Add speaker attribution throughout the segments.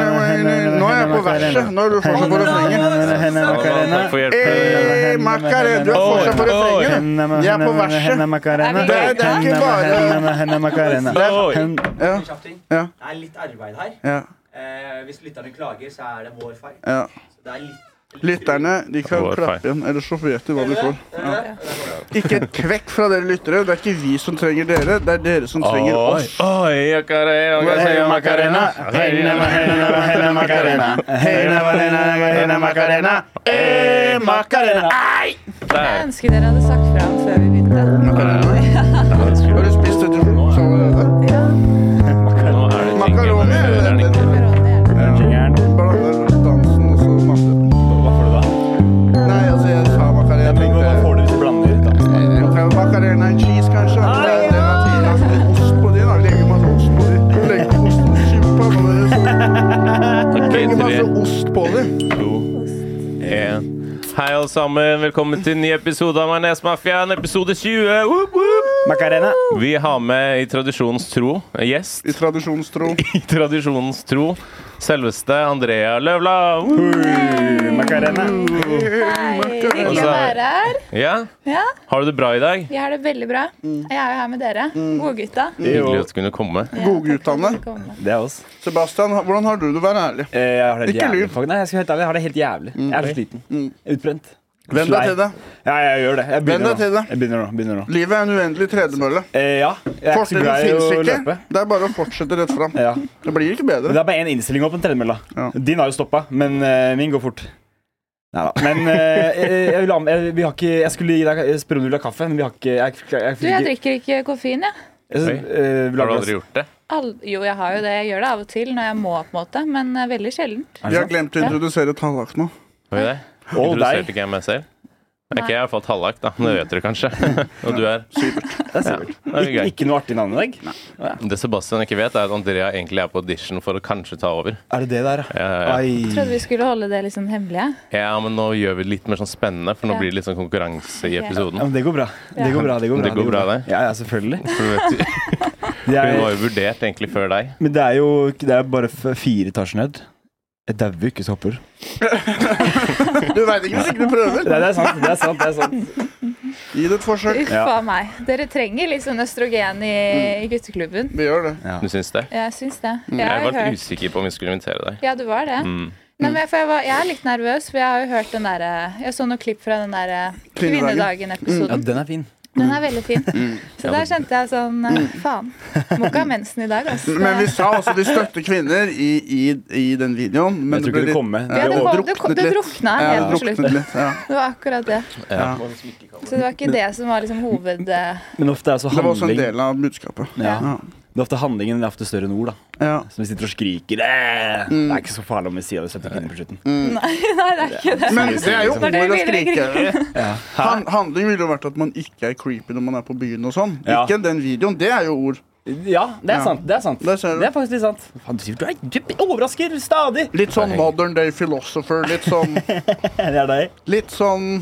Speaker 1: Nå er jeg på verset. Nå er du fortsatt på refrenget.
Speaker 2: Takk for hjelpen.
Speaker 1: Eh, Macarena, du er fortsatt på refrenget. Jeg er på verset. Det er, det er ikke bare
Speaker 2: Oi.
Speaker 1: Ja,
Speaker 3: Kjapt inn.
Speaker 1: ja,
Speaker 3: Det er litt arbeid her.
Speaker 1: ja,
Speaker 3: Eh, hvis lytterne klager, så er det vår feil.
Speaker 1: ja.
Speaker 3: Så det er litt, litt
Speaker 1: Lytterne de kan
Speaker 2: Vår feil.
Speaker 1: klappe igjen, eller så vet de hva de får. Ja.
Speaker 3: Hører du det?
Speaker 1: Ikke et kvekk fra dere lyttere. Det er ikke vi som trenger dere, det er dere som trenger
Speaker 2: Oi,
Speaker 1: oss.
Speaker 2: oi, Macarena, Macarena,
Speaker 1: Eh, Macarena.
Speaker 2: Der.
Speaker 4: ønsker dere hadde sagt fra om før vi begynte.
Speaker 1: Macarena. Har du spist dette sjokoladet?
Speaker 4: Ja,
Speaker 2: Nå er det jingle, men
Speaker 1: Macaroni,
Speaker 2: det er det ikke.
Speaker 4: korona er det.
Speaker 1: Blander dansen og så masse.
Speaker 5: Hva får du da?
Speaker 1: Nei, altså, jeg sa Macarena.
Speaker 5: Men Hva
Speaker 1: tenkte-
Speaker 5: får du hvis du blander ut dansen?
Speaker 1: Eh, kan vi Macarena and cheese, kanskje? Det er- det er Latina, så litt ost på de, da. Legger masse ost på de. Legger ost skimpa på de. Legger masse
Speaker 2: Tre,
Speaker 1: ost på de.
Speaker 2: to, en. Hei, alle sammen. Velkommen til en ny episode av Majonesmafiaen, episode 20. Woop, woop.
Speaker 5: Macarena.
Speaker 2: Vi har med i tradisjonens tro en gjest.
Speaker 1: I tradisjonstro.
Speaker 2: I tradisjonens tro selveste Andrea Løvla.
Speaker 5: Macarena.
Speaker 4: Hei,
Speaker 2: Og
Speaker 4: hyggelig
Speaker 2: så
Speaker 4: å
Speaker 2: er-
Speaker 4: være her.
Speaker 2: Ja,
Speaker 4: Ja,
Speaker 2: Har du det bra i dag?
Speaker 4: jeg har det veldig bra. Jeg er jo her med dere. Godgutta.
Speaker 2: Hyggelig at du kunne komme.
Speaker 1: Godguttene.
Speaker 5: Det er oss.
Speaker 1: Sebastian, hvordan har du det? Vær ærlig.
Speaker 5: Eh, Jeg har det helt
Speaker 1: Ikke
Speaker 5: jævlig.
Speaker 1: lyv.
Speaker 5: fuck. Nei, jeg skal være helt ærlig, jeg har det helt jævlig. Jeg er så sliten. Utbrent.
Speaker 1: Venn deg til det.
Speaker 5: Ja, jeg gjør det.
Speaker 1: Venn
Speaker 5: Jeg begynner
Speaker 1: deg til
Speaker 5: nå.
Speaker 1: det.
Speaker 5: Jeg begynner nå. Begynner nå.
Speaker 1: Livet er en uendelig tredemølle.
Speaker 5: Eh, ja. Jeg er ikke så
Speaker 1: Fortiden
Speaker 5: glad i
Speaker 1: fins
Speaker 5: å
Speaker 1: ikke.
Speaker 5: løpe.
Speaker 1: Det er bare å fortsette rett fram.
Speaker 5: Ja.
Speaker 1: Det blir ikke
Speaker 5: Men det
Speaker 1: bedre.
Speaker 5: er bare én innstilling opp på en tredemølle.
Speaker 1: Ja.
Speaker 5: Din har jo stoppa, men eh, min går fort. Neida. Men eh, jeg, jeg, vil ha med, jeg, vi har ikke, jeg skulle gi deg jeg spørre om du vil ha kaffe, men vi har ikke Jeg, jeg, jeg,
Speaker 4: Du, jeg drikker ikke koffein, jeg.
Speaker 5: jeg,
Speaker 2: Oi.
Speaker 5: eh, vil ha
Speaker 2: Har du
Speaker 5: glass.
Speaker 2: aldri gjort det?
Speaker 4: All- Jo, jeg har jo det. Jeg gjør det av og til når jeg må, på en måte, men eh, veldig sjeldent.
Speaker 5: Er
Speaker 1: Vi
Speaker 5: det
Speaker 1: har
Speaker 5: sant?
Speaker 1: glemt å introdusere Tallak nå.
Speaker 2: Har vi det?
Speaker 5: Og
Speaker 2: Introduserte
Speaker 5: deg.
Speaker 2: ikke jeg meg selv? Er
Speaker 4: Nei.
Speaker 2: ikke jeg i hvert fall tallak, da? Men det vet dere kanskje. Og du er
Speaker 5: Det er sikkert.
Speaker 2: det er
Speaker 5: Ikke,
Speaker 2: greit.
Speaker 5: ikke noe artig navn i dag?
Speaker 2: Det Sebastian ikke vet, er at Andrea egentlig er på audition for å kanskje ta over.
Speaker 5: Er det det der, ja?
Speaker 2: Ja, ja, ja.
Speaker 4: Trodde
Speaker 5: Ai.
Speaker 4: vi skulle holde det litt sånn hemmelig. jeg.
Speaker 2: ja, men nå gjør vi det litt mer sånn spennende, for nå
Speaker 4: Ja.
Speaker 2: blir det litt sånn konkurranse i
Speaker 4: Ok.
Speaker 5: Ja,
Speaker 2: episoden.
Speaker 5: men det går bra. Det går bra, det går bra.
Speaker 2: Det går bra, det.
Speaker 5: Ja, ja, selvfølgelig.
Speaker 2: For du vet, Hun var
Speaker 5: Jeg,
Speaker 2: jo vurdert egentlig før deg.
Speaker 5: men det er jo det er bare f- fire etasjer ned. Jeg dauer jo ikke så hopper.
Speaker 1: Du veit ikke hvis ikke du prøver.
Speaker 5: Nei, det er sant. det er sant, det er sant.
Speaker 1: Gi det et forsøk.
Speaker 4: Uff
Speaker 5: Ja.
Speaker 4: a meg. Dere trenger litt sånn østrogen i, i gutteklubben.
Speaker 1: Vi gjør det.
Speaker 2: Du syns det?
Speaker 4: Jeg syns det. Jeg
Speaker 2: Jeg
Speaker 4: har jo
Speaker 2: var
Speaker 4: hørt
Speaker 2: usikker på om vi skulle invitere deg.
Speaker 4: Ja, du var det.
Speaker 2: Mm.
Speaker 4: Nei, men jeg, for jeg, var, jeg er litt nervøs, for jeg har jo hørt den derre Jeg så noen klipp fra den derre
Speaker 1: Kvinnedagen. Mm.
Speaker 5: Ja,
Speaker 4: Kvinnedagen-episoden.
Speaker 5: den er fin.
Speaker 4: Den er veldig fin. Så der kjente jeg sånn eh, Faen. Må ikke ha mensen i dag, altså.
Speaker 1: Mm. Men vi sa også de støtter kvinner i, i, i den videoen. Men
Speaker 5: Jeg tror ikke det kommer.
Speaker 4: ja, det,
Speaker 1: det
Speaker 4: kom, det, kom,
Speaker 1: druknet
Speaker 4: det
Speaker 1: litt.
Speaker 4: drukna
Speaker 1: Ja,
Speaker 4: helt på
Speaker 1: druknet
Speaker 4: slutten.
Speaker 1: litt. Ja.
Speaker 4: Det var akkurat det.
Speaker 2: Ja.
Speaker 4: Så det var ikke det som var liksom hoved... eh,
Speaker 5: Men ofte er altså
Speaker 1: Det var også en
Speaker 5: handling
Speaker 1: del av budskapet.
Speaker 5: ja.
Speaker 1: Ja.
Speaker 5: Det er ofte handlingen det er ofte større enn ord, da.
Speaker 1: Ja.
Speaker 5: Som sitter og skriker «Æ!» Det er ikke så farlig om vi sier det setter kvinner på slutten.
Speaker 4: Nei, nei, det er ikke det.
Speaker 1: Men det er jo
Speaker 4: Når
Speaker 1: ordet
Speaker 4: dere
Speaker 1: å
Speaker 4: begynner å
Speaker 1: skrike.
Speaker 5: Ja.
Speaker 1: Han, handling ville jo vært at man ikke er creepy når man er på byen og sånn.
Speaker 5: Ja.
Speaker 1: Ikke den videoen. Det er jo ord.
Speaker 5: Mm. ja, det er
Speaker 1: Ja.
Speaker 5: sant. Det er sant.
Speaker 1: Der ser du.
Speaker 5: Det er faktisk litt sant. Faen, du sier du er du overrasker stadig.
Speaker 1: Litt sånn modern day philosopher. Litt sånn,
Speaker 5: Det er deg.
Speaker 1: litt sånn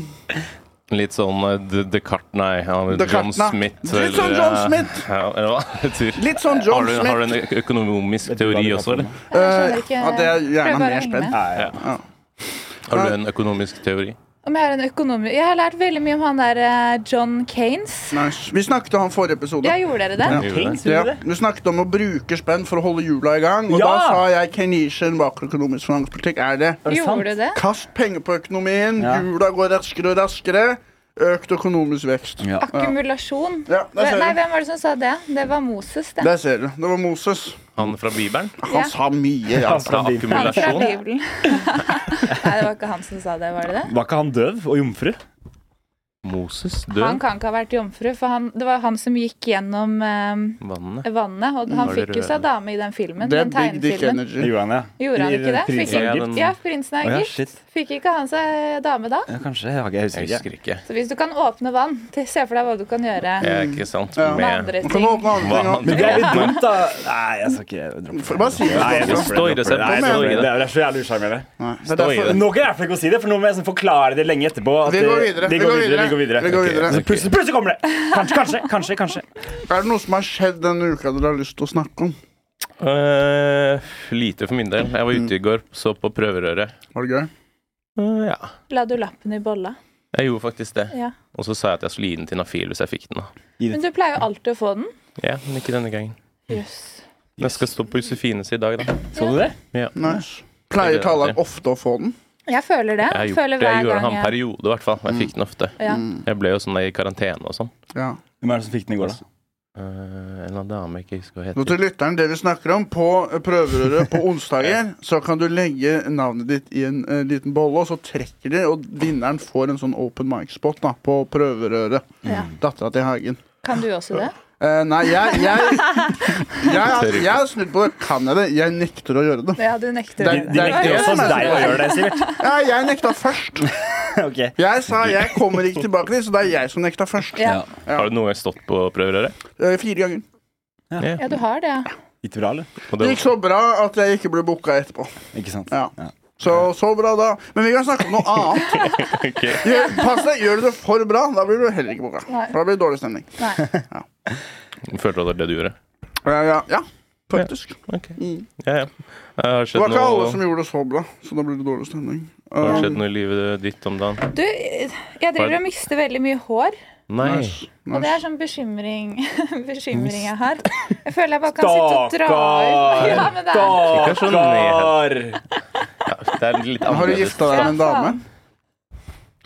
Speaker 2: Litt sånn eh, D- Descartes, nei. han- John
Speaker 1: Descartes, nei.
Speaker 2: Smith.
Speaker 1: Litt sånn
Speaker 2: eller,
Speaker 1: John
Speaker 2: eh,
Speaker 1: Smith.
Speaker 2: Ja, eller hva? Jeg tror-
Speaker 1: Litt sånn
Speaker 2: Har
Speaker 1: John
Speaker 2: du, har du
Speaker 1: Smith. Eh,
Speaker 2: en ø- økonomisk
Speaker 5: du hva
Speaker 2: teori
Speaker 5: du
Speaker 2: også,
Speaker 5: prater om?
Speaker 2: eller?
Speaker 4: Jeg skjønner ikke eh,
Speaker 1: ja, det er gjerne
Speaker 4: Prøver bare å
Speaker 1: mer
Speaker 4: henge
Speaker 1: spent.
Speaker 4: med.
Speaker 5: Ja, ja.
Speaker 2: Har du en økonomisk teori?
Speaker 4: Om jeg har en økonomi Jeg har lært veldig mye om han der eh, John Kanes.
Speaker 1: Nice. Vi snakket om han forrige episode.
Speaker 4: Ja, gjorde dere det?
Speaker 2: Gjorde du det?
Speaker 5: Kings,
Speaker 1: Ja,
Speaker 5: gjorde det?
Speaker 1: vi snakket om å bruke spenn for å holde hjula i gang. Og
Speaker 5: Ja!
Speaker 1: da sa jeg Keynesian makroøkonomisk finanspolitikk er det.
Speaker 5: Er det sant?
Speaker 4: Gjorde du det?
Speaker 1: Kast penger på økonomien,
Speaker 5: Ja.
Speaker 1: hjula går raskere og raskere. Økt økonomisk vekst.
Speaker 5: Ja.
Speaker 4: Akkumulasjon.
Speaker 1: Ja, der
Speaker 4: Nei,
Speaker 1: ser du.
Speaker 4: hvem var det som sa det? Det var Moses, det.
Speaker 1: Der ser du. Det var Moses.
Speaker 2: Han fra Bibelen?
Speaker 1: Han
Speaker 4: Ja.
Speaker 1: sa mye. Ja.
Speaker 5: Han
Speaker 2: Fra
Speaker 5: fra Bibelen.
Speaker 4: Han fra
Speaker 2: akkumulasjon?
Speaker 4: Bibelen. Nei, det var ikke han som sa det, var det det?
Speaker 5: Var ikke han døv og jomfru?
Speaker 2: Moses
Speaker 4: Han
Speaker 2: død?
Speaker 4: kan ikke ha vært jomfru, for han, det var han som gikk gjennom eh,
Speaker 2: Vannet?
Speaker 4: vannet. Og han
Speaker 2: Var det
Speaker 4: fikk jo seg dame i den filmen.
Speaker 1: Det er
Speaker 4: den
Speaker 1: big dick
Speaker 4: tegnefilmen.
Speaker 1: energy.
Speaker 5: Gjorde han det?
Speaker 4: Gjorde
Speaker 5: I-
Speaker 4: han
Speaker 5: i
Speaker 4: ikke det?
Speaker 5: Prins
Speaker 4: Fikk
Speaker 5: av
Speaker 2: Ja,
Speaker 4: ikke,
Speaker 5: Egypt?
Speaker 2: den-
Speaker 4: ja, prinsen av
Speaker 5: Å, ja,
Speaker 4: Egypt.
Speaker 5: shit.
Speaker 4: Fikk ikke han seg dame da?
Speaker 5: Ja, kanskje. Jeg, har ikke- jeg husker
Speaker 2: Jeg
Speaker 5: ikke.
Speaker 2: husker ikke.
Speaker 4: Så hvis du kan åpne vann, til- se for deg hva du kan gjøre
Speaker 2: Det er ikke sant.
Speaker 1: Ja.
Speaker 4: med
Speaker 2: Med
Speaker 4: andre
Speaker 1: Man kan
Speaker 4: ting.
Speaker 1: åpne andre ting
Speaker 2: Hva?
Speaker 1: også.
Speaker 5: Men det er litt dumt, da. Nei, jeg skal ikke droppe
Speaker 1: For- Bare si det.
Speaker 5: Nei,
Speaker 1: Sebastian.
Speaker 5: jeg dropper det, dropper det. Nei, jeg dropper det. Det er- det er så jævlig usjarmerende.
Speaker 1: Nei, det er
Speaker 2: Stå i
Speaker 1: derfor-
Speaker 2: det.
Speaker 5: Nå kan jeg i hvert fall ikke å si det, for nå må jeg sånn forklare det lenge etterpå. at
Speaker 1: Vi
Speaker 5: det-
Speaker 1: går videre,
Speaker 5: Vi
Speaker 1: vi
Speaker 5: går
Speaker 1: går
Speaker 5: videre. Vi går videre.
Speaker 1: Vi går videre.
Speaker 5: Ok, så Plutselig, plutselig kommer det! Kanskje, kanskje, kanskje. kanskje.
Speaker 1: Er det noe som har skjedd denne uka dere har lyst til å snakke om?
Speaker 2: Eh, lite for min del. Jeg var
Speaker 5: Mm.
Speaker 2: ute i går, så på prøverøret.
Speaker 1: Var det gøy?
Speaker 2: Eh, ja.
Speaker 4: La du lappen i bolla?
Speaker 2: Jeg gjorde faktisk det.
Speaker 4: Ja.
Speaker 2: Og så sa jeg at jeg skulle gi den til Nafil hvis jeg fikk den. da.
Speaker 4: Men du pleier jo alltid å få den.
Speaker 2: Ja, men ikke denne gangen.
Speaker 4: Jøss.
Speaker 2: Men Jeg skal stå på Josefines i dag, da.
Speaker 5: Så du det?
Speaker 2: Ja.
Speaker 1: Nice. Pleier Tallag ofte å få den?
Speaker 4: Jeg føler det.
Speaker 2: Jeg,
Speaker 4: Jeg
Speaker 2: gjorde,
Speaker 4: føler
Speaker 2: det. jeg
Speaker 4: hver
Speaker 2: gjorde
Speaker 4: gang
Speaker 2: det en
Speaker 4: jeg
Speaker 2: periode, i hvert fall. Jeg
Speaker 5: Mm.
Speaker 2: fikk den ofte.
Speaker 4: ja.
Speaker 2: Jeg ble jo sånn i karantene og sånn.
Speaker 1: Mm. Ja.
Speaker 5: Hvem er det som fikk den i går, da?
Speaker 2: Eh, en eller annen dame jeg ikke husker
Speaker 1: Nå
Speaker 2: hva heter.
Speaker 1: til lytteren, det vi snakker om På prøverøret på onsdager Så kan du legge navnet ditt i en eh, liten bolle Og så trekker de Og vinneren får en sånn open mic-spot da På prøverøret Mm.
Speaker 4: Ja.
Speaker 1: Dattera til Hagen
Speaker 4: Kan du også det?
Speaker 1: Eh, Nei, jeg jeg, jeg, jeg jeg har snudd på det Kan jeg det? Jeg nekter å gjøre det
Speaker 4: Ja, du nekter å
Speaker 1: Det-
Speaker 5: De,
Speaker 4: gjøre
Speaker 5: de nekter jo også
Speaker 1: Ja, ja, ja.
Speaker 5: deg å gjøre det, Sivert.
Speaker 1: ja, Jeg nekta først
Speaker 5: Ok.
Speaker 1: Jeg sa jeg kommer ikke tilbake dit Så det er jeg som nekta først
Speaker 4: Ja.
Speaker 1: Ja.
Speaker 2: Har du noen gang stått på prøverøret?
Speaker 1: Eh, Fire ganger
Speaker 4: ja, du har det, ja.
Speaker 5: Gikk det bra, eller?
Speaker 2: Og
Speaker 1: Det
Speaker 2: det
Speaker 1: gikk så bra at jeg ikke ble boka etterpå
Speaker 5: Ikke sant?
Speaker 1: Ja. Så, så bra da Men vi kan snakke om noe annet
Speaker 2: var ikke
Speaker 1: Gjør- Pass deg, gjør du det for bra, da blir du heller ikke boka.
Speaker 4: Nei.
Speaker 1: For da blir det dårlig stemning.
Speaker 4: Nei.
Speaker 2: Følte du at det var det du gjorde?
Speaker 1: Ja, ja, ja faktisk.
Speaker 2: Ok.
Speaker 1: Mm.
Speaker 2: Ja, ja. Eh, Har
Speaker 1: Det var
Speaker 2: det skjedd
Speaker 1: ikke alle som
Speaker 2: noe,
Speaker 1: gjorde det så bra, så da blir det dårlig stemning.
Speaker 2: har det
Speaker 1: Um,
Speaker 2: skjedd noe i livet ditt om dagen?
Speaker 4: Du, jeg driver og mister veldig mye hår.
Speaker 1: Um,
Speaker 2: Nei.
Speaker 4: Og det er sånn bekymring, bekymring jeg har. Jeg føler jeg bare kan sitte og dra ut. Ja, men det er
Speaker 2: Ikke sånn ned.
Speaker 5: Stakkar!
Speaker 2: Ja, det er
Speaker 1: Men
Speaker 2: litt
Speaker 1: har du
Speaker 2: annerledes.
Speaker 1: gifta deg med en
Speaker 4: Ja,
Speaker 1: dame?
Speaker 4: faen.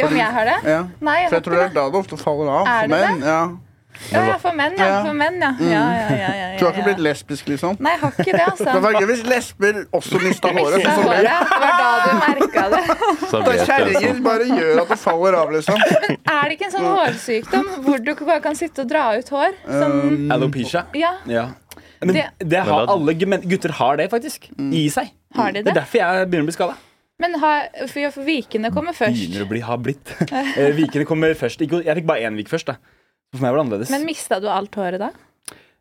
Speaker 4: Jo, men jeg har det?
Speaker 1: Ja.
Speaker 4: Nei, jeg
Speaker 1: For
Speaker 4: har
Speaker 1: jeg tror det
Speaker 4: ikke
Speaker 1: er da
Speaker 4: det.
Speaker 1: det ofte faller av.
Speaker 4: Er
Speaker 1: For
Speaker 4: det
Speaker 1: menn. Ja.
Speaker 4: Ja, ja, for menn, ja. For menn, ja. Ja, ja, ja, ja,
Speaker 1: Mm. Du har ikke
Speaker 4: ja.
Speaker 1: blitt lesbisk, liksom?
Speaker 4: Nei, jeg har ikke det, altså.
Speaker 1: Det var gøy hvis lesber også mista håret.
Speaker 4: Det
Speaker 1: Sånn som deg.
Speaker 4: håret. Det var da du merka det.
Speaker 2: Så
Speaker 1: Da
Speaker 2: vet jeg
Speaker 1: Kjerringer
Speaker 2: sånn.
Speaker 1: bare gjør at det faller av, liksom.
Speaker 4: Er det ikke en sånn hårsykdom hvor du bare kan sitte og dra ut hår? Sånn,
Speaker 1: Um,
Speaker 5: Alopecia?
Speaker 4: ja,
Speaker 5: Ja. Mm. Men det,
Speaker 4: Det- Mm.
Speaker 2: Men
Speaker 5: har
Speaker 2: da-
Speaker 5: alle gu- men gutter har det, faktisk. I seg.
Speaker 4: har de
Speaker 5: Det er
Speaker 4: det?
Speaker 5: derfor jeg begynner å bli skada.
Speaker 4: Men har, for, for vikene kommer først.
Speaker 5: Begynner å bli, har blitt. Eh, Vikene kommer først. Ikke, jeg fikk bare én vik først, da. Så for meg var det annerledes.
Speaker 4: Men mista du alt håret da?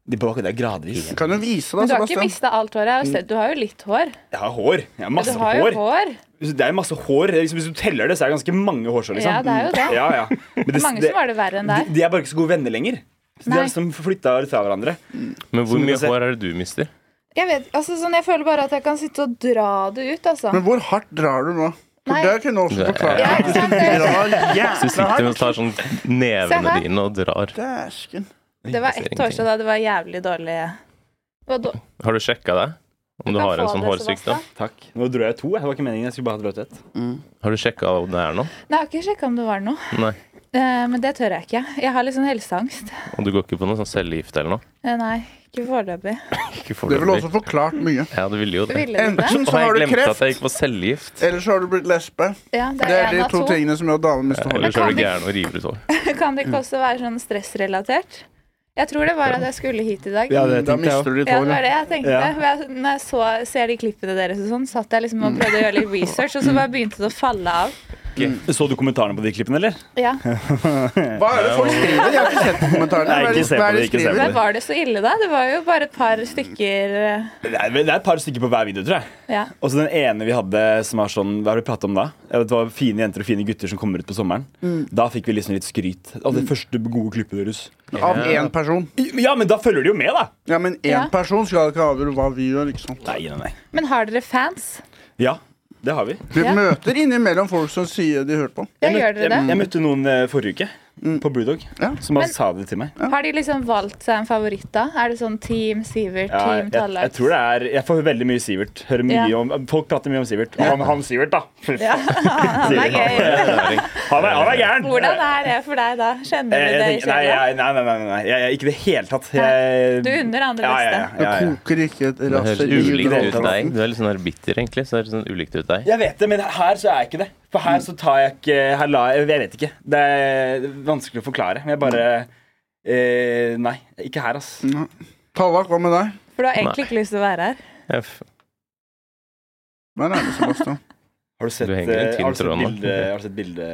Speaker 5: De bare, det er gradvis.
Speaker 1: kan jo vise
Speaker 4: Men
Speaker 1: deg,
Speaker 4: du har ikke
Speaker 1: Sebastian.
Speaker 4: mista alt håret. Jeg har jo sett, du har jo litt hår.
Speaker 5: Jeg har hår. Jeg har
Speaker 4: Men
Speaker 5: masse
Speaker 4: Du har jo
Speaker 5: hår.
Speaker 4: hår.
Speaker 5: Det er masse hår. Det er Liksom, hvis du teller det, så er det ganske mange hårsår. Liksom.
Speaker 4: Ja, det er jo det.
Speaker 5: Ja, ja. Men
Speaker 4: Det er mange som har det verre enn deg.
Speaker 5: De, de er bare ikke så gode venner lenger. Så de
Speaker 4: Nei.
Speaker 5: har liksom flytta fra hverandre.
Speaker 2: Men
Speaker 5: Som
Speaker 2: hvor
Speaker 5: du
Speaker 2: mye
Speaker 5: kan se.
Speaker 2: hår er det du mister?
Speaker 4: Jeg vet, altså sånn, jeg føler bare at jeg kan sitte og dra det ut, altså.
Speaker 1: Men hvor hardt drar du nå? For
Speaker 4: Nei.
Speaker 1: det kunne også forklart.
Speaker 4: ja, ikke sant? Det,
Speaker 1: Drar
Speaker 2: Du
Speaker 1: jævla
Speaker 2: sitter og
Speaker 1: hardt.
Speaker 2: tar sånn nevene
Speaker 4: her.
Speaker 2: dine og drar.
Speaker 1: Dæsken.
Speaker 4: det var ett år siden da det var jævlig dårlig. Det var dår-
Speaker 2: Har du sjekka deg? Om du
Speaker 4: kan
Speaker 2: har en
Speaker 4: få
Speaker 2: sånn
Speaker 4: det,
Speaker 2: hårsykdom?
Speaker 4: Sebastian.
Speaker 5: Takk. Nå dro jeg to. Det var ikke meningen. Jeg skulle bare ha drøyt ett.
Speaker 2: Har du sjekka om det er noe?
Speaker 4: Nei, jeg har ikke sjekka om det var noe.
Speaker 2: Nei.
Speaker 4: Eh, men det tør jeg ikke. Jeg har litt sånn helseangst.
Speaker 2: Og du går ikke på noe sånn cellegift eller noe?
Speaker 4: Eh, nei, ikke foreløpig.
Speaker 2: Ikke
Speaker 1: Det ville også
Speaker 2: foreløpig.
Speaker 1: forklart mye.
Speaker 2: Ja, det ville jo det.
Speaker 4: Ville du det?
Speaker 1: Enten så
Speaker 2: Og
Speaker 1: har
Speaker 2: jeg
Speaker 1: du
Speaker 2: glemte
Speaker 1: kreft,
Speaker 2: at jeg gikk på cellegift.
Speaker 1: eller så har du blitt lesbe.
Speaker 4: Ja, det
Speaker 1: Det
Speaker 4: er
Speaker 1: er
Speaker 4: én
Speaker 1: de
Speaker 4: av
Speaker 1: to
Speaker 4: to.
Speaker 1: tingene som gjør at damer mister
Speaker 2: Eller
Speaker 1: håret.
Speaker 2: så er
Speaker 4: kan
Speaker 2: du
Speaker 4: vi-
Speaker 2: gæren og river ut hår.
Speaker 4: Kan det ikke også være sånn stressrelatert? Jeg tror det var at jeg skulle hit i dag.
Speaker 5: Ja, det
Speaker 1: Da
Speaker 5: tenkte jeg
Speaker 1: mister
Speaker 5: også.
Speaker 1: du ditt
Speaker 4: Ja, det
Speaker 1: hår.
Speaker 4: var det jeg tenkte.
Speaker 5: Ja.
Speaker 4: For jeg, når jeg så, ser de klippene deres og sånn, satt jeg
Speaker 5: Mm.
Speaker 4: liksom og prøvde å gjøre litt research, og så bare begynte det å falle av.
Speaker 5: Så du kommentarene på de klippene, eller?
Speaker 4: Ja.
Speaker 1: ja. Hva er det folk skriver? Jeg har ikke sett på kommentarene.
Speaker 5: Nei,
Speaker 1: Hva er
Speaker 5: ikke se på
Speaker 1: hva er
Speaker 5: det, ikke se på
Speaker 1: skriver?
Speaker 4: Men var det så ille, da? Det var jo bare et par stykker eh,
Speaker 5: Det er, det er et par stykker på hver video, tror jeg.
Speaker 4: Ja.
Speaker 5: Og så den ene vi hadde som var sånn Hva har vi pratet om da? Ja, Det var fine jenter og fine gutter som kommer ut på sommeren.
Speaker 4: Mm.
Speaker 5: Da fikk vi liksom litt skryt av det første gode klippet deres.
Speaker 1: Av én person.
Speaker 5: Ja, men da følger de jo med, da!
Speaker 1: Ja, men én
Speaker 4: Ja.
Speaker 1: person skal ikke avgjøre hva vi gjør. ikke sant?
Speaker 5: Nei, nei, nei.
Speaker 4: Men har dere fans?
Speaker 5: Ja, det har vi.
Speaker 1: Vi
Speaker 4: Ja.
Speaker 1: møter innimellom folk som sier de hørte på.
Speaker 4: Ja,
Speaker 5: møtte-
Speaker 4: gjør
Speaker 5: jeg,
Speaker 4: dere det?
Speaker 5: jeg møtte noen eh, forrige uke på Brewdog
Speaker 1: Ja.
Speaker 5: som bare
Speaker 4: Men-
Speaker 5: sa det til meg.
Speaker 4: Har de liksom valgt seg en favoritt, da? Er det sånn Team Sivert,
Speaker 5: Ja, jeg,
Speaker 4: Team
Speaker 5: jeg,
Speaker 4: Tallak?
Speaker 5: tror det er Jeg får veldig mye Sivert. Hører mye
Speaker 4: Ja.
Speaker 5: om, folk prater mye om Sivert. Og han, han Sivert, da. Fy faen,
Speaker 4: Han er gøy.
Speaker 5: Han er, han er gæren!
Speaker 4: Hvordan er det for deg, da? Kjenner
Speaker 5: Eh, Jeg-
Speaker 4: du
Speaker 5: jeg
Speaker 4: det i
Speaker 5: tenker- nei,
Speaker 4: sjela?
Speaker 5: jeg- nei, nei, nei, nei. Jeg, jeg, ikke i det hele tatt. Jeg,
Speaker 4: Du unner andre
Speaker 5: ja, ja, ja, ja,
Speaker 4: beste.
Speaker 1: Det
Speaker 5: ja.
Speaker 1: koker ikke et
Speaker 2: Det høres
Speaker 1: raseri i
Speaker 2: ulikt ut deg.
Speaker 1: underholdningen.
Speaker 2: Du er litt sånn her bitter, egentlig. Så det er sånn ulikt ut deg.
Speaker 5: Jeg vet det, men her så er jeg ikke det. For her så tar jeg ikke her la, jeg- Jeg vet ikke. Det er vanskelig å forklare. Men jeg bare eh, Nei, ikke her, ass.
Speaker 1: Nei. Tallak, hva med deg?
Speaker 4: For du har egentlig ikke lyst til å være her.
Speaker 2: Jeg f-
Speaker 1: Vær ærlig, Sebastian.
Speaker 5: Har du sett,
Speaker 2: Du henger i en
Speaker 5: eh, har du
Speaker 2: tynn tråd
Speaker 5: sett
Speaker 2: nå.
Speaker 5: bildet, har du sett bilde,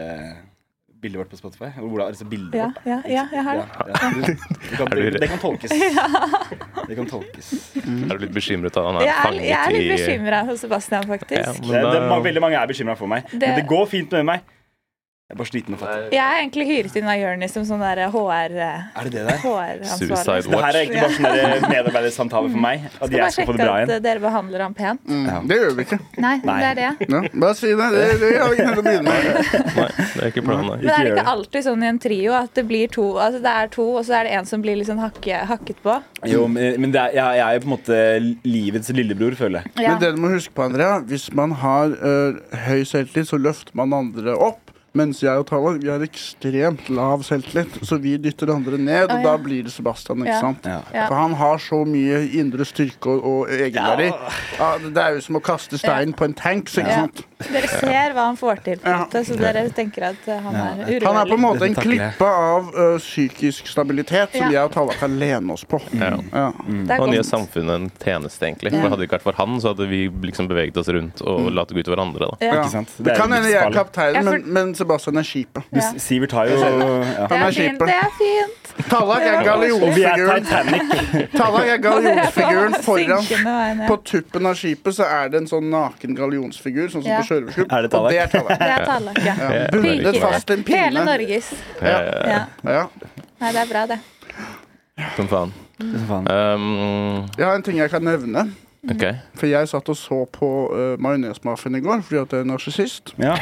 Speaker 5: bildet vårt på Spotify? Ola, har du sett bildet
Speaker 4: Ja,
Speaker 5: vårt?
Speaker 4: ja, ja, jeg har det.
Speaker 5: Ja, ja. Det, kan,
Speaker 2: Er du-
Speaker 5: det, det kan tolkes. Det kan tolkes.
Speaker 2: Er du litt bekymret av han
Speaker 4: Jeg
Speaker 2: er
Speaker 4: er,
Speaker 2: fanget i
Speaker 4: jeg er litt bekymra for Sebastian,
Speaker 2: Ja,
Speaker 4: faktisk.
Speaker 5: Det, det,
Speaker 2: men eh, da-
Speaker 5: veldig mange er bekymra for meg.
Speaker 4: Det-
Speaker 5: Men det går fint med meg. Jeg er bare sliten og fattig.
Speaker 4: Jeg er egentlig hyret inn av Jonis som sånn der HR,
Speaker 5: Er det det der?
Speaker 2: Suicide
Speaker 4: HR-ansvarlig.
Speaker 5: Det her er
Speaker 4: Ja.
Speaker 5: egentlig bare sånn der medarbeidersamtale for meg. At
Speaker 4: Skal bare
Speaker 5: jeg skal få det
Speaker 4: sjekke
Speaker 5: bra
Speaker 4: at
Speaker 5: igjen.
Speaker 4: eh, dere behandler ham pent.
Speaker 1: Mm. Det gjør vi ikke.
Speaker 4: Nei, det
Speaker 5: Nei.
Speaker 4: er det.
Speaker 1: Ja, bare si det. Det, det har vi ikke tenkt å begynne med.
Speaker 2: Nei, det er ikke planen. Nei.
Speaker 4: Men er det
Speaker 5: gjør
Speaker 4: ikke alltid sånn i en trio at det blir to, altså det er to, og så er det en som blir liksom hakke, hakket på?
Speaker 5: Jo, men men det er, jeg, jeg er jo på en måte livets lillebror, føler jeg.
Speaker 4: Ja.
Speaker 1: Men det du må huske på, Andrea, hvis man har eh, høy selvtillit, så løfter man andre opp. Mens jeg og Tala vi har ekstremt lav selvtillit, så vi dytter andre ned.
Speaker 4: Å,
Speaker 1: Og
Speaker 4: ja.
Speaker 1: da blir det Sebastian, ikke
Speaker 4: Ja.
Speaker 1: sant?
Speaker 5: Ja.
Speaker 4: Ja.
Speaker 1: For han har så mye indre styrke og, og egenverdi. Ja, det er jo som å kaste stein på en tanks, ikke
Speaker 4: Ja.
Speaker 1: sant?
Speaker 4: Dere ser hva han får til, på en
Speaker 1: Ja.
Speaker 4: måte, så dere tenker at eh, han
Speaker 1: Han
Speaker 4: er
Speaker 1: er på en
Speaker 4: urørlig.
Speaker 1: måte en
Speaker 5: Dette takler jeg.
Speaker 1: klippe av ø, psykisk stabilitet som jeg
Speaker 4: Ja.
Speaker 1: og Talla kan lene oss på.
Speaker 5: Mm.
Speaker 2: Ja.
Speaker 1: Ja.
Speaker 4: Det er
Speaker 2: Han gjør
Speaker 4: godt.
Speaker 2: samfunnet en tjeneste, egentlig. For Hadde det ikke vært for han, så hadde vi liksom beveget oss rundt
Speaker 4: Mm.
Speaker 2: og latt det gå ut over andre. da.
Speaker 4: Ja.
Speaker 5: Ikke sant?
Speaker 1: Det, kan hende jeg er kapteinen,
Speaker 4: Ja, for-
Speaker 1: men, men Sebastian er skipet.
Speaker 4: Ja.
Speaker 5: Sivert har jo ja.
Speaker 4: Det
Speaker 1: Han er
Speaker 4: er fint,
Speaker 1: skipet.
Speaker 4: det er fint.
Speaker 1: Tallak er
Speaker 5: Og vi er
Speaker 1: gallionsfiguren
Speaker 5: Titanic.
Speaker 1: Tallak er gallionsfiguren foran.
Speaker 4: Synkende vei ned.
Speaker 1: På tuppen av skipet så er det en sånn naken gallionsfigur, sånn som
Speaker 4: Ja.
Speaker 1: på Sjørøverskip.
Speaker 5: Er det Tallak?
Speaker 1: Og det er Tallak.
Speaker 4: Det er tallakka.
Speaker 1: Ja.
Speaker 2: det er
Speaker 1: Bundet
Speaker 2: riktig.
Speaker 1: fast til en
Speaker 4: Hele
Speaker 1: pinne.
Speaker 4: Norges.
Speaker 2: Eh,
Speaker 4: Ja.
Speaker 1: Ja.
Speaker 4: Nei, det er bra, det.
Speaker 2: Som faen.
Speaker 5: faen.
Speaker 2: Um,
Speaker 1: Jeg har en ting jeg kan nevne.
Speaker 2: OK.
Speaker 4: Mm.
Speaker 1: For jeg satt og så på uh, Majonesmafiaen i går, fordi at jeg er narsissist.
Speaker 5: Ja.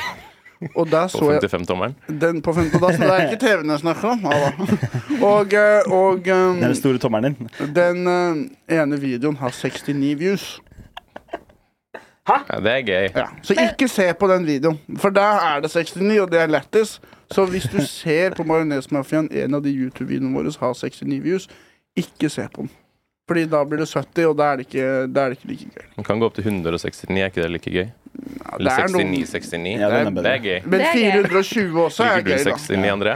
Speaker 1: Og der
Speaker 2: På
Speaker 1: så jeg
Speaker 2: 55-tommeren.
Speaker 1: Den på femte plass, men det er ikke TV-en jeg snakker om. Ja, da. Og, eh, og
Speaker 5: Det er den
Speaker 1: eh,
Speaker 5: store tommelen din.
Speaker 1: den eh, ene videoen har 69 views.
Speaker 2: Ja, det er gøy.
Speaker 1: Ja. Så ikke se på den videoen, for der er det 69, og det er lættis. Så hvis du ser på Majonesmafiaen, en av de YouTube-videoene våre har 69 views, ikke se på den. Fordi da blir det 70, og da er det ikke, da er det ikke like gøy.
Speaker 2: Man kan gå opp til 169, er ikke det like gøy?
Speaker 1: det
Speaker 2: Eller
Speaker 1: er noen-
Speaker 2: 69-69.
Speaker 5: Ja, den er
Speaker 2: det
Speaker 5: bedre.
Speaker 2: er gøy.
Speaker 1: Men
Speaker 4: Det er gøy.
Speaker 1: 420 også er
Speaker 2: Liker du
Speaker 1: gøy, da.
Speaker 2: 69, André?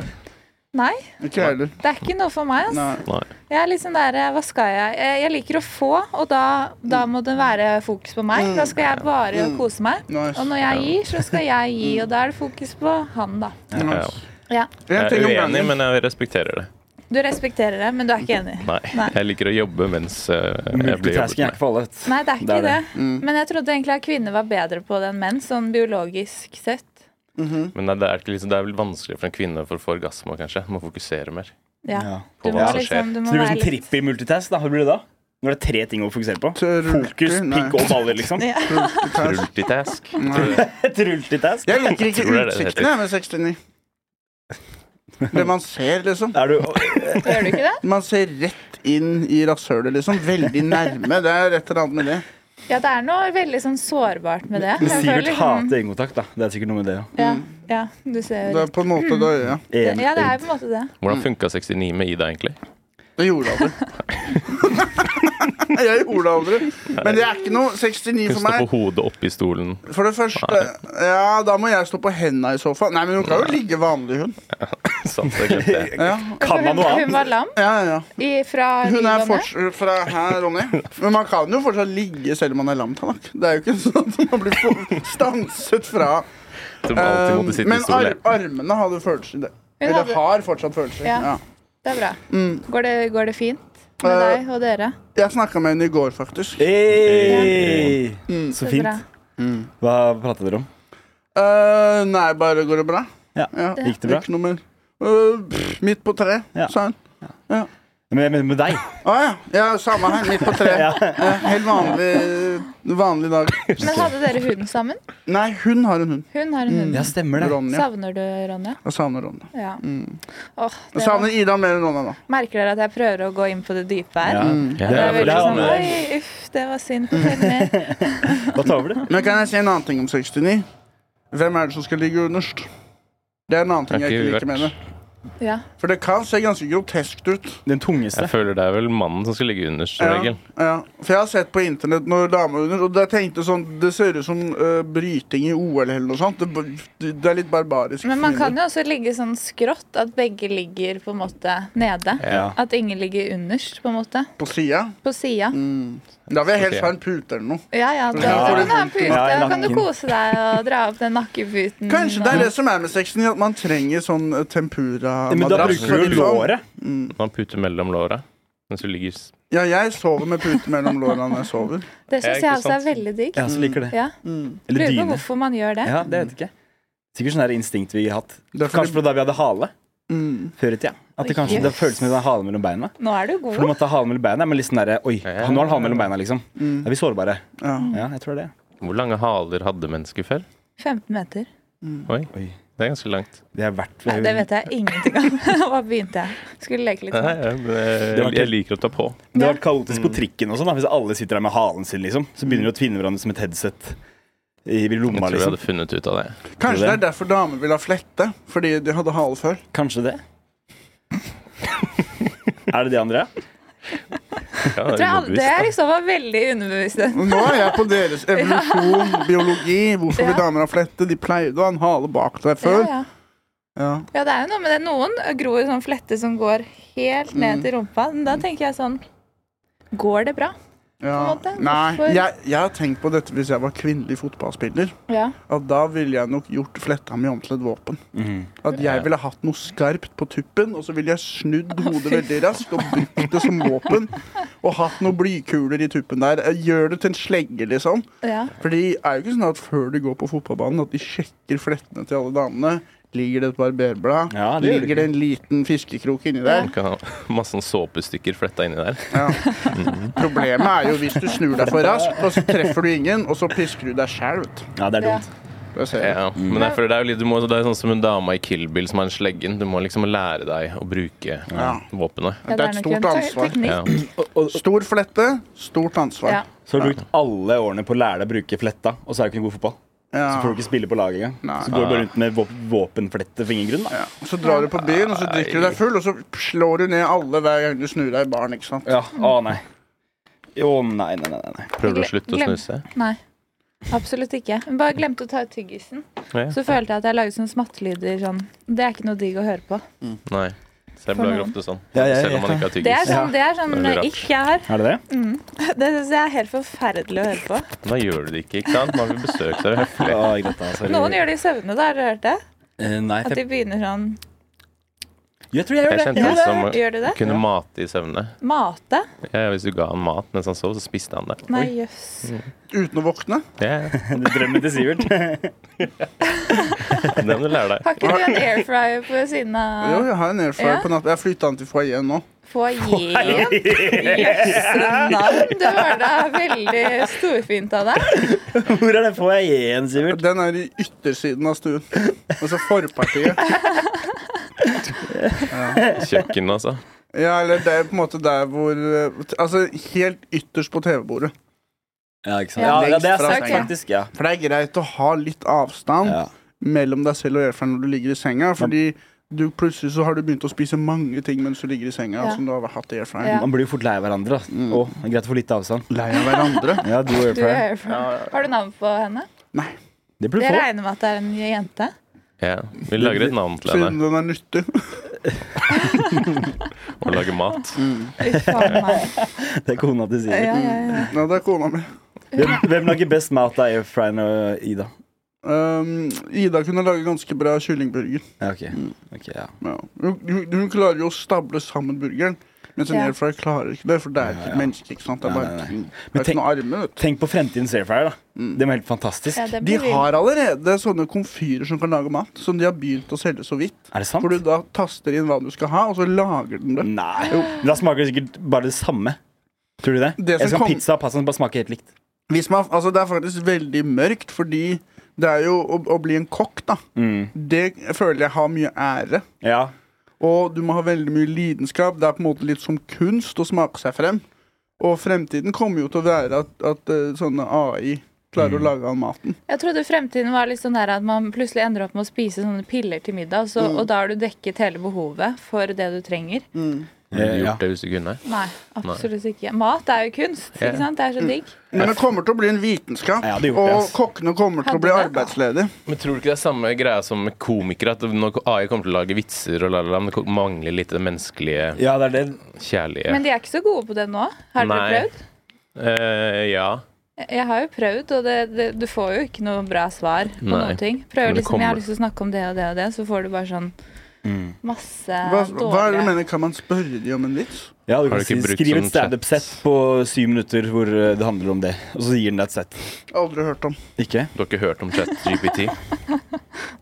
Speaker 4: Nei,
Speaker 1: Ikke jeg heller.
Speaker 4: det er ikke noe for meg. ass.
Speaker 1: Nei.
Speaker 2: Nei.
Speaker 4: Jeg er liksom der, eh, hva skal jeg? Eh, Jeg liker å få, og da, da må det være fokus på meg. Da skal jeg bare kose meg.
Speaker 1: Nice.
Speaker 4: Og når jeg gir, så skal jeg gi, og da er det fokus på han, da.
Speaker 2: Ja.
Speaker 1: nice.
Speaker 4: Ja.
Speaker 1: En
Speaker 2: Jeg
Speaker 1: ting
Speaker 2: er
Speaker 1: om
Speaker 2: uenig,
Speaker 1: gangen.
Speaker 2: men jeg respekterer det.
Speaker 4: Du respekterer det, men du er ikke enig.
Speaker 2: Nei. Jeg liker å jobbe mens eh, jeg blir jobbet
Speaker 5: Multitasking er
Speaker 2: med.
Speaker 5: ikke for alle. vet du.
Speaker 4: Nei, det er ikke
Speaker 5: Det er
Speaker 4: det.
Speaker 5: det.
Speaker 4: Men jeg trodde egentlig at kvinner var bedre på det enn menn, sånn biologisk sett.
Speaker 1: Mhm.
Speaker 2: Men nei, det er, ikke liksom, det er vel vanskeligere for en kvinne å få orgasme, kanskje. Må fokusere mer.
Speaker 4: Ja.
Speaker 5: Ja.
Speaker 4: Du
Speaker 2: På
Speaker 4: må
Speaker 2: hva som
Speaker 4: liksom,
Speaker 2: skjer.
Speaker 4: du må
Speaker 5: Så det blir
Speaker 4: være
Speaker 5: sånn
Speaker 4: litt
Speaker 5: trippel multitask, da. Hva blir det da? Når det er tre ting å fokusere på. Fokus,
Speaker 1: Trulter, nei.
Speaker 5: pikk og baller, liksom.
Speaker 4: Ja.
Speaker 1: Trulter.
Speaker 2: Multitask.
Speaker 5: Multitask.
Speaker 1: Jeg liker ikke
Speaker 2: Tror det er det det
Speaker 1: utsiktene med 69. Det man ser, liksom.
Speaker 5: Er du
Speaker 4: Gjør du ikke det?
Speaker 1: Man ser rett inn i rasshølet, liksom. Veldig nærme. Det er et eller annet med det.
Speaker 4: Ja, det er noe veldig sånn sårbart med det. Jeg føler
Speaker 5: Sivert
Speaker 4: liksom-
Speaker 5: hater øyekontakt, da. Det er sikkert noe med det òg.
Speaker 4: ja, ja, du ser
Speaker 1: Det er på en måte det øyet.
Speaker 4: det- Ja, det er på en måte det.
Speaker 2: Hvordan funka 69 med Ida, egentlig?
Speaker 1: Det gjorde jeg aldri. Jeg gjorde det aldri. Men det er ikke noe 69
Speaker 2: Hun
Speaker 1: for
Speaker 2: står på
Speaker 1: meg.
Speaker 2: hodet oppi stolen.
Speaker 1: For det første Ja, da må jeg stå på henda i sofaen. Nei, men hun kan jo ligge vanlig, hun.
Speaker 2: Sant, jeg glemte det.
Speaker 1: Ja,
Speaker 5: Kan man
Speaker 4: Hun,
Speaker 5: noe
Speaker 4: hun
Speaker 5: annet?
Speaker 4: var lam
Speaker 1: ja, ja.
Speaker 4: i, fra
Speaker 1: Hun er
Speaker 4: livene.
Speaker 1: fortsatt fra her, Ronny. Men man kan jo fortsatt ligge selv om man er lam. Tanak. Det er jo ikke sånn at man blir for- stanset fra
Speaker 2: Som alltid måtte
Speaker 1: Eh,
Speaker 2: sitte i
Speaker 1: Men ar
Speaker 2: stol.
Speaker 1: armene hadde følelser. i det.
Speaker 4: Hun
Speaker 1: Eller
Speaker 4: hadde-
Speaker 1: har fortsatt følelser.
Speaker 4: Ja.
Speaker 1: Ja.
Speaker 4: Det er bra. Går det, går det fint med
Speaker 1: Eh,
Speaker 4: deg og dere?
Speaker 1: Jeg snakka med henne i går, faktisk.
Speaker 5: Hey! Så
Speaker 4: Det er bra.
Speaker 5: fint. Hva pratet dere om?
Speaker 1: Eh, nei, bare går det bra?
Speaker 5: Ja.
Speaker 1: Ja.
Speaker 5: Gikk det bra?
Speaker 1: Ikke noe mer. Eh, pff, midt på treet,
Speaker 5: Ja.
Speaker 1: sa hun.
Speaker 5: Men jeg mener med deg.
Speaker 1: Å ja. ja, samme her. Midt på treet. Ja, helt vanlig, vanlig dag.
Speaker 4: Men hadde dere hund sammen?
Speaker 1: Nei, hun har en hund.
Speaker 4: Hun har en hund.
Speaker 5: Ja, stemmer det.
Speaker 1: Ronja.
Speaker 4: Savner du Ronja?
Speaker 1: Jeg savner Ronja.
Speaker 4: Ja. Åh,
Speaker 1: Mm. Jeg
Speaker 4: det
Speaker 1: savner
Speaker 4: var,
Speaker 1: Ida mer enn Ronja nå.
Speaker 4: merker dere at jeg prøver å gå inn på det dype her?
Speaker 5: Ja.
Speaker 2: Ja,
Speaker 4: Det er
Speaker 5: for
Speaker 4: veldig
Speaker 5: det
Speaker 4: sånn,
Speaker 5: er-
Speaker 4: Oi, uff, det var synd på Tommy.
Speaker 5: Da tar vi det.
Speaker 1: Men kan jeg si en annen ting om 69? Hvem er det som skal ligge underst? Det er en annen ting
Speaker 2: Har
Speaker 1: jeg
Speaker 2: ikke
Speaker 1: ikke
Speaker 2: vi
Speaker 1: liker
Speaker 2: vært-
Speaker 1: med henne.
Speaker 4: Ja.
Speaker 1: For det kan se ganske groteskt ut.
Speaker 5: Den tungeste.
Speaker 2: Jeg føler det er vel mannen som skal ligge underst, som
Speaker 1: Ja,
Speaker 2: regel.
Speaker 1: ja. For jeg har sett på internett når damer under, og jeg tenkte sånn Det ser ut som eh, bryting i OL eller noe sånt. Det, b- det er litt barbarisk.
Speaker 4: Men man kan jo også ligge sånn skrått, at begge ligger på en måte nede.
Speaker 5: Ja.
Speaker 4: At ingen ligger underst, på en måte.
Speaker 1: På sida.
Speaker 4: På sida.
Speaker 1: Mm. Da vil jeg
Speaker 2: Ok.
Speaker 1: helst ha en pute eller noe.
Speaker 4: Ja, ja, da,
Speaker 1: Ja.
Speaker 4: da kan du ha en pute,
Speaker 5: Ja, i
Speaker 4: da kan du
Speaker 5: nakken.
Speaker 4: kose deg og dra opp den nakkeputen.
Speaker 1: Kanskje
Speaker 4: Mm.
Speaker 1: det er det som er med sexen, at man trenger sånn eh,
Speaker 5: Men da
Speaker 1: tempura-madrass.
Speaker 5: bruker du
Speaker 1: liksom.
Speaker 5: låret.
Speaker 2: Man puter mellom låra mens du ligger s-
Speaker 1: Ja, jeg sover med pute mellom låra når jeg sover.
Speaker 4: Det syns
Speaker 2: Ja,
Speaker 4: jeg
Speaker 2: ikke
Speaker 4: også er
Speaker 2: sant.
Speaker 1: altså,
Speaker 4: veldig digg.
Speaker 5: Ja, så liker det.
Speaker 4: Ja.
Speaker 5: Eller
Speaker 4: Lurer på
Speaker 5: dyne.
Speaker 4: hvorfor man gjør det.
Speaker 5: Ja, det vet jeg ikke. Sikkert sånn der instinkt vi har hatt.
Speaker 1: Det er fordi-
Speaker 5: Kanskje fra da vi hadde hale
Speaker 1: Mm.
Speaker 5: før i tida. At det
Speaker 4: Oi,
Speaker 5: kanskje det
Speaker 4: yes.
Speaker 5: føles som vi hadde hale mellom beina.
Speaker 4: Nå er du
Speaker 5: For du
Speaker 4: god.
Speaker 5: måtte ha hale mellom beina, men litt sånn derre Oi,
Speaker 2: Ja.
Speaker 5: nå har han hale mellom beina, liksom.
Speaker 1: Mm.
Speaker 5: Er vi sårbare?
Speaker 1: Ja.
Speaker 5: Ja, jeg tror det.
Speaker 2: Hvor lange haler hadde mennesker før?
Speaker 4: 15 meter.
Speaker 2: Oi,
Speaker 5: Oi.
Speaker 2: det er ganske langt.
Speaker 5: Det er verdt
Speaker 4: Nei, det vet jeg ingenting om. Hva begynte jeg? Skulle leke litt
Speaker 2: Nei,
Speaker 4: sånn.
Speaker 2: ja, men jeg,
Speaker 5: var ikke-
Speaker 2: jeg liker å ta på.
Speaker 5: Det har vært kaotisk på trikken og sånn, da. Hvis alle sitter der med halen sin, liksom. Så begynner de å tvinne hverandre som et headset i i
Speaker 2: Jeg
Speaker 5: lomma,
Speaker 2: tror jeg
Speaker 5: liksom.
Speaker 2: hadde funnet ut av det.
Speaker 1: Kanskje det er derfor damer vil ha flette, fordi de hadde hale før.
Speaker 5: Kanskje det. er det det, Andrea?
Speaker 2: Ja,
Speaker 4: Jeg tror jeg aldri-
Speaker 2: ubevisst,
Speaker 4: det
Speaker 2: da.
Speaker 4: er liksom var veldig underbevisst.
Speaker 1: Nå er jeg på deres evolusjon, biologi, hvorfor vil
Speaker 4: Ja.
Speaker 1: damer ha flette? De pleide å ha en hale bak seg før.
Speaker 4: Ja, ja.
Speaker 1: Ja.
Speaker 4: ja, det er jo noe med det. Noen gror sånn flette som går helt
Speaker 1: Mm.
Speaker 4: ned til rumpa. Men da tenker jeg sånn Går det bra?
Speaker 1: Ja.
Speaker 4: På en måte.
Speaker 1: Nei,
Speaker 4: Hvorfor-
Speaker 1: jeg, jeg har tenkt på dette hvis jeg var kvinnelig fotballspiller.
Speaker 4: Ja.
Speaker 1: At da ville jeg nok gjort fletta mi om til et våpen.
Speaker 5: Mhm.
Speaker 1: At jeg ville hatt noe skarpt på tuppen, og så ville jeg snudd hodet veldig raskt og brukt det som våpen. Og hatt noen blykuler i tuppen der. Jeg Gjør det til en slegge, liksom.
Speaker 4: ja.
Speaker 1: For det er jo ikke sånn at før du går på fotballbanen, at de sjekker flettene til alle damene. Ligger det et barberblad?
Speaker 5: Ja, det gjør det
Speaker 1: Ligger det en liten fiskekrok inni der?
Speaker 2: Du kan ha masse sånn såpestykker fletta inni der.
Speaker 1: Ja. Problemet er jo hvis du snur deg for raskt, og så treffer du ingen, og så pisker du deg sjæl, vet du.
Speaker 5: Ja, det er
Speaker 4: Ja.
Speaker 5: dumt.
Speaker 1: Det ser jeg.
Speaker 2: Ja, men
Speaker 4: Mm.
Speaker 2: jeg føler det er jo litt, du må, det er sånn som en dama i Kill Bill som har en sleggen. Du må liksom lære deg å bruke eh,
Speaker 1: Ja.
Speaker 2: våpenet.
Speaker 4: Ja,
Speaker 1: Det er et
Speaker 4: nok
Speaker 1: stort
Speaker 4: en te-
Speaker 1: ansvar.
Speaker 4: teknikk.
Speaker 2: Ja.
Speaker 1: Stor flette, stort ansvar.
Speaker 4: Ja.
Speaker 1: Ja.
Speaker 5: Så har du brukt alle årene på å lære deg å bruke fletta, og så er du ikke noe god i fotball. Så får du ikke spille på laget engang.
Speaker 1: Nei.
Speaker 5: Så går du bare rundt med våp- våpenflette for ingen grunn, da.
Speaker 1: Ja. Så drar du på byen, og så drikker du deg full, og så slår du ned alle hver gang du snur deg i baren. ikke sant?
Speaker 5: Ja, Å nei. Å nei, nei, nei. nei.
Speaker 2: Prøver du å slutte å
Speaker 4: Glem-
Speaker 2: snuse?
Speaker 4: Nei. Absolutt ikke. Jeg Bare glemte å ta ut tyggisen.
Speaker 2: Ja.
Speaker 4: Så følte jeg at jeg lagde sånne smattelyder sånn. Det er ikke noe digg å høre på.
Speaker 2: Nei. Så jeg
Speaker 4: For
Speaker 2: blager
Speaker 4: noen.
Speaker 2: ofte sånn.
Speaker 5: Ja, ja, ja,
Speaker 2: Selv om man
Speaker 5: ja.
Speaker 2: ikke har
Speaker 4: Det er
Speaker 2: tyggis.
Speaker 5: Ja.
Speaker 4: sånn, det er sånn
Speaker 2: Det er rart.
Speaker 4: ikke jeg har.
Speaker 5: Er det det?
Speaker 4: Mm. Det syns jeg er helt forferdelig å høre på.
Speaker 2: Da gjør du det ikke, ikke sant? Man vil besøke seg høflig.
Speaker 5: Å, altså. Greta, sorry.
Speaker 4: Noen gjør det i søvne, da. Har du hørt det?
Speaker 5: Eh, Nei,
Speaker 4: At de
Speaker 5: jeg,
Speaker 4: begynner sånn
Speaker 5: jeg tror jeg
Speaker 2: Jeg
Speaker 5: gjør det.
Speaker 2: kjente
Speaker 4: Ja,
Speaker 2: han som
Speaker 4: det- gjør du det?
Speaker 2: kunne mate i søvne.
Speaker 4: Mate?
Speaker 2: Ja, hvis du ga han mat mens han sov, så spiste han det.
Speaker 4: Nei, jøss.
Speaker 1: Uten å våkne.
Speaker 2: Ja, ja.
Speaker 5: Drømmen til Sivert.
Speaker 2: det må du lære deg.
Speaker 4: Har ikke du en air fryer på siden
Speaker 1: Jo,
Speaker 4: av
Speaker 1: jeg har en airfryer
Speaker 4: Ja.
Speaker 1: på natt. Jeg flytta den til foajeen nå.
Speaker 4: foajeen? Jøsse navn! Det var da veldig storfint av deg.
Speaker 5: Hvor er det på vei igjen, Sivert?
Speaker 1: Den er i yttersiden av stuen. Altså forpartiet.
Speaker 2: Kjøkkenet, altså.
Speaker 1: Ja, eller det er på en måte der hvor eh, Altså helt ytterst på TV-bordet.
Speaker 5: Ja, ikke sant?
Speaker 4: Ja,
Speaker 5: Ja, ja, det er
Speaker 1: fra
Speaker 5: sant,
Speaker 4: senga.
Speaker 5: faktisk. Ja.
Speaker 1: For det er greit å ha litt avstand
Speaker 5: Ja.
Speaker 1: mellom deg selv og airfryeren når du ligger i senga, fordi du plutselig så har du begynt å spise mange ting mens du ligger i senga
Speaker 4: Ja.
Speaker 1: som du har hatt i airfryeren.
Speaker 4: Ja.
Speaker 5: Man blir jo fort lei av hverandre. da. Å, det er greit å få litt avstand.
Speaker 1: Lei av hverandre.
Speaker 5: Ja, du og
Speaker 4: Du er
Speaker 5: Airfryer.
Speaker 4: air fryer. Har du navn på henne?
Speaker 1: Nei.
Speaker 5: Det burde
Speaker 4: Jeg
Speaker 5: du få.
Speaker 4: regner med at det er en jente.
Speaker 2: Ja. Vi lager et navn til
Speaker 1: Siden
Speaker 2: henne
Speaker 1: den er nyttig.
Speaker 2: og lager mat.
Speaker 5: Eh,
Speaker 4: Uff a meg.
Speaker 5: Det er kona til
Speaker 4: Ja,
Speaker 5: Sivert.
Speaker 4: ja, ja.
Speaker 1: Ja, det er kona mi.
Speaker 5: Hvem, hvem lager best mat av Airfryeren og Ida?
Speaker 1: Um, Ida kunne lage ganske bra kyllingburger.
Speaker 5: Ja, ok.
Speaker 2: Mm.
Speaker 5: Ok, ja.
Speaker 1: Ja. Hun, hun, hun klarer jo å stable sammen burgeren, mens en
Speaker 4: Ja.
Speaker 1: airfryer klarer ikke det, for det er ikke et menneske. ikke sant? Det er
Speaker 5: Nei, nei,
Speaker 1: bare
Speaker 5: nei.
Speaker 1: ting.
Speaker 5: Men
Speaker 1: Det er ikke
Speaker 5: tenk-
Speaker 1: noen armer. vet du.
Speaker 5: Tenk på fremtidens Airfryer, da.
Speaker 2: Mm.
Speaker 5: Det var helt fantastisk.
Speaker 4: Ja, det
Speaker 1: De
Speaker 4: blir vilt.
Speaker 1: har allerede sånne komfyrer som kan lage mat, som de har begynt å selge så vidt.
Speaker 5: Er det sant?
Speaker 1: Hvor du da taster inn hva du skal ha, og så lager den det.
Speaker 5: Nei. Da smaker det sikkert bare det samme. Tror du det?
Speaker 1: Det som
Speaker 5: jeg skal ha
Speaker 1: kom-
Speaker 5: pizza og pasta som bare smaker helt likt.
Speaker 1: Hvis man, altså det er faktisk veldig mørkt, fordi det er jo å, å bli en kokk, da.
Speaker 5: Mm.
Speaker 1: Det føler jeg har mye ære.
Speaker 5: Ja.
Speaker 1: Og du må ha veldig mye lidenskap. Det er på en måte litt som kunst å smake seg frem. Og fremtiden kommer jo til å være at, at eh, sånne AI klarer
Speaker 5: Mm.
Speaker 1: å lage all maten.
Speaker 4: Jeg trodde fremtiden var litt sånn der at man plutselig ender opp med å spise sånne piller til middag, så,
Speaker 1: Mm.
Speaker 4: og da har du dekket hele behovet for det du trenger.
Speaker 2: Ville du
Speaker 5: Ja.
Speaker 2: gjort det hvis du kunne?
Speaker 4: Nei, absolutt ikke. Mat er jo kunst,
Speaker 2: Ja.
Speaker 4: ikke sant? Det er
Speaker 1: Mm.
Speaker 4: så digg.
Speaker 1: Men det kommer til å bli en vitenskap,
Speaker 5: Ja, det gjorde det,
Speaker 1: og
Speaker 5: ass.
Speaker 1: kokkene kommer til å bli
Speaker 4: Hadde det.
Speaker 1: arbeidsledige.
Speaker 2: Men tror du ikke det er samme greia som med komikere? At når AI kommer til å lage vitser og la, la, la, men det mangler litt det menneskelige,
Speaker 5: ja, det er det.
Speaker 2: kjærlige
Speaker 4: Men de er ikke så gode på det nå. Har dere
Speaker 2: Nei.
Speaker 4: prøvd?
Speaker 2: Eh, Ja.
Speaker 4: Jeg har jo prøvd, og det, det, du får jo ikke noe bra svar på
Speaker 2: Nei.
Speaker 4: noen ting.
Speaker 2: Men
Speaker 4: Prøver
Speaker 2: det
Speaker 4: liksom, jeg har
Speaker 2: kommer.
Speaker 4: lyst til å snakke om det og det og det, så får du bare sånn masse
Speaker 1: Mm. Hva, hva er det du
Speaker 4: dårlige
Speaker 1: mener? Kan man spørre de om en vits?
Speaker 5: Ja, du
Speaker 2: Har
Speaker 5: kan
Speaker 2: du
Speaker 5: si,
Speaker 2: ikke brukt
Speaker 5: skriv et
Speaker 2: sånn
Speaker 5: standup-sett på syv minutter hvor eh, det handler om det, og så gir den deg et sett.
Speaker 1: Aldri hørt om.
Speaker 5: Ikke?
Speaker 2: Du har ikke hørt om ChatGPT?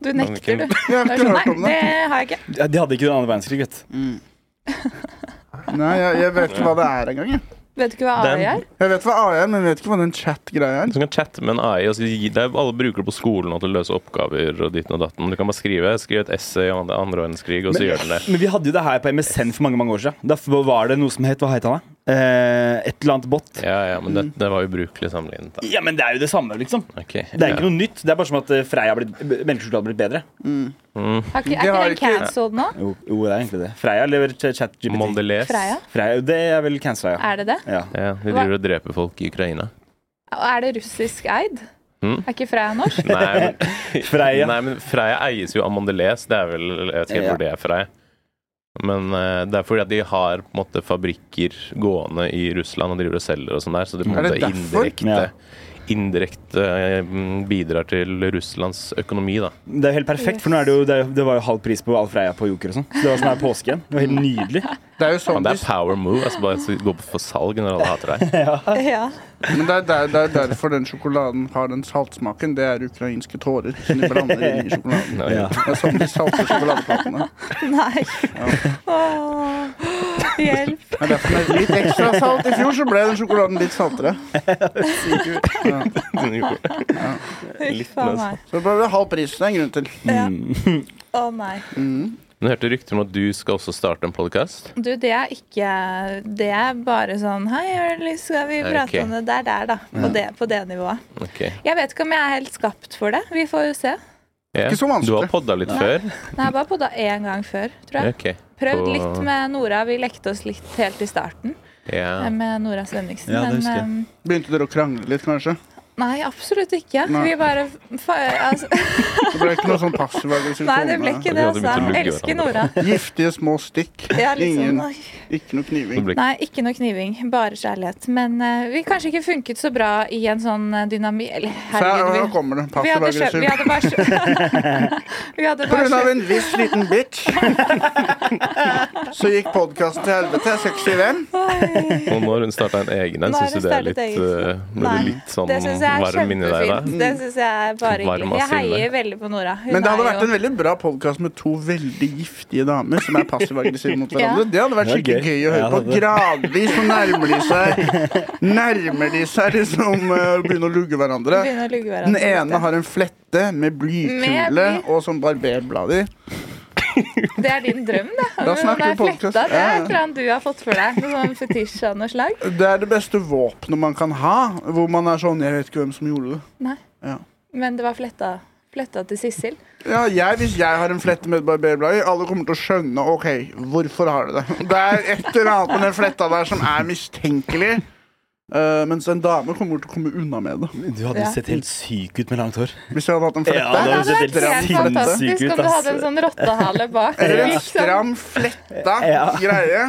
Speaker 4: Du nekter, du.
Speaker 1: Jeg har
Speaker 4: Det
Speaker 1: ikke
Speaker 4: er sånn,
Speaker 1: hørt om
Speaker 4: nei,
Speaker 1: det.
Speaker 4: det har jeg ikke.
Speaker 5: Ja, De hadde ikke den andre verdenskrig, vet du.
Speaker 1: Nei, jeg, jeg vet ikke hva det er engang. Jeg.
Speaker 4: Vet du ikke hva
Speaker 2: Den-
Speaker 4: AI er?
Speaker 1: jeg vet hva AI er, men jeg vet ikke hva den chat-greia er.
Speaker 2: Du kan chatte med en AI. Og så gi deg, alle bruker det på skolen og til å løse oppgaver. og ditten og datten. Du kan bare skrive skrive et essay om det andre verdenskrig, og så gjør den det.
Speaker 5: Men vi hadde jo det her på MSN for mange mange år siden. Da var det noe som het Hva het han, da? Eh, et eller annet bot.
Speaker 2: Ja, ja, men det, det var ubrukelig sammenlignet. da.
Speaker 5: Ja, men det er jo det samme, liksom.
Speaker 2: Ok,
Speaker 5: Det er
Speaker 2: ja.
Speaker 5: ikke noe nytt. Det er bare som at eh, Freia har blitt, menneskesjokolade har blitt bedre.
Speaker 4: Har ikke,
Speaker 1: Det
Speaker 4: er
Speaker 1: har jeg
Speaker 4: ikke den
Speaker 1: ikke.
Speaker 4: cancelled nå?
Speaker 5: Jo, jo, det er egentlig det. Freia lever chat-GPT.
Speaker 2: Mondelez.
Speaker 4: Freia?
Speaker 5: Freia, det er vel cancela, ja.
Speaker 4: Er det det?
Speaker 5: ja.
Speaker 2: Ja, de driver og dreper folk i Ukraina.
Speaker 4: Og er det russisk eid?
Speaker 2: Mm.
Speaker 4: Er ikke Freia norsk?
Speaker 2: Nei, men,
Speaker 5: Freia.
Speaker 2: Nei, men Freia eies jo av Mondelez. Det er vel, jeg vet ikke helt hvor det er Freia. Men eh, det er fordi at de har på en måte fabrikker gående i Russland og driver og selger og sånn der, så det, på en
Speaker 1: Er
Speaker 2: måte
Speaker 1: det derfor?
Speaker 2: indirekte
Speaker 5: Ja.
Speaker 2: indirekte eh, mm, bidrar til Russlands økonomi, da.
Speaker 5: Det er jo helt perfekt, for nå er det jo det, er- det var jo halv pris på all Freia på Joker og sånn. Det var sånn her påske igjen. Det var helt nydelig.
Speaker 1: Det er jo
Speaker 2: Ja,
Speaker 1: sånn
Speaker 2: det
Speaker 1: de
Speaker 2: er power move. altså Bare gå for salg når alle hater deg.
Speaker 4: Ja.
Speaker 1: Men det er, der, det er derfor den sjokoladen har den saltsmaken. Det er ukrainske tårer som de blander inn i sjokoladen.
Speaker 2: Ja.
Speaker 1: Det er sånn de salter sjokoladeplatene.
Speaker 4: Nei. Åh, hjelp.
Speaker 1: Det er derfor med litt ekstra salt i fjor, så ble den sjokoladen litt saltere.
Speaker 4: Huff a meg.
Speaker 1: Så det ble det halv pris. Det er en grunn til.
Speaker 4: Ja.
Speaker 5: Mm.
Speaker 4: Å nei.
Speaker 2: Du hørte rykter om at du skal også starte en podkast.
Speaker 4: Du, det er ikke Det er bare sånn Hei, har du lyst, skal vi
Speaker 2: Ja,
Speaker 4: prate
Speaker 2: ok.
Speaker 4: om det? Det er der, da. På det, på det nivået.
Speaker 2: Okay.
Speaker 4: Jeg vet ikke om jeg er helt skapt for det. Vi får jo se.
Speaker 2: Ja.
Speaker 1: Ikke så vanskelig.
Speaker 2: Du har podda litt før?
Speaker 4: Nei, jeg bare podda én gang før, tror jeg.
Speaker 2: Ok.
Speaker 4: Prøvd
Speaker 2: På-
Speaker 4: litt med Nora. Vi lekte oss litt helt i starten
Speaker 2: Ja.
Speaker 4: eh, med Nora Svenningsen.
Speaker 5: Ja, det
Speaker 4: men
Speaker 5: husker jeg.
Speaker 4: ehm,
Speaker 1: Begynte dere å krangle litt, kanskje?
Speaker 4: nei, absolutt ikke.
Speaker 1: Nei.
Speaker 4: Vi bare fa altså,
Speaker 1: Det ble ikke noe sånn passiv-aggressiv
Speaker 4: Nei, det ble
Speaker 1: tone.
Speaker 4: ikke
Speaker 2: Vi
Speaker 4: det,
Speaker 2: hadde
Speaker 4: altså.
Speaker 2: begynt å lugge
Speaker 4: Elsker Nora.
Speaker 2: hverandre.
Speaker 1: Giftige små stikk.
Speaker 4: Ja, liksom,
Speaker 1: Ingen,
Speaker 4: oi.
Speaker 1: ikke noe
Speaker 2: Det
Speaker 1: kniving.
Speaker 2: blir-
Speaker 4: Nei, ikke noe kniving. Bare kjærlighet. Men eh, vi kanskje ikke funket så bra i en sånn dynami... Eller
Speaker 1: Så her,
Speaker 4: herregud,
Speaker 1: her
Speaker 4: vi,
Speaker 1: kommer det.
Speaker 4: vi hadde skjø-
Speaker 1: Passiv-aggressiv.
Speaker 4: Vi hadde bare skjø- Vi hadde
Speaker 1: På grunn av
Speaker 4: bare
Speaker 1: en viss liten bitch. Så gikk podkasten til helvete. Jeg skal ikke si hvem.
Speaker 4: skjø-
Speaker 2: Og når hun starta en egen en,
Speaker 4: Nå har
Speaker 2: syns du
Speaker 4: hun
Speaker 2: det er
Speaker 4: startet
Speaker 2: litt,
Speaker 4: egen.
Speaker 2: eh, ble
Speaker 4: Nei,
Speaker 2: du litt sånn
Speaker 4: Det syns jeg er
Speaker 2: varm inni deg da?
Speaker 4: kjempefint. Det syns jeg er bare
Speaker 2: Varm
Speaker 4: hyggelig. Jeg
Speaker 2: av sinne.
Speaker 4: heier veldig på Nora. Hun
Speaker 1: Mm. Men det hadde
Speaker 4: er
Speaker 1: vært en veldig bra podkast med to veldig giftige damer som er passiv-aggressive mot hverandre. Det hadde vært
Speaker 5: Det er
Speaker 1: skikkelig
Speaker 5: gøy.
Speaker 1: gøy å høre
Speaker 5: Ja,
Speaker 1: på.
Speaker 5: det-
Speaker 1: Gradvis så nærmer de seg Nærmer de seg liksom eh, og begynner å lugge hverandre.
Speaker 4: Begynner å lugge
Speaker 1: Den
Speaker 4: hverandre.
Speaker 1: ene har en flette med
Speaker 4: Med
Speaker 1: blykule
Speaker 4: bly.
Speaker 1: og sånn barberblad i.
Speaker 4: Det er din drøm, det.
Speaker 1: Da snakker
Speaker 4: Det er
Speaker 1: vi podcast.
Speaker 4: fletta. Det
Speaker 1: Ja,
Speaker 4: er
Speaker 1: ja.
Speaker 4: et eller annet du har fått for deg. Noe sånn fetisj av noe slag.
Speaker 1: Det er det beste våpenet man kan ha, hvor man er sånn Jeg vet ikke hvem som gjorde det.
Speaker 4: Men det var fletta, fletta til Sissel.
Speaker 1: Ja, jeg, Hvis jeg har en flette med et barberblad i, alle kommer til å skjønne OK, hvorfor har du det. Det er et eller annet med den fletta der som er mistenkelig. Eh, mens en dame kommer til å komme unna med det.
Speaker 5: Du hadde
Speaker 4: Ja.
Speaker 5: jo sett helt syk ut med langt hår.
Speaker 1: Hvis jeg hadde hatt en
Speaker 5: Ja, det
Speaker 1: flette.
Speaker 5: hadde
Speaker 4: Det
Speaker 5: sett
Speaker 4: hadde vært
Speaker 5: helt
Speaker 4: helt
Speaker 5: sinnssyk
Speaker 4: fantastisk
Speaker 5: ut,
Speaker 4: om du
Speaker 5: ass.
Speaker 4: hadde en sånn rottehale bak.
Speaker 1: Eller en
Speaker 4: Liksom.
Speaker 1: stram, fletta
Speaker 5: Ja.
Speaker 1: greie.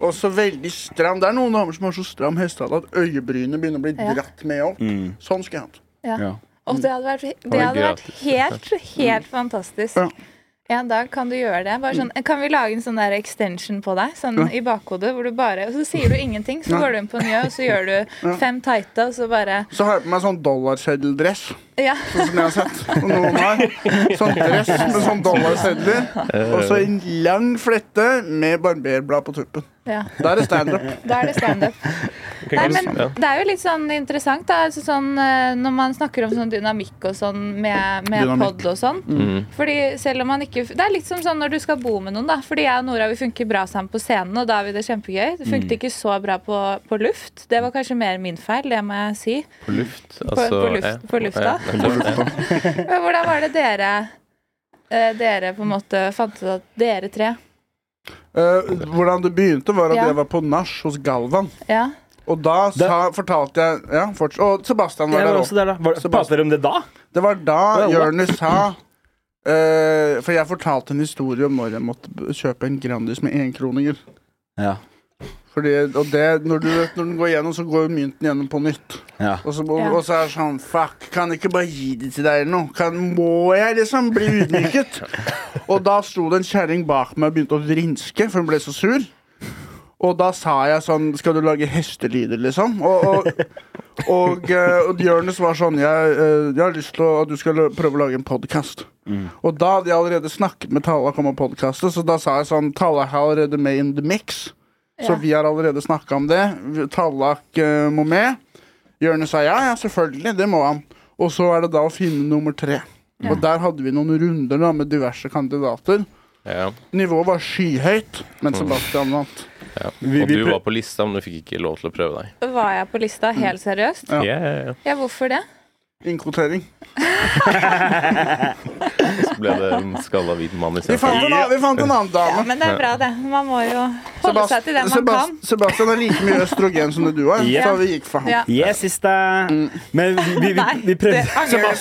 Speaker 1: Og så veldig stram. Det er noen damer som har så stram hestehale at øyebrynene begynner å bli
Speaker 4: Ja.
Speaker 1: dratt med opp.
Speaker 5: Mm.
Speaker 1: Sånn skal jeg ha det.
Speaker 4: Ja.
Speaker 5: Ja.
Speaker 4: Og det hadde vært,
Speaker 2: var
Speaker 4: det hadde vært
Speaker 2: gratis.
Speaker 4: helt, helt fantastisk.
Speaker 1: Ja.
Speaker 4: Ja, da kan du gjøre det. Bare sånn, kan vi lage en sånn der extension på deg? Sånn i bakhodet, hvor du bare Og så sier du ingenting, så går du inn på Njø, og så gjør du fem tighte, og så bare
Speaker 1: Så har jeg på meg sånn dollarseddeldress.
Speaker 4: Ja.
Speaker 1: Sånn som jeg har sett. Og noen har. Sånn dress med sånn dollarsedler. Og så en lang flette med barberblad på tuppen.
Speaker 4: ja.
Speaker 1: Da er det standup.
Speaker 4: Da er det standup. Nei, men det er jo litt sånn interessant, da. Altså sånn, eh, når man snakker om sånn dynamikk og sånn med, med
Speaker 1: Dynamikk.
Speaker 4: pod og sånn. Fordi selv om man ikke Det er litt som sånn når du skal bo med noen, da. Fordi jeg og Nora vi funker bra sammen på scenen, og da har vi det kjempegøy. Det funket ikke så bra på, på luft. Det var kanskje mer min feil, det må jeg si.
Speaker 2: På luft?
Speaker 4: På, på, luft, på lufta. Men hvordan var det dere eh, dere på en måte fant ut at dere tre
Speaker 1: Eh, hvordan det begynte, var at
Speaker 4: Ja.
Speaker 1: jeg var på nach hos Galvan.
Speaker 4: Ja.
Speaker 1: Og da sa, fortalte jeg ja, forts Og Sebastian var
Speaker 5: Jeg
Speaker 1: der
Speaker 5: var
Speaker 1: òg.
Speaker 5: også der, da. Var, pratet dere om det da?
Speaker 1: Det var da
Speaker 5: Wow.
Speaker 1: Jonis sa eh, For jeg fortalte en historie om når jeg måtte b- kjøpe en Grandis med enkroninger.
Speaker 5: Ja.
Speaker 1: Fordi, og det, når, du, når den går gjennom, så går jo mynten gjennom på nytt.
Speaker 5: Ja.
Speaker 1: Og så, må,
Speaker 4: Ja.
Speaker 1: og så er det sånn Fuck, kan jeg ikke bare gi det til deg eller noe? Kan, må jeg liksom bli ydmyket? og da sto det en kjerring bak meg og begynte å vrinske, for hun ble så sur. Og da sa jeg sånn Skal du lage hestelyder, liksom? Og, og, og, eh, og Jonis var sånn jeg, eh, jeg har lyst til å, at du skal prøve å lage en podkast. Og da hadde jeg allerede snakket med Talla kom og podkastet, så da sa jeg sånn Talla er allerede med in the mix. Så
Speaker 4: Ja.
Speaker 1: vi har allerede snakka om det. Vi- Tallak eh, må med. Jørne sa ja, ja, selvfølgelig, det må han. Og så er det da å finne nummer tre.
Speaker 4: Ja.
Speaker 1: Og der hadde vi noen runder da med diverse kandidater.
Speaker 2: Ja.
Speaker 1: Nivået var skyhøyt, men Sebastian vant.
Speaker 2: Ja.
Speaker 5: Vi-
Speaker 2: Og
Speaker 5: vi
Speaker 2: du
Speaker 5: prøv-
Speaker 2: var på lista, men du fikk ikke lov til å prøve deg.
Speaker 4: Var jeg på lista helt seriøst?
Speaker 1: Ja.
Speaker 2: Ja, ja, ja.
Speaker 4: Ja, hvorfor det?
Speaker 1: Innkvotering.
Speaker 2: Så ble det en skalla hvit mann
Speaker 1: Vi fant,
Speaker 2: istedenfor.
Speaker 1: en, annen- vi fant en annen
Speaker 4: Ja,
Speaker 1: dame.
Speaker 4: men det er bra, det. Man må jo holde seg til det man
Speaker 1: Sebast-
Speaker 4: kan.
Speaker 1: Sebastian har like mye østrogen som det du har,
Speaker 5: Ja.
Speaker 1: så vi gikk for
Speaker 4: Ja.
Speaker 1: han.
Speaker 5: Yes, siste. Men vi, vi, vi,
Speaker 4: Nei,
Speaker 5: vi prøvde.
Speaker 4: det angrer jeg på.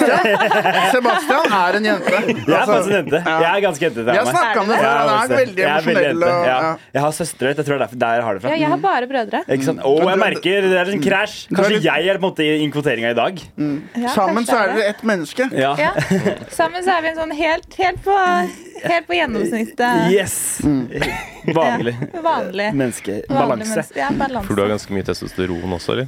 Speaker 1: Sebastian er en jente.
Speaker 5: Jeg er
Speaker 1: Altså,
Speaker 5: faktisk jente. Jeg er ganske jentete.
Speaker 1: vi
Speaker 5: av
Speaker 1: har
Speaker 5: meg.
Speaker 1: snakka om det før.
Speaker 5: Jeg
Speaker 1: Han er
Speaker 5: også-
Speaker 1: veldig
Speaker 5: jeg er veldig
Speaker 1: emosjonell.
Speaker 5: jente,
Speaker 1: og-
Speaker 5: ja.
Speaker 1: Ja.
Speaker 5: Jeg har søstre, vet du. jeg tror det er derfor- der har det fra.
Speaker 4: Ja, jeg har bare brødre.
Speaker 5: Ikke sant? Åh, jeg merker det er en krasj.
Speaker 1: er
Speaker 5: Kanskje
Speaker 1: litt-
Speaker 5: jeg er på en måte i innkvoteringa i dag.
Speaker 4: Ja,
Speaker 1: Sammen
Speaker 4: kanskje
Speaker 1: så er dere ett menneske.
Speaker 5: Ja.
Speaker 4: Ja. Sammen så er vi en sånn helt, helt, på, helt på gjennomsnittet.
Speaker 5: Yes! Vanlig
Speaker 4: Ja, vanlig.
Speaker 5: menneske.
Speaker 4: Vanlig
Speaker 5: Balanse.
Speaker 4: menneske. Ja,
Speaker 2: For du har
Speaker 4: balanse.
Speaker 2: ganske mye testosteron også, eller?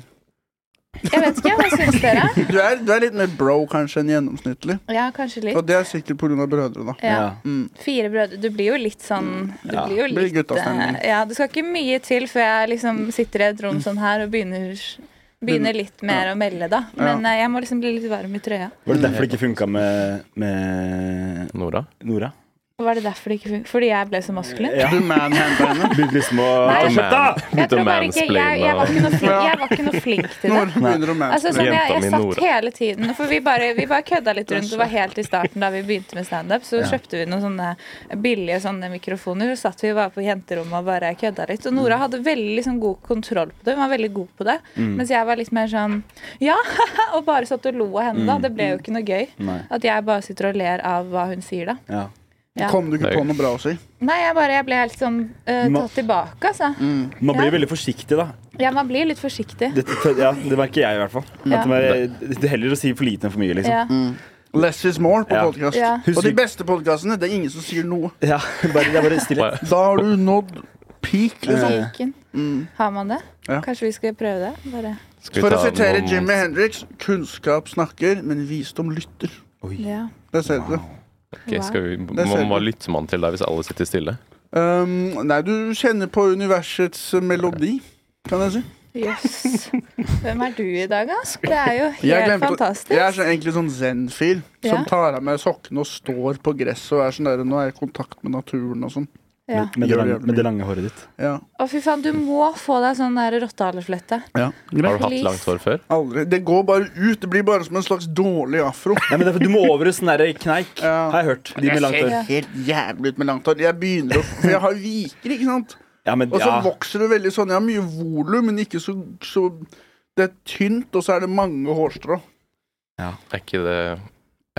Speaker 4: Jeg vet ikke, hva syns dere?
Speaker 1: Du er, du er litt mer bro kanskje enn gjennomsnittlig.
Speaker 4: Ja, kanskje
Speaker 1: Og
Speaker 4: litt.
Speaker 1: det er sikkert pga. brødre, da.
Speaker 4: Ja.
Speaker 5: Ja.
Speaker 4: Fire brødre. Du blir jo litt sånn Du
Speaker 5: Ja,
Speaker 4: blir jo
Speaker 1: blir
Speaker 4: litt
Speaker 1: guttastemning.
Speaker 4: eh, Ja, det skal ikke mye til før jeg liksom sitter i et rom sånn her og begynner Begynner litt mer å melde, da. Men eh, jeg må liksom bli litt varm i trøya.
Speaker 5: Var det derfor det ikke funka med, med
Speaker 2: Nora?
Speaker 5: Nora?
Speaker 4: Var det derfor det ikke funket? Fordi jeg ble så maskulin?
Speaker 5: Ja.
Speaker 1: Du manhandler henne.
Speaker 5: Begynte liksom å
Speaker 4: Nei,
Speaker 5: Slutt, da!
Speaker 4: Jeg tror bare ikke, jeg, jeg, var ikke noe flink, jeg var ikke noe flink til
Speaker 1: Når
Speaker 4: det.
Speaker 1: begynner du å
Speaker 4: Altså,
Speaker 1: mansplaine?
Speaker 4: sånn, jeg,
Speaker 2: Jenta mi,
Speaker 4: jeg satt
Speaker 2: Nora.
Speaker 4: hele tiden For vi bare, vi bare kødda litt rundt. Det var helt i starten da vi begynte med standup. Så kjøpte vi noen sånne billige sånne mikrofoner. Så satt vi bare på jenterommet og bare kødda litt. Og
Speaker 5: Mm.
Speaker 4: Nora hadde veldig liksom, god kontroll på det. Hun var veldig god på det. Mens jeg var litt mer sånn ja, og bare satt og lo av henne. da Det ble jo ikke noe gøy.
Speaker 5: Mm. Nei.
Speaker 4: At jeg bare sitter og ler av hva hun sier, da.
Speaker 5: Ja.
Speaker 4: Ja.
Speaker 1: Kom du ikke på noe bra å si?
Speaker 4: Nei, jeg bare jeg ble helt sånn eh,
Speaker 5: Ma-
Speaker 4: tatt tilbake, altså.
Speaker 5: Man blir
Speaker 4: Ja.
Speaker 5: veldig forsiktig, da.
Speaker 4: Ja, man blir litt forsiktig.
Speaker 5: Det, ja, det merker jeg i hvert fall.
Speaker 4: Ja.
Speaker 5: At det var, det er heller å si for lite enn for mye, liksom.
Speaker 4: Ja.
Speaker 1: Less is more på
Speaker 5: Ja.
Speaker 1: podcast
Speaker 4: Ja.
Speaker 1: Og de beste podkastene, det er ingen som sier noe.
Speaker 5: Ja, bare, det er bare stille.
Speaker 2: Hva-
Speaker 1: Da har du nådd peak, liksom.
Speaker 4: Piken. Har man det?
Speaker 1: Ja.
Speaker 4: Kanskje vi skal prøve det? Bare.
Speaker 2: Skal vi
Speaker 1: For å
Speaker 2: ta
Speaker 1: sitere
Speaker 2: noen-
Speaker 1: Jimmy Hendrix, kunnskap snakker, men visdom lytter.
Speaker 4: Ja.
Speaker 1: Det ser du.
Speaker 2: Ok, skal vi,
Speaker 1: ser
Speaker 2: hva, hva
Speaker 1: du.
Speaker 2: lytter man til da, hvis alle sitter stille?
Speaker 1: Um, nei, du kjenner på universets melodi, kan jeg si.
Speaker 4: Jøss. Hvem er du i dag, ass? Det er jo
Speaker 1: Jeg
Speaker 4: helt
Speaker 1: glemte å-
Speaker 4: fantastisk.
Speaker 1: Jeg er sånn, egentlig sånn zen-fyr
Speaker 4: Ja.
Speaker 1: som tar av meg sokkene og står på gresset og er sånn der, nå er jeg i kontakt med naturen og sånn.
Speaker 4: Ja.
Speaker 5: Med,
Speaker 1: Gjør
Speaker 5: det
Speaker 1: det
Speaker 5: lange,
Speaker 1: jævlig
Speaker 5: med det lange håret ditt.
Speaker 1: Ja.
Speaker 4: Å, fy faen, du må få deg sånn der rottehaleflette.
Speaker 1: ja.
Speaker 2: Har
Speaker 1: Greit.
Speaker 2: du hatt
Speaker 4: Please.
Speaker 2: langt hår før?
Speaker 1: Aldri. Det går bare ut. Det blir bare som en slags dårlig afro.
Speaker 5: Nei, men det er for Du må over i sånn der kneik,
Speaker 1: Ja.
Speaker 5: har jeg hørt. De med
Speaker 1: Jeg
Speaker 5: langt
Speaker 1: ser
Speaker 5: hår.
Speaker 1: helt jævlig ut med langt hår. Jeg begynner å For jeg har viker, ikke sant?
Speaker 5: Ja, men,
Speaker 1: Og så
Speaker 5: ja.
Speaker 1: vokser det veldig sånn. Jeg har mye volum, men ikke så, så Det er tynt, og så er det mange hårstrå.
Speaker 2: Er ikke det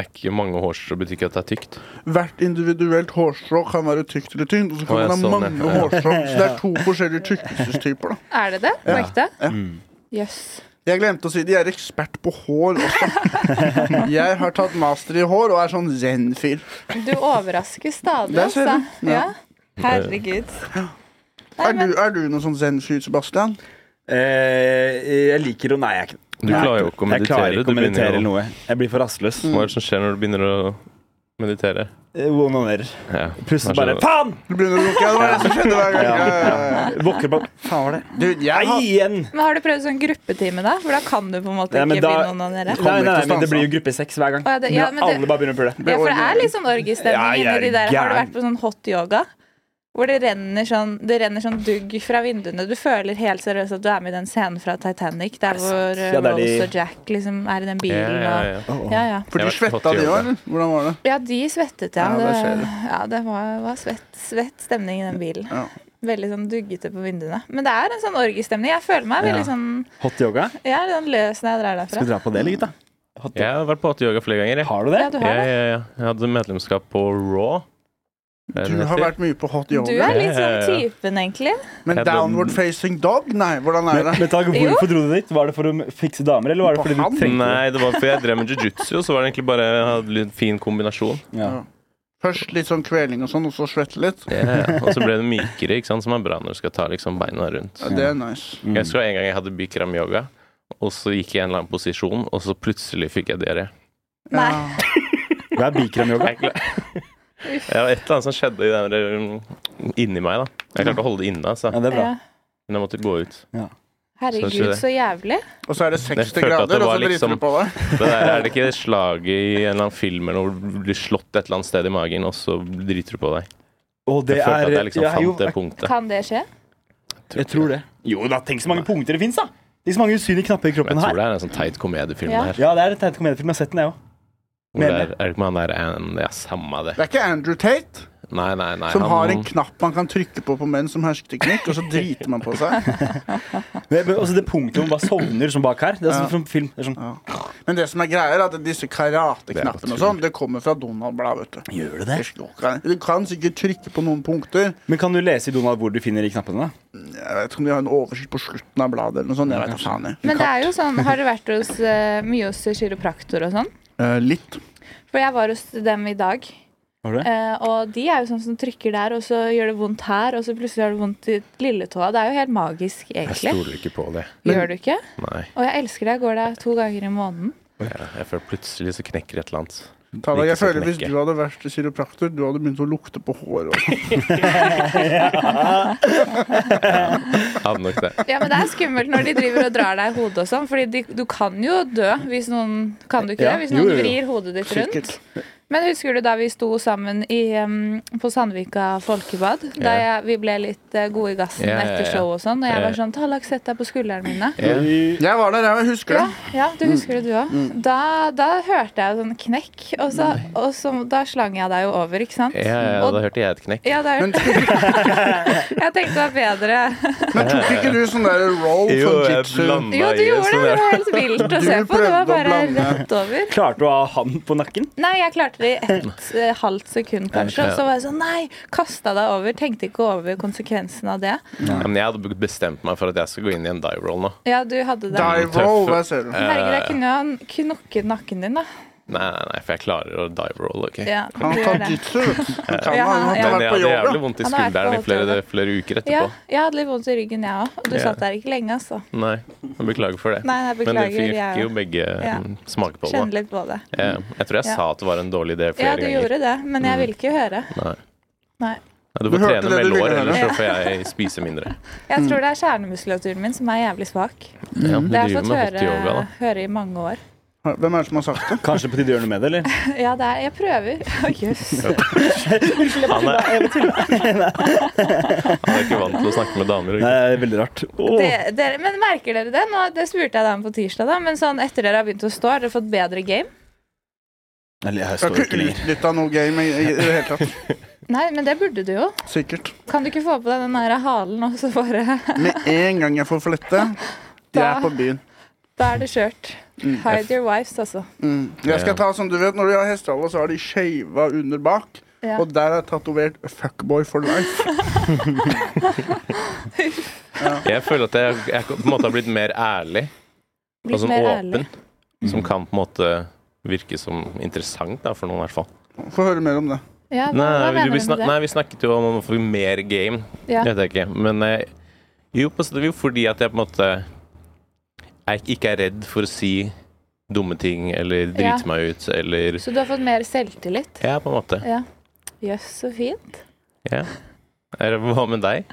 Speaker 2: er ikke mange hårstrå betyr ikke at det er tykt.
Speaker 1: Hvert individuelt hårstrå kan være tykt eller tynt, og så kan
Speaker 2: Å,
Speaker 1: man
Speaker 2: ja,
Speaker 1: ha
Speaker 2: sånn, ja.
Speaker 1: mange
Speaker 2: Ja.
Speaker 1: hårstrå. Så det er to forskjellige tykkelsestyper, da.
Speaker 4: Er det det? På ekte?
Speaker 5: Mm.
Speaker 4: Jøss.
Speaker 1: Jeg glemte å si de er ekspert på hår også. Jeg har tatt master i hår og er sånn zen-fyr.
Speaker 4: Du overrasker stadig,
Speaker 1: Der ser
Speaker 4: altså.
Speaker 1: du. Ja.
Speaker 4: Ja. Herregud. Nei,
Speaker 1: Er,
Speaker 4: men
Speaker 1: du- er du noen sånn zen-fyr, Sebastian?
Speaker 5: Eh, jeg liker å Nei, jeg er ikke
Speaker 2: Du
Speaker 5: Nei.
Speaker 2: klarer jo ikke å
Speaker 5: Jeg
Speaker 2: meditere.
Speaker 5: klarer ikke å
Speaker 2: du begynner
Speaker 5: meditere
Speaker 2: jo-
Speaker 5: eller noe. Jeg blir for rastløs.
Speaker 2: Hva er det som skjer når du begynner å meditere?
Speaker 5: Eh, One on air.
Speaker 2: Ja.
Speaker 5: Plutselig
Speaker 2: Kanskje
Speaker 5: bare
Speaker 2: det-
Speaker 5: Faen!
Speaker 1: Du begynner å lukke øynene, det var det som skjedde hver gang.
Speaker 5: Ja.
Speaker 1: Ja, ja, ja.
Speaker 5: Våkner på Faen var det.
Speaker 1: Du, jeg
Speaker 5: Nei,
Speaker 1: har
Speaker 5: igjen!
Speaker 4: men har du prøvd sånn gruppetime, da? For da kan du på en måte
Speaker 5: Nei, men
Speaker 4: ikke
Speaker 5: da-
Speaker 4: bli noen av
Speaker 5: Nei, nei,
Speaker 4: dere?
Speaker 5: nei,
Speaker 1: ikke
Speaker 5: men det
Speaker 1: stansa.
Speaker 5: blir jo gruppesex hver gang.
Speaker 4: Å, ja, det- ja, men det-
Speaker 5: Alle bare begynner å pule.
Speaker 4: Ja, for det er litt sånn
Speaker 5: Ja,
Speaker 4: orgiestemning
Speaker 5: jeg er
Speaker 4: inni de der. Har du
Speaker 5: gæren.
Speaker 4: vært på sånn hot yoga? Hvor det renner sånn, det renner sånn dugg fra vinduene. Du føler helt seriøst at du er med i den scenen fra Titanic der hvor eh,
Speaker 5: Ja, det er de-
Speaker 4: Rose og Jack liksom er i den
Speaker 2: Ja,
Speaker 4: bilen.
Speaker 2: ja, ja.
Speaker 4: og- Ja, ja.
Speaker 1: For de
Speaker 2: Jeg vet
Speaker 1: svetta,
Speaker 2: godt
Speaker 1: de
Speaker 2: gjør
Speaker 1: òg,
Speaker 2: det.
Speaker 1: eller? Hvordan var det?
Speaker 4: ja, de svettet, ja.
Speaker 1: Ja, der ser
Speaker 4: det,
Speaker 1: du.
Speaker 4: ja, det var, var svett, svett stemning i den bilen.
Speaker 1: Ja.
Speaker 4: Veldig sånn duggete på vinduene. Men det er en sånn orgiestemning. Jeg føler meg veldig
Speaker 5: Ja.
Speaker 4: sånn
Speaker 5: Hot yoga?
Speaker 4: Jeg er litt sånn løs når jeg drar
Speaker 5: Skal vi
Speaker 4: derfra.
Speaker 5: dra på det, eller, gutta? Hot
Speaker 2: Jeg
Speaker 5: yoga.
Speaker 2: har vært på hotyoga flere ganger. Jeg.
Speaker 5: Har du det?
Speaker 4: Ja, du
Speaker 2: Jeg,
Speaker 4: har det.
Speaker 2: jeg, jeg, jeg hadde medlemskap på Raw. Er det
Speaker 1: Du
Speaker 2: det
Speaker 1: har
Speaker 2: heter?
Speaker 1: vært mye på hot
Speaker 4: Du
Speaker 1: yoga.
Speaker 4: er litt
Speaker 2: Ja,
Speaker 4: sånn
Speaker 2: ja, ja.
Speaker 4: typen, egentlig.
Speaker 1: Men
Speaker 2: Jeg døm-
Speaker 1: downward facing dog? Nei, hvordan er
Speaker 5: Men,
Speaker 1: det?
Speaker 5: men Tag, hvorfor dro du dit? Var det for å fikse damer, eller var det
Speaker 1: På
Speaker 5: fordi du
Speaker 1: han?
Speaker 5: trengte det?
Speaker 2: Nei, det var fordi jeg drev med jiu-jitsu, og så var det egentlig bare jeg hadde litt fin kombinasjon.
Speaker 5: Ja.
Speaker 1: Først litt sånn kveling og sånn, og så svette litt.
Speaker 2: Og så ble det mykere, ikke sant, som er bra når du skal ta liksom beina rundt.
Speaker 1: Ja, det er nice.
Speaker 5: mm.
Speaker 2: Jeg husker en gang jeg hadde bikram-yoga, og så gikk jeg i en eller annen posisjon, og så plutselig fikk jeg diaré.
Speaker 4: Nei.
Speaker 1: Ja.
Speaker 5: Hva er bikramyoga?
Speaker 2: Jeg, kla- ja, et eller annet som skjedde i den der, um, inni meg. da Jeg klarte å holde det inne, altså.
Speaker 5: Ja, det er bra.
Speaker 4: Ja.
Speaker 2: men jeg måtte gå ut. Syns du
Speaker 4: Herregud,
Speaker 2: det?
Speaker 4: så jævlig.
Speaker 1: Og så er det 60
Speaker 2: følte at det
Speaker 1: grader, og
Speaker 2: var
Speaker 1: så driter
Speaker 2: liksom-
Speaker 1: du på deg.
Speaker 2: Det der, er det ikke slaget i en eller annen film eller hvor du blir slått et eller annet sted i magen, og så driter du på deg?
Speaker 5: Og det
Speaker 2: Jeg følte
Speaker 5: er
Speaker 2: at jeg liksom
Speaker 5: ja, jo,
Speaker 2: fant det punktet.
Speaker 4: Kan det skje?
Speaker 5: Jeg tror det. Jo da, tenk så mange punkter det fins, da! Tenk så mange usynlige knapper i
Speaker 2: Men
Speaker 5: kroppen
Speaker 2: jeg tror
Speaker 5: her.
Speaker 2: det er en sånn teit komediefilm
Speaker 4: Ja.
Speaker 2: her.
Speaker 5: Ja, det er et teit komediefilm. Jeg har sett den, jeg òg.
Speaker 2: Hvor det
Speaker 5: mener
Speaker 2: er, er det ikke med han der en, Ja, samme det.
Speaker 1: Det er ikke Andrew Tate
Speaker 2: Nei, nei, nei.
Speaker 1: som
Speaker 2: han-
Speaker 1: har en knapp man kan trykke på på menn som hersketeknikk, og så driter man på seg.
Speaker 5: Men- men Også det punktet hvor man bare sovner som bak her. Det er sånn
Speaker 1: Ja.
Speaker 5: som film. Det er sånn,
Speaker 1: Men det som er greia, er at disse karateknappene og
Speaker 2: Det er
Speaker 1: sånn, det kommer fra Donald-bladet, vet du.
Speaker 5: Gjør det
Speaker 1: Det slår ikke. Du kan sikkert trykke på noen punkter.
Speaker 5: Men kan du lese i Donald hvor du finner de knappene? da?
Speaker 1: Jeg vet ikke om de har en oversikt på slutten av bladet eller noe sånt. Jeg vet da faen. jeg.
Speaker 4: Men det er jo sånn, har du vært hos, eh, mye hos kiropraktor og sånn?
Speaker 1: Eh, litt.
Speaker 4: For jeg var hos dem i dag.
Speaker 5: Har du det?
Speaker 4: Eh, og de er jo sånn som trykker der, og så gjør det vondt her, og så plutselig gjør det vondt i lilletåa. Det er jo helt magisk,
Speaker 2: Jeg
Speaker 4: egentlig.
Speaker 2: stoler ikke på det.
Speaker 4: Gjør du ikke?
Speaker 2: Nei.
Speaker 4: Og jeg elsker det. Jeg går der to ganger i måneden.
Speaker 2: Jeg, jeg føler plutselig så knekker et eller annet.
Speaker 1: Tala, jeg
Speaker 2: Ikke så
Speaker 1: føler Hvis
Speaker 2: knekke.
Speaker 1: du hadde vært kiropraktor, du hadde begynt å lukte på håret. også.
Speaker 2: Hadde nok det.
Speaker 4: Ja, men det er skummelt når de driver og drar deg i hodet og sånn, Fordi de, du kan jo dø hvis noen Kan du ikke
Speaker 5: Ja,
Speaker 4: det? Hvis
Speaker 5: jo,
Speaker 4: noen
Speaker 5: jo, jo.
Speaker 4: vrir hodet ditt rundt.
Speaker 1: Sikkert.
Speaker 4: Men husker du da vi sto sammen i, um, på Sandvika folkebad? Da jeg, vi ble litt eh, gode i gassen
Speaker 2: Ja, ja, ja.
Speaker 4: etter show og sånn, og jeg
Speaker 2: Ja.
Speaker 4: var sånn Tallak, sett deg på skuldrene mine.
Speaker 2: Jeg,
Speaker 1: Jeg var der, jeg husker det.
Speaker 4: Ja, ja, du husker det du òg.
Speaker 1: Mm.
Speaker 4: Da, da hørte jeg sånn knekk, og, så, og så, da slang jeg deg jo over, ikke sant?
Speaker 2: jeg, jeg,
Speaker 4: Og-
Speaker 2: da hørte jeg et knekk.
Speaker 4: Ja, det er jo
Speaker 1: Men, men
Speaker 4: Jeg tenkte det var bedre.
Speaker 1: tok ikke du sånn der roll
Speaker 2: Jo,
Speaker 1: sånn
Speaker 2: jeg
Speaker 1: jitsu?
Speaker 2: blandet.
Speaker 4: Jo, du
Speaker 2: Nei,
Speaker 4: gjorde det.
Speaker 2: sånn
Speaker 4: men
Speaker 2: er-
Speaker 4: Det var helt vilt å
Speaker 1: Du
Speaker 4: se på. Det
Speaker 1: prøvde å
Speaker 4: var bare
Speaker 1: blande.
Speaker 4: rett over.
Speaker 5: Klarte du å ha han på nakken?
Speaker 4: Nei, jeg klarte det i et eh, halvt sekund, kanskje. Og så var jeg sånn Nei! Kasta deg over. Tenkte ikke over konsekvensen av det.
Speaker 2: Ja, Men jeg hadde bestemt meg for at jeg skal gå inn i en dive roll nå.
Speaker 4: Ja, du hadde det.
Speaker 1: Dive roll, hva ser du?
Speaker 4: Herregud,
Speaker 2: Eh,
Speaker 4: jeg kunne jo ha knokket nakken din, da.
Speaker 2: Nei, nei, nei, for jeg klarer å dive roll. ok?
Speaker 4: Ja,
Speaker 1: Han
Speaker 4: du
Speaker 1: kan
Speaker 4: gjør det.
Speaker 1: jitsu. vet du. Han kan
Speaker 4: Ja,
Speaker 1: ha han
Speaker 4: han-
Speaker 1: har
Speaker 2: Men
Speaker 1: vært på
Speaker 2: jeg hadde jævlig
Speaker 1: yoga.
Speaker 2: vondt i
Speaker 4: Han har vært på
Speaker 2: skulderen i flere,
Speaker 4: yoga.
Speaker 2: flere uker
Speaker 4: Ja,
Speaker 2: etterpå.
Speaker 4: jeg hadde litt vondt i ryggen, jeg òg. Og du
Speaker 2: Ja.
Speaker 4: satt der ikke lenge, altså.
Speaker 2: Nei, jeg beklager for det.
Speaker 4: Nei, jeg
Speaker 2: Men
Speaker 4: beklager.
Speaker 2: du fikk
Speaker 4: jeg
Speaker 2: jo
Speaker 4: òg.
Speaker 2: begge
Speaker 4: Ja.
Speaker 2: mm, smake på det.
Speaker 4: Kjenne litt på det.
Speaker 2: da. Jeg, jeg tror jeg
Speaker 4: Ja.
Speaker 2: sa at det var en dårlig idé flere
Speaker 4: Ja, du
Speaker 2: ganger. Mm.
Speaker 4: gjorde det, men jeg ville ikke høre.
Speaker 2: Nei.
Speaker 4: Nei.
Speaker 2: Nei, du
Speaker 1: Du
Speaker 2: får
Speaker 1: hørte
Speaker 2: trene
Speaker 1: det
Speaker 2: med
Speaker 1: du ville
Speaker 2: lår,
Speaker 1: høre.
Speaker 2: ellers så
Speaker 4: Ja.
Speaker 2: får jeg spise mindre.
Speaker 4: Jeg
Speaker 2: Mm.
Speaker 4: tror det er kjernemuskulaturen min som er jævlig svak.
Speaker 2: Ja, du
Speaker 4: Mm, Det har jeg
Speaker 2: driver
Speaker 4: fått
Speaker 2: med hot yoga,
Speaker 4: høre,
Speaker 2: da.
Speaker 4: høre i mange år.
Speaker 1: Hvem er det som har sagt det?
Speaker 5: Kanskje på tide å gjøre noe med det, eller?
Speaker 4: Ja, det er Jeg prøver. Å, Jøss.
Speaker 2: Han er, han er ikke vant til å snakke med damer.
Speaker 5: Nei,
Speaker 2: Ikke?
Speaker 5: det er veldig rart. Åh.
Speaker 4: Det- dere- Men merker dere det? Nå, det spurte jeg dem på tirsdag, da, men sånn etter dere har begynt å stå, har dere fått bedre game?
Speaker 5: Eller, jeg
Speaker 1: Jeg
Speaker 5: står
Speaker 1: har
Speaker 5: ikke
Speaker 1: ikke
Speaker 5: lenger.
Speaker 1: utnytta noe game i, i i det hele tatt.
Speaker 4: Nei, men det burde du jo.
Speaker 1: Sikkert.
Speaker 4: Kan du ikke få på deg den der halen, og så bare
Speaker 1: Med en gang jeg får flette, de er
Speaker 4: Da-
Speaker 1: på byen.
Speaker 4: Da er det kjørt. Hide your wives, altså.
Speaker 1: Mm. Jeg skal ta, som du vet, Når de har hestehale, så har de skeiva under bak.
Speaker 4: Ja.
Speaker 1: Og der er tatovert 'fuckboy for life'.
Speaker 2: Jeg føler at jeg, jeg på en måte har blitt mer ærlig og
Speaker 4: Blitt
Speaker 2: sånn
Speaker 4: mer
Speaker 2: åpen.
Speaker 4: ærlig.
Speaker 2: Som kan på en måte virke som interessant da, for noen, i hvert fall.
Speaker 1: Få høre mer om det.
Speaker 4: Ja, hva,
Speaker 2: Nei,
Speaker 4: hva
Speaker 2: vi,
Speaker 4: mener
Speaker 2: vi,
Speaker 4: du
Speaker 2: snak,
Speaker 4: med det?
Speaker 2: nei, vi snakket jo om å få mer game.
Speaker 4: Ja.
Speaker 2: Jeg vet ikke. Men eh, jo, på, det er jo fordi at jeg på en måte jeg ikke er redd for å si dumme ting eller drite
Speaker 4: Ja.
Speaker 2: meg ut eller
Speaker 4: Så du har fått mer selvtillit?
Speaker 2: Ja, på en måte.
Speaker 4: Ja. Jøss, så fint.
Speaker 2: Ja. Er det- Hva med deg?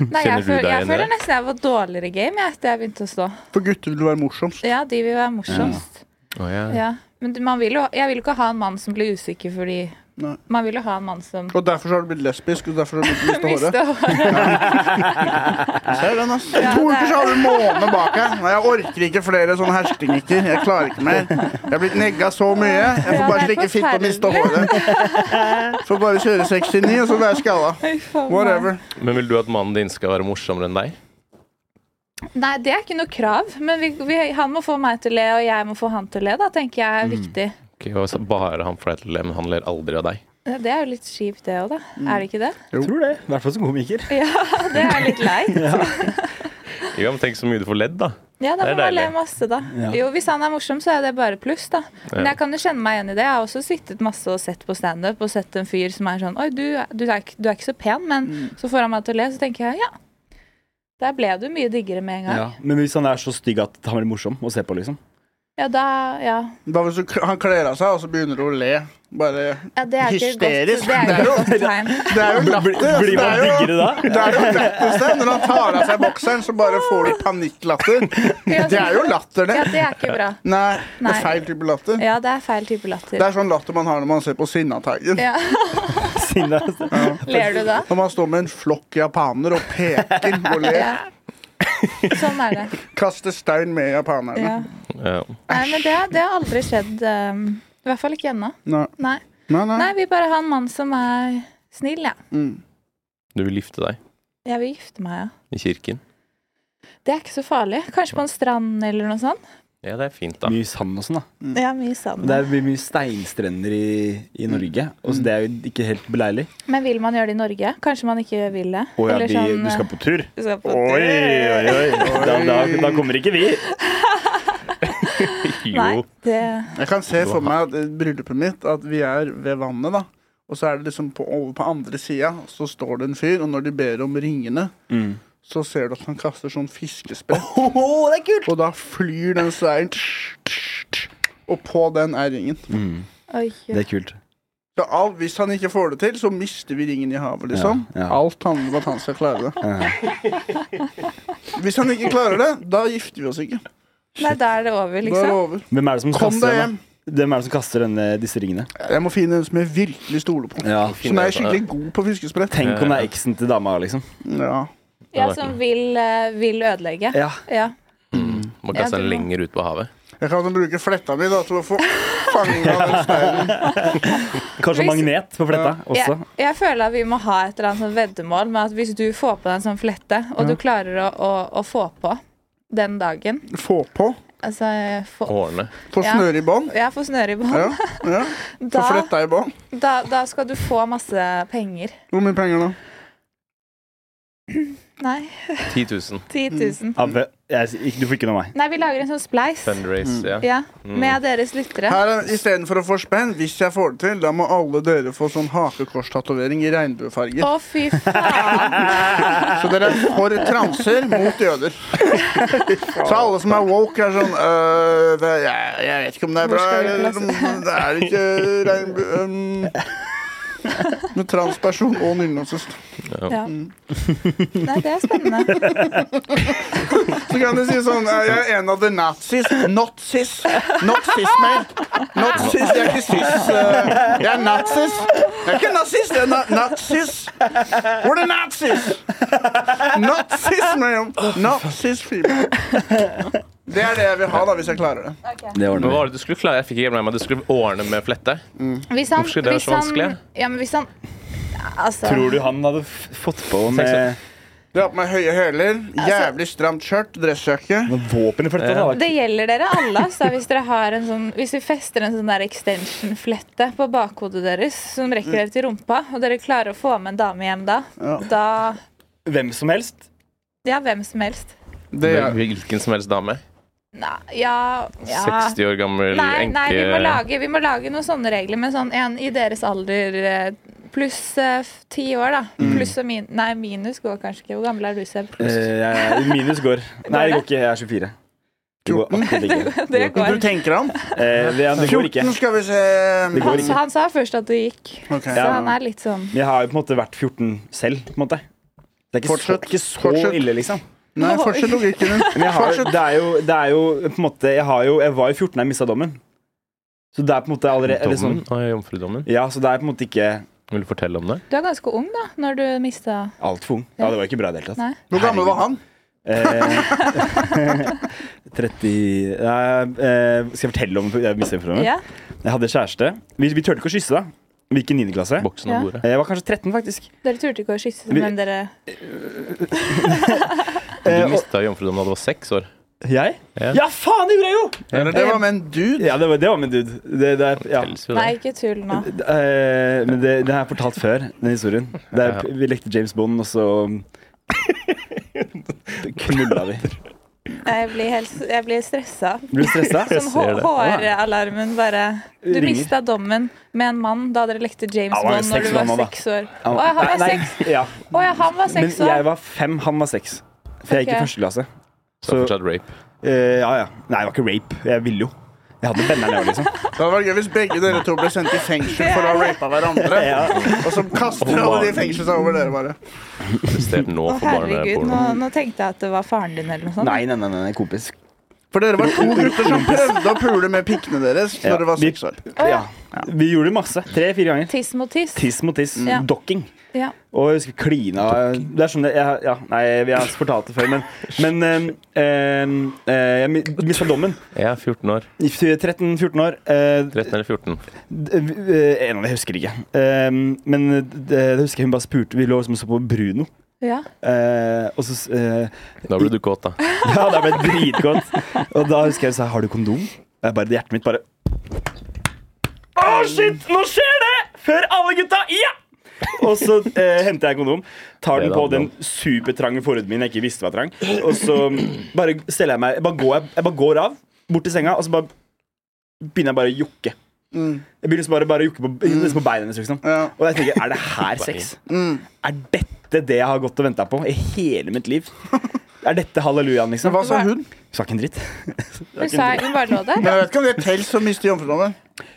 Speaker 4: Nei,
Speaker 2: Kjenner
Speaker 4: jeg,
Speaker 2: du
Speaker 4: føl,
Speaker 2: deg
Speaker 4: jeg
Speaker 2: igjen i
Speaker 4: føler
Speaker 2: det?
Speaker 4: nesten jeg har fått dårligere game jeg, etter jeg begynte å stå.
Speaker 1: For gutter vil være morsomst.
Speaker 4: Ja, de vil være morsomst.
Speaker 2: Å, ja.
Speaker 4: Ja, men du- man vil jo, jeg vil jo ikke ha en mann som blir usikker fordi
Speaker 1: Nei.
Speaker 4: Man vil jo ha en mann som
Speaker 1: Og derfor så har du blitt lesbisk, og derfor har du begynt å miste håret.
Speaker 4: mister håret.
Speaker 1: Ser den, ass. I to
Speaker 4: det er-
Speaker 1: uker så har du en måned bak her. Nei, Jeg orker ikke flere sånne hersketeknikker. Jeg klarer ikke mer. Jeg er blitt negga så mye. Jeg får
Speaker 4: Ja, det
Speaker 1: bare
Speaker 4: er
Speaker 1: slikke fitte og miste
Speaker 4: forferdelig.
Speaker 1: håret. Får bare kjøre 69, og så være skalla.
Speaker 4: Fy faen, nei.
Speaker 1: Whatever.
Speaker 2: Men vil du at mannen din skal være morsommere enn deg?
Speaker 4: Nei, det er ikke noe krav. Men vi, vi, han må få meg til å le, og jeg må få han til å le. Da tenker jeg er
Speaker 2: Mm.
Speaker 4: viktig.
Speaker 2: Ok, og så bare han får deg til å le, men han ler aldri av deg.
Speaker 4: Ja, Det er jo litt kjipt, det òg, da. Er det ikke det?
Speaker 5: Jeg tror det. I hvert fall som komiker.
Speaker 4: Ja, det er litt leit.
Speaker 2: Jo, men tenk så mye du får ledd, da.
Speaker 4: Ja, da
Speaker 2: Det er
Speaker 4: må man le
Speaker 2: deilig.
Speaker 4: masse, da.
Speaker 5: Ja.
Speaker 4: Jo, hvis han er morsom, så er det bare pluss, da. Men
Speaker 2: Ja.
Speaker 4: jeg kan jo kjenne meg igjen i det. Jeg har også sittet masse og sett på standup og sett en fyr som er sånn Oi, du, er- du, er, ikke- du er ikke så pen, men så får han meg til å le, så tenker jeg ja. Der ble du mye diggere med en gang.
Speaker 5: Men hvis han er så stygg at han blir morsom å se på, liksom.
Speaker 4: Ja, da Ja.
Speaker 1: Da hvis du, han kler av seg, og så begynner du å le. Bare
Speaker 4: ja det er ikke et godt,
Speaker 1: Hysterisk.
Speaker 4: det er
Speaker 1: Det er
Speaker 4: ikke
Speaker 1: jo-
Speaker 4: et godt tegn.
Speaker 1: Det er jo
Speaker 5: Bli-
Speaker 1: latter.
Speaker 5: Blir
Speaker 1: altså, det
Speaker 5: man
Speaker 1: er jo-
Speaker 5: diggere da?
Speaker 1: Det er jo lettest det. Når han tar av seg bokseren, så bare får du panikklatter.
Speaker 4: Ja,
Speaker 1: Det er jo latter,
Speaker 4: Ja,
Speaker 1: det.
Speaker 4: det er ikke bra.
Speaker 1: Nei, det
Speaker 4: Nei.
Speaker 1: er feil type latter.
Speaker 4: Ja, det er feil type latter.
Speaker 1: Det er sånn latter man har når man ser på Sinnataggen.
Speaker 4: Ja.
Speaker 5: Sinne, altså.
Speaker 4: Ler du da?
Speaker 1: Når man står med en flokk japanere og peker og ler.
Speaker 4: Ja. Sånn er det.
Speaker 1: Kaster stein med
Speaker 4: Ja.
Speaker 1: japanerne.
Speaker 2: Ja.
Speaker 4: Nei, men det, det har aldri skjedd. ehm, I hvert fall ikke ennå.
Speaker 1: Nei.
Speaker 4: Nei.
Speaker 1: Nei, nei.
Speaker 4: Nei, vi bare har en mann som er snill, ja.
Speaker 1: Mm.
Speaker 2: Du vil gifte deg
Speaker 4: Jeg vil gifte meg, ja.
Speaker 2: i kirken.
Speaker 4: Det er ikke så farlig. Kanskje på en strand eller noe sånt.
Speaker 2: Ja, det er fint, da.
Speaker 5: Mye sand og sånn, da.
Speaker 4: Ja, mye sand.
Speaker 5: Det blir mye steinstrender i, i Norge. Og så det er jo ikke helt beleilig.
Speaker 4: Men vil man gjøre det i Norge? Kanskje man ikke vil det?
Speaker 5: Å ja,
Speaker 4: Eller
Speaker 5: de,
Speaker 4: sånn,
Speaker 5: du skal eh, på tur?
Speaker 4: du skal på
Speaker 5: Oi, oi, oi. Da, da, da kommer ikke vi.
Speaker 4: Nei,
Speaker 2: Jo.
Speaker 4: det
Speaker 1: Jeg kan se for meg at i bryllupet mitt at vi er ved vannet, da. Og så er det liksom på, over på andre sida, så står det en fyr, og når de ber om ringene,
Speaker 5: Mm.
Speaker 1: så ser du at han kaster sånn fiskespett.
Speaker 5: det er kult!
Speaker 1: Og da flyr den steinen tsk, tsk, tsk, Og på den er ringen.
Speaker 4: Oi.
Speaker 5: Det er kult.
Speaker 1: Så alt, hvis han ikke får det til, så mister vi ringen i havet, liksom.
Speaker 5: Ja, ja.
Speaker 1: Alt handler om at han skal klare det. Hvis han ikke klarer det, da gifter vi oss ikke.
Speaker 4: Nei, da er det over,
Speaker 1: Da er det
Speaker 4: liksom.
Speaker 1: over.
Speaker 5: Hvem er det som
Speaker 1: Kom
Speaker 5: kaster,
Speaker 1: deg
Speaker 5: den, da? Hvem er det som kaster denne, disse ringene?
Speaker 1: Jeg må finne en som jeg virkelig stoler på.
Speaker 5: Ja.
Speaker 1: Som er skikkelig god på fiskesprett.
Speaker 5: Tenk om det er eksen til dama, liksom.
Speaker 1: Ja.
Speaker 4: Ja, som vil, eh, vil ødelegge.
Speaker 5: Ja.
Speaker 4: Ja.
Speaker 2: Man
Speaker 4: Ja,
Speaker 2: kaster
Speaker 4: det
Speaker 2: den
Speaker 4: må-
Speaker 2: lenger ut på havet.
Speaker 1: Jeg kan bruke fletta mi da, til å få fange av den steinen.
Speaker 5: Kanskje
Speaker 4: Hvis-
Speaker 5: magnet på fletta også.
Speaker 4: Jeg, jeg føler at vi må ha et eller annet sånn veddemål med at hvis du får på deg en sånn flette, og du klarer å, å, å få på den dagen
Speaker 1: Få på.
Speaker 4: Altså få,
Speaker 2: Årene.
Speaker 1: Få
Speaker 4: Ja.
Speaker 1: snøre i bånd.
Speaker 4: Jeg får snøre i
Speaker 1: Ja,
Speaker 4: bånd.
Speaker 1: ja. Få
Speaker 4: Da,
Speaker 1: fletta i bånd.
Speaker 4: da, da skal du få masse penger.
Speaker 1: Hvor mye penger da?
Speaker 4: Nei,
Speaker 2: 10 000.
Speaker 4: 10 000.
Speaker 5: Abbe, jeg, ikke- du får ikke noe av meg.
Speaker 4: Nei, vi lager en sånn spleis.
Speaker 2: Fundraise, ja.
Speaker 4: Ja, med deres lyttere.
Speaker 1: Her er, Istedenfor å få spenn, hvis jeg får det til, da må alle dere få sånn hakekorstatovering i regnbuefarger.
Speaker 4: Å, fy faen.
Speaker 1: Så dere er for transer mot jøder. Så alle som er woke, er sånn øh, det, jeg, jeg vet ikke om det er
Speaker 4: Hvor
Speaker 1: bra,
Speaker 4: skal vi
Speaker 1: eller om det er ikke regnbue... Um, med transperson og nynorskist.
Speaker 4: Ja. Nei, det er spennende.
Speaker 1: Så kan du si sånn eh, Jeg er en av the nazis. Not sis. Not sis mer. Not sis. Jeg er ikke sis. eh, Jeg er nazis. Jeg er ikke nazist, jeg er na nazis. We're the nazis. Not sis, ma'am. Not sis female. Det er det jeg vil ha, da, hvis jeg klarer det.
Speaker 5: Det
Speaker 2: Men
Speaker 5: ordner
Speaker 2: hva
Speaker 5: vi.
Speaker 2: var det du skulle klare? Jeg fikk ikke helt med meg. Du skulle ordne med flette?
Speaker 4: Hvis han,
Speaker 2: Hvorfor skulle det være
Speaker 4: hvis
Speaker 2: så
Speaker 4: han,
Speaker 2: vanskelig?
Speaker 4: ja, men hvis han Altså,
Speaker 5: Tror du han hadde f- fått på med,
Speaker 1: Jeg har på meg høye hæler, jævlig stramt skjørt, dressjakke.
Speaker 5: med våpen i fletta? da?
Speaker 4: det gjelder dere alle. Altså, hvis, dere har en sånn, hvis vi fester en sånn der extension-flette på bakhodet deres som rekker dere til rumpa, og dere klarer å få med en dame hjem da,
Speaker 1: Ja.
Speaker 4: da
Speaker 5: Hvem som helst?
Speaker 4: Ja, hvem som helst.
Speaker 1: Det er
Speaker 2: Hvilken som helst dame?
Speaker 4: Nei, ja, ja.
Speaker 2: 60 år gammel
Speaker 4: Nei, nei vi, må
Speaker 2: enke
Speaker 4: lage, vi må lage noen sånne regler, men sånn en i deres alder eh, pluss eh, f- ti år, da. Pluss og min, nei, minus går kanskje ikke. Hvor gammel er du, Seb?
Speaker 5: Mm. Eh, jeg- minus går. Nei, det går ikke. Jeg er 24. Det går akkurat ikke.
Speaker 4: Det
Speaker 1: Du
Speaker 4: går.
Speaker 1: tenker han?
Speaker 5: Eh, det, det går ikke.
Speaker 1: 14 skal vi se. mm,
Speaker 5: Det går
Speaker 4: Han,
Speaker 5: ikke.
Speaker 4: han sa først at det gikk,
Speaker 1: Ok.
Speaker 4: så
Speaker 5: Ja.
Speaker 4: han er litt sånn
Speaker 5: Men Jeg har jo på en måte vært 14 selv, på en måte. Det er ikke
Speaker 1: Fortsett.
Speaker 5: så, ikke så
Speaker 1: Fortsett.
Speaker 5: ille, liksom.
Speaker 1: Nei, fortsett logikken din.
Speaker 5: Men jeg har,
Speaker 1: Fortsett.
Speaker 5: det, er jo, det er jo på en måte Jeg, har jo, jeg var jo 14 da jeg mista dommen. Så det er på en måte allerede eller
Speaker 2: Dommen?
Speaker 5: sånn,
Speaker 2: Å, Jomfrudommen?
Speaker 5: Ja, så det er på en måte ikke
Speaker 2: Vil du fortelle om det?
Speaker 4: Du er ganske ung, da, når du mista
Speaker 5: altfor ung. Ja, det var ikke bra i det hele tatt.
Speaker 4: Nei.
Speaker 1: Hvor gammel var han?
Speaker 5: Eh, 30 Nei, eh, Skal jeg fortelle om jeg mista dommen?
Speaker 4: Ja.
Speaker 5: Jeg hadde kjæreste. Vi, vi turte ikke å kysse da. Vi gikk i 9. klasse. Eh,
Speaker 2: Boksen
Speaker 4: Ja.
Speaker 2: og
Speaker 1: Eh,
Speaker 2: bordet?
Speaker 5: Jeg var kanskje 13, faktisk.
Speaker 4: Dere turte ikke å kysse,
Speaker 5: Vi-
Speaker 4: men dere
Speaker 5: Eh,
Speaker 2: Du
Speaker 5: og-
Speaker 2: mista jomfrudommen da du var seks år.
Speaker 5: Jeg?
Speaker 2: Ja.
Speaker 5: Ja, faen, det gjorde jeg jo!
Speaker 1: Eller det var med en dude.
Speaker 5: Ja, det var, det var min dude. Det, det er, ja.
Speaker 2: Telles jo det.
Speaker 4: Nei, ikke tull nå.
Speaker 5: Eh, men det, det har jeg fortalt før, den historien. Det er, vi lekte James Bond, og så knulla vi.
Speaker 4: Jeg blir, helt, jeg blir stressa.
Speaker 5: Blir du stressa?
Speaker 4: Sånn
Speaker 2: ser det.
Speaker 4: HR-alarmen bare Du
Speaker 5: Ringer.
Speaker 4: mista dommen med en mann da dere lekte James
Speaker 5: Ja, han var jo
Speaker 4: Bond når
Speaker 5: seks
Speaker 4: du var
Speaker 5: gammel, da.
Speaker 4: seks år. Å ja, han var
Speaker 5: Nei,
Speaker 4: seks
Speaker 5: Ja.
Speaker 4: Å ja, han var
Speaker 5: Men
Speaker 4: seks
Speaker 5: jeg
Speaker 4: år.
Speaker 5: var fem, han var seks. For jeg gikk
Speaker 4: Ok.
Speaker 5: i første klasse.
Speaker 2: Så
Speaker 5: Så,
Speaker 2: fortsatt rape.
Speaker 5: eh, ja, ja. Nei, det var ikke rape. Jeg ville jo. Jeg hadde benneren òg, liksom.
Speaker 1: Det hadde vært gøy hvis begge dere to ble sendt i fengsel for å ha rapa hverandre. Og så kaster alle de i fengsel seg over dere, bare.
Speaker 2: Arrestert nå
Speaker 4: Å,
Speaker 2: for
Speaker 4: herregud, nå,
Speaker 2: barneporno.
Speaker 4: nå tenkte jeg at det var faren din eller noe sånt.
Speaker 5: Nei, nei, nei, nei, kompis.
Speaker 1: For dere var to gutter som prøvde å pule med pikkene deres
Speaker 5: Ja.
Speaker 1: når dere var
Speaker 5: Vi-
Speaker 1: seks år.
Speaker 4: Å, ja.
Speaker 5: Ja. Vi gjorde det masse. Tre-fire ganger.
Speaker 4: Tiss mot tiss.
Speaker 5: Tiss mot tiss.
Speaker 4: Ja.
Speaker 5: Dokking.
Speaker 4: Ja.
Speaker 5: Og jeg husker klina Det er sånn det, jeg, ja, Nei, vi har fortalt det før, men, men eh, eh, eh, Jeg mista dommen.
Speaker 2: Jeg er 14 år.
Speaker 5: I 13-14 år. eh,
Speaker 2: 13 eller 14.
Speaker 5: d- eh, En av dem husker jeg ikke. Eh, men det, jeg husker hun bare spurte Vi lå liksom og så på Bruno.
Speaker 4: Ja.
Speaker 5: eh, og så s- eh,
Speaker 2: Da blir du kåt, da.
Speaker 5: Ja, det ble dritgodt. Og da husker jeg hun sa 'Har du kondom?' Og jeg bare, hjertet mitt bare Å, shit! Nå skjer det! Før alle gutta! Ja! Og så eh, henter jeg kondom, tar den på den supertrange forhuden min jeg ikke visste var trang, og så mm, bare steller jeg meg Jeg bare går, jeg, jeg bare går av, bort til senga, og så bare begynner jeg bare å jukke.
Speaker 1: Mm.
Speaker 5: Jeg begynner så bare, bare å jukke på, nesten på beina hennes, liksom.
Speaker 1: Ja.
Speaker 5: Og jeg tenker, er det her sex?
Speaker 1: Mm.
Speaker 5: Er dette det jeg har gått og venta på i hele mitt liv? Er dette hallelujaen, liksom?
Speaker 1: Men hva sa hun?
Speaker 5: Sa ikke en dritt.
Speaker 4: Hun sa hun bare lå der.
Speaker 1: Men jeg vet ikke om det er pels som mister jomfrudommen.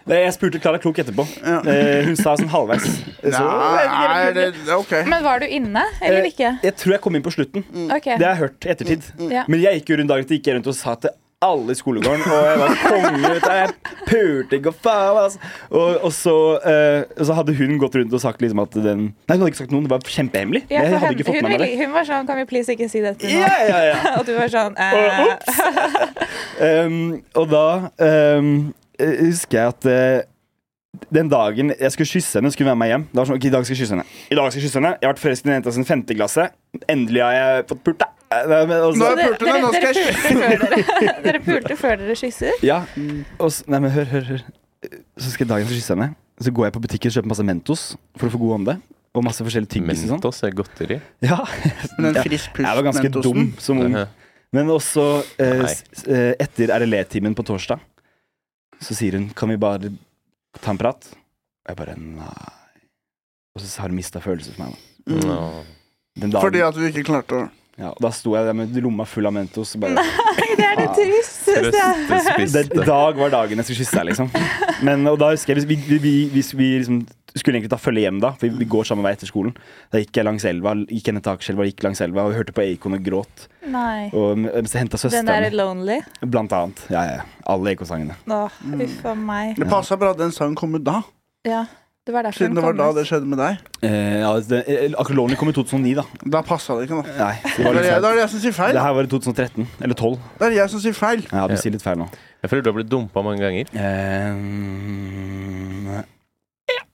Speaker 5: Nei, Jeg spurte Klara Klok etterpå.
Speaker 1: Ja.
Speaker 5: Eh, hun sa sånn halvveis. Så,
Speaker 1: Nei, det det er OK.
Speaker 4: Men var du inne eller ikke?
Speaker 5: Jeg tror jeg kom inn på slutten.
Speaker 4: Ok.
Speaker 5: Eh, mm, Det har jeg hørt i ettertid.
Speaker 4: Ja.
Speaker 5: Men jeg gikk jo rundt dagen etter gikk jeg rundt og sa til alle i skolegården. Og jeg var konge. vet du, Jeg pulte ikke og faen, altså. Og, og, så, eh, og så hadde hun gått rundt og sagt liksom at den Nei, hun hadde ikke sagt noen. Det var kjempehemmelig.
Speaker 4: Ja,
Speaker 5: jeg
Speaker 4: for
Speaker 5: hadde
Speaker 4: hun,
Speaker 5: ikke fått
Speaker 4: hun,
Speaker 5: med meg det.
Speaker 4: ville- hun var sånn Kan vi please ikke si dette nå?
Speaker 5: Ja, ja, ja.
Speaker 4: Og du var sånn eh,
Speaker 5: Og, ups! um, og da um, eh, husker jeg at eh, den dagen jeg skulle kysse henne, skulle hun være med meg hjem. Det var sånn, ok, I dag skal jeg kysse henne. I dag skal Jeg kysse henne Jeg har vært forelsket i en jente siden femte klasse. Endelig har jeg fått pult, da. Eh, men
Speaker 1: Nå
Speaker 5: også-
Speaker 1: har jeg pult henne,
Speaker 4: dere,
Speaker 1: nå
Speaker 4: dere,
Speaker 1: skal jeg
Speaker 4: pulte før dere, dere pulte før dere kysser?
Speaker 5: Ja, og s- nei, men hør, hør, hør. Så skal jeg dagen skal jeg kysse henne. Så går jeg på butikken og kjøper masse Mentos for å få god ånde. Og masse forskjellige tyggis og sånn.
Speaker 2: Mentos er godteri.
Speaker 5: Ja.
Speaker 1: Men en
Speaker 5: Jeg
Speaker 1: frisk pust,
Speaker 5: var ganske
Speaker 1: Mentosen.
Speaker 5: dum som ung.
Speaker 1: Mm.
Speaker 5: Men også eh,
Speaker 2: Nei.
Speaker 5: s- eh, etter RLE-timen på torsdag, så sier hun 'Kan vi bare ta en prat?' Og jeg bare nei. Og så har hun mista følelser for meg. Da.
Speaker 1: Mm.
Speaker 2: Nå.
Speaker 5: Den dagen,
Speaker 1: Fordi at du ikke klarte å
Speaker 5: ja, og da sto jeg der med lomma full av Mentos. Og bare,
Speaker 4: Nei, det er det
Speaker 5: Ah.
Speaker 4: tristeste.
Speaker 5: det, I
Speaker 2: Trøstespiste.
Speaker 5: dag var dagen jeg skulle kysse deg, liksom. Men, og da husker jeg, vi, vi, vi, vi, vi liksom skulle egentlig ta følge hjem, da, for vi, vi går samme vei etter skolen. Da gikk jeg langs elva, gikk jeg ned til Akerselva, gikk langs elva og hørte på Acon og gråt.
Speaker 4: Nei.
Speaker 5: Og mens jeg henta
Speaker 4: Den der
Speaker 5: søsteren min,
Speaker 4: lonely.
Speaker 5: blant annet. Ja, ja, ja. Alle Acon-sangene.
Speaker 4: Åh,
Speaker 5: Mm.
Speaker 4: uff a meg.
Speaker 1: Det passa bra at den sangen kom ut da,
Speaker 4: Ja, det var derfor
Speaker 1: siden
Speaker 4: den
Speaker 1: det var
Speaker 4: kom
Speaker 1: da
Speaker 4: ut.
Speaker 1: det skjedde med deg.
Speaker 5: Eh, ja, det, eh, akkurat Lonely kom i 2009, da.
Speaker 1: Da passa det ikke, da.
Speaker 5: Nei, det,
Speaker 1: Da
Speaker 5: var
Speaker 1: er
Speaker 5: litt
Speaker 1: det jeg- da er
Speaker 5: feil.
Speaker 1: det jeg som sier feil.
Speaker 5: det her var i 2013. Eller 12.
Speaker 1: Det er jeg som sier feil.
Speaker 5: Ja, du sier litt feil nå.
Speaker 2: Jeg føler du har blitt dumpa mange ganger.
Speaker 5: Eh,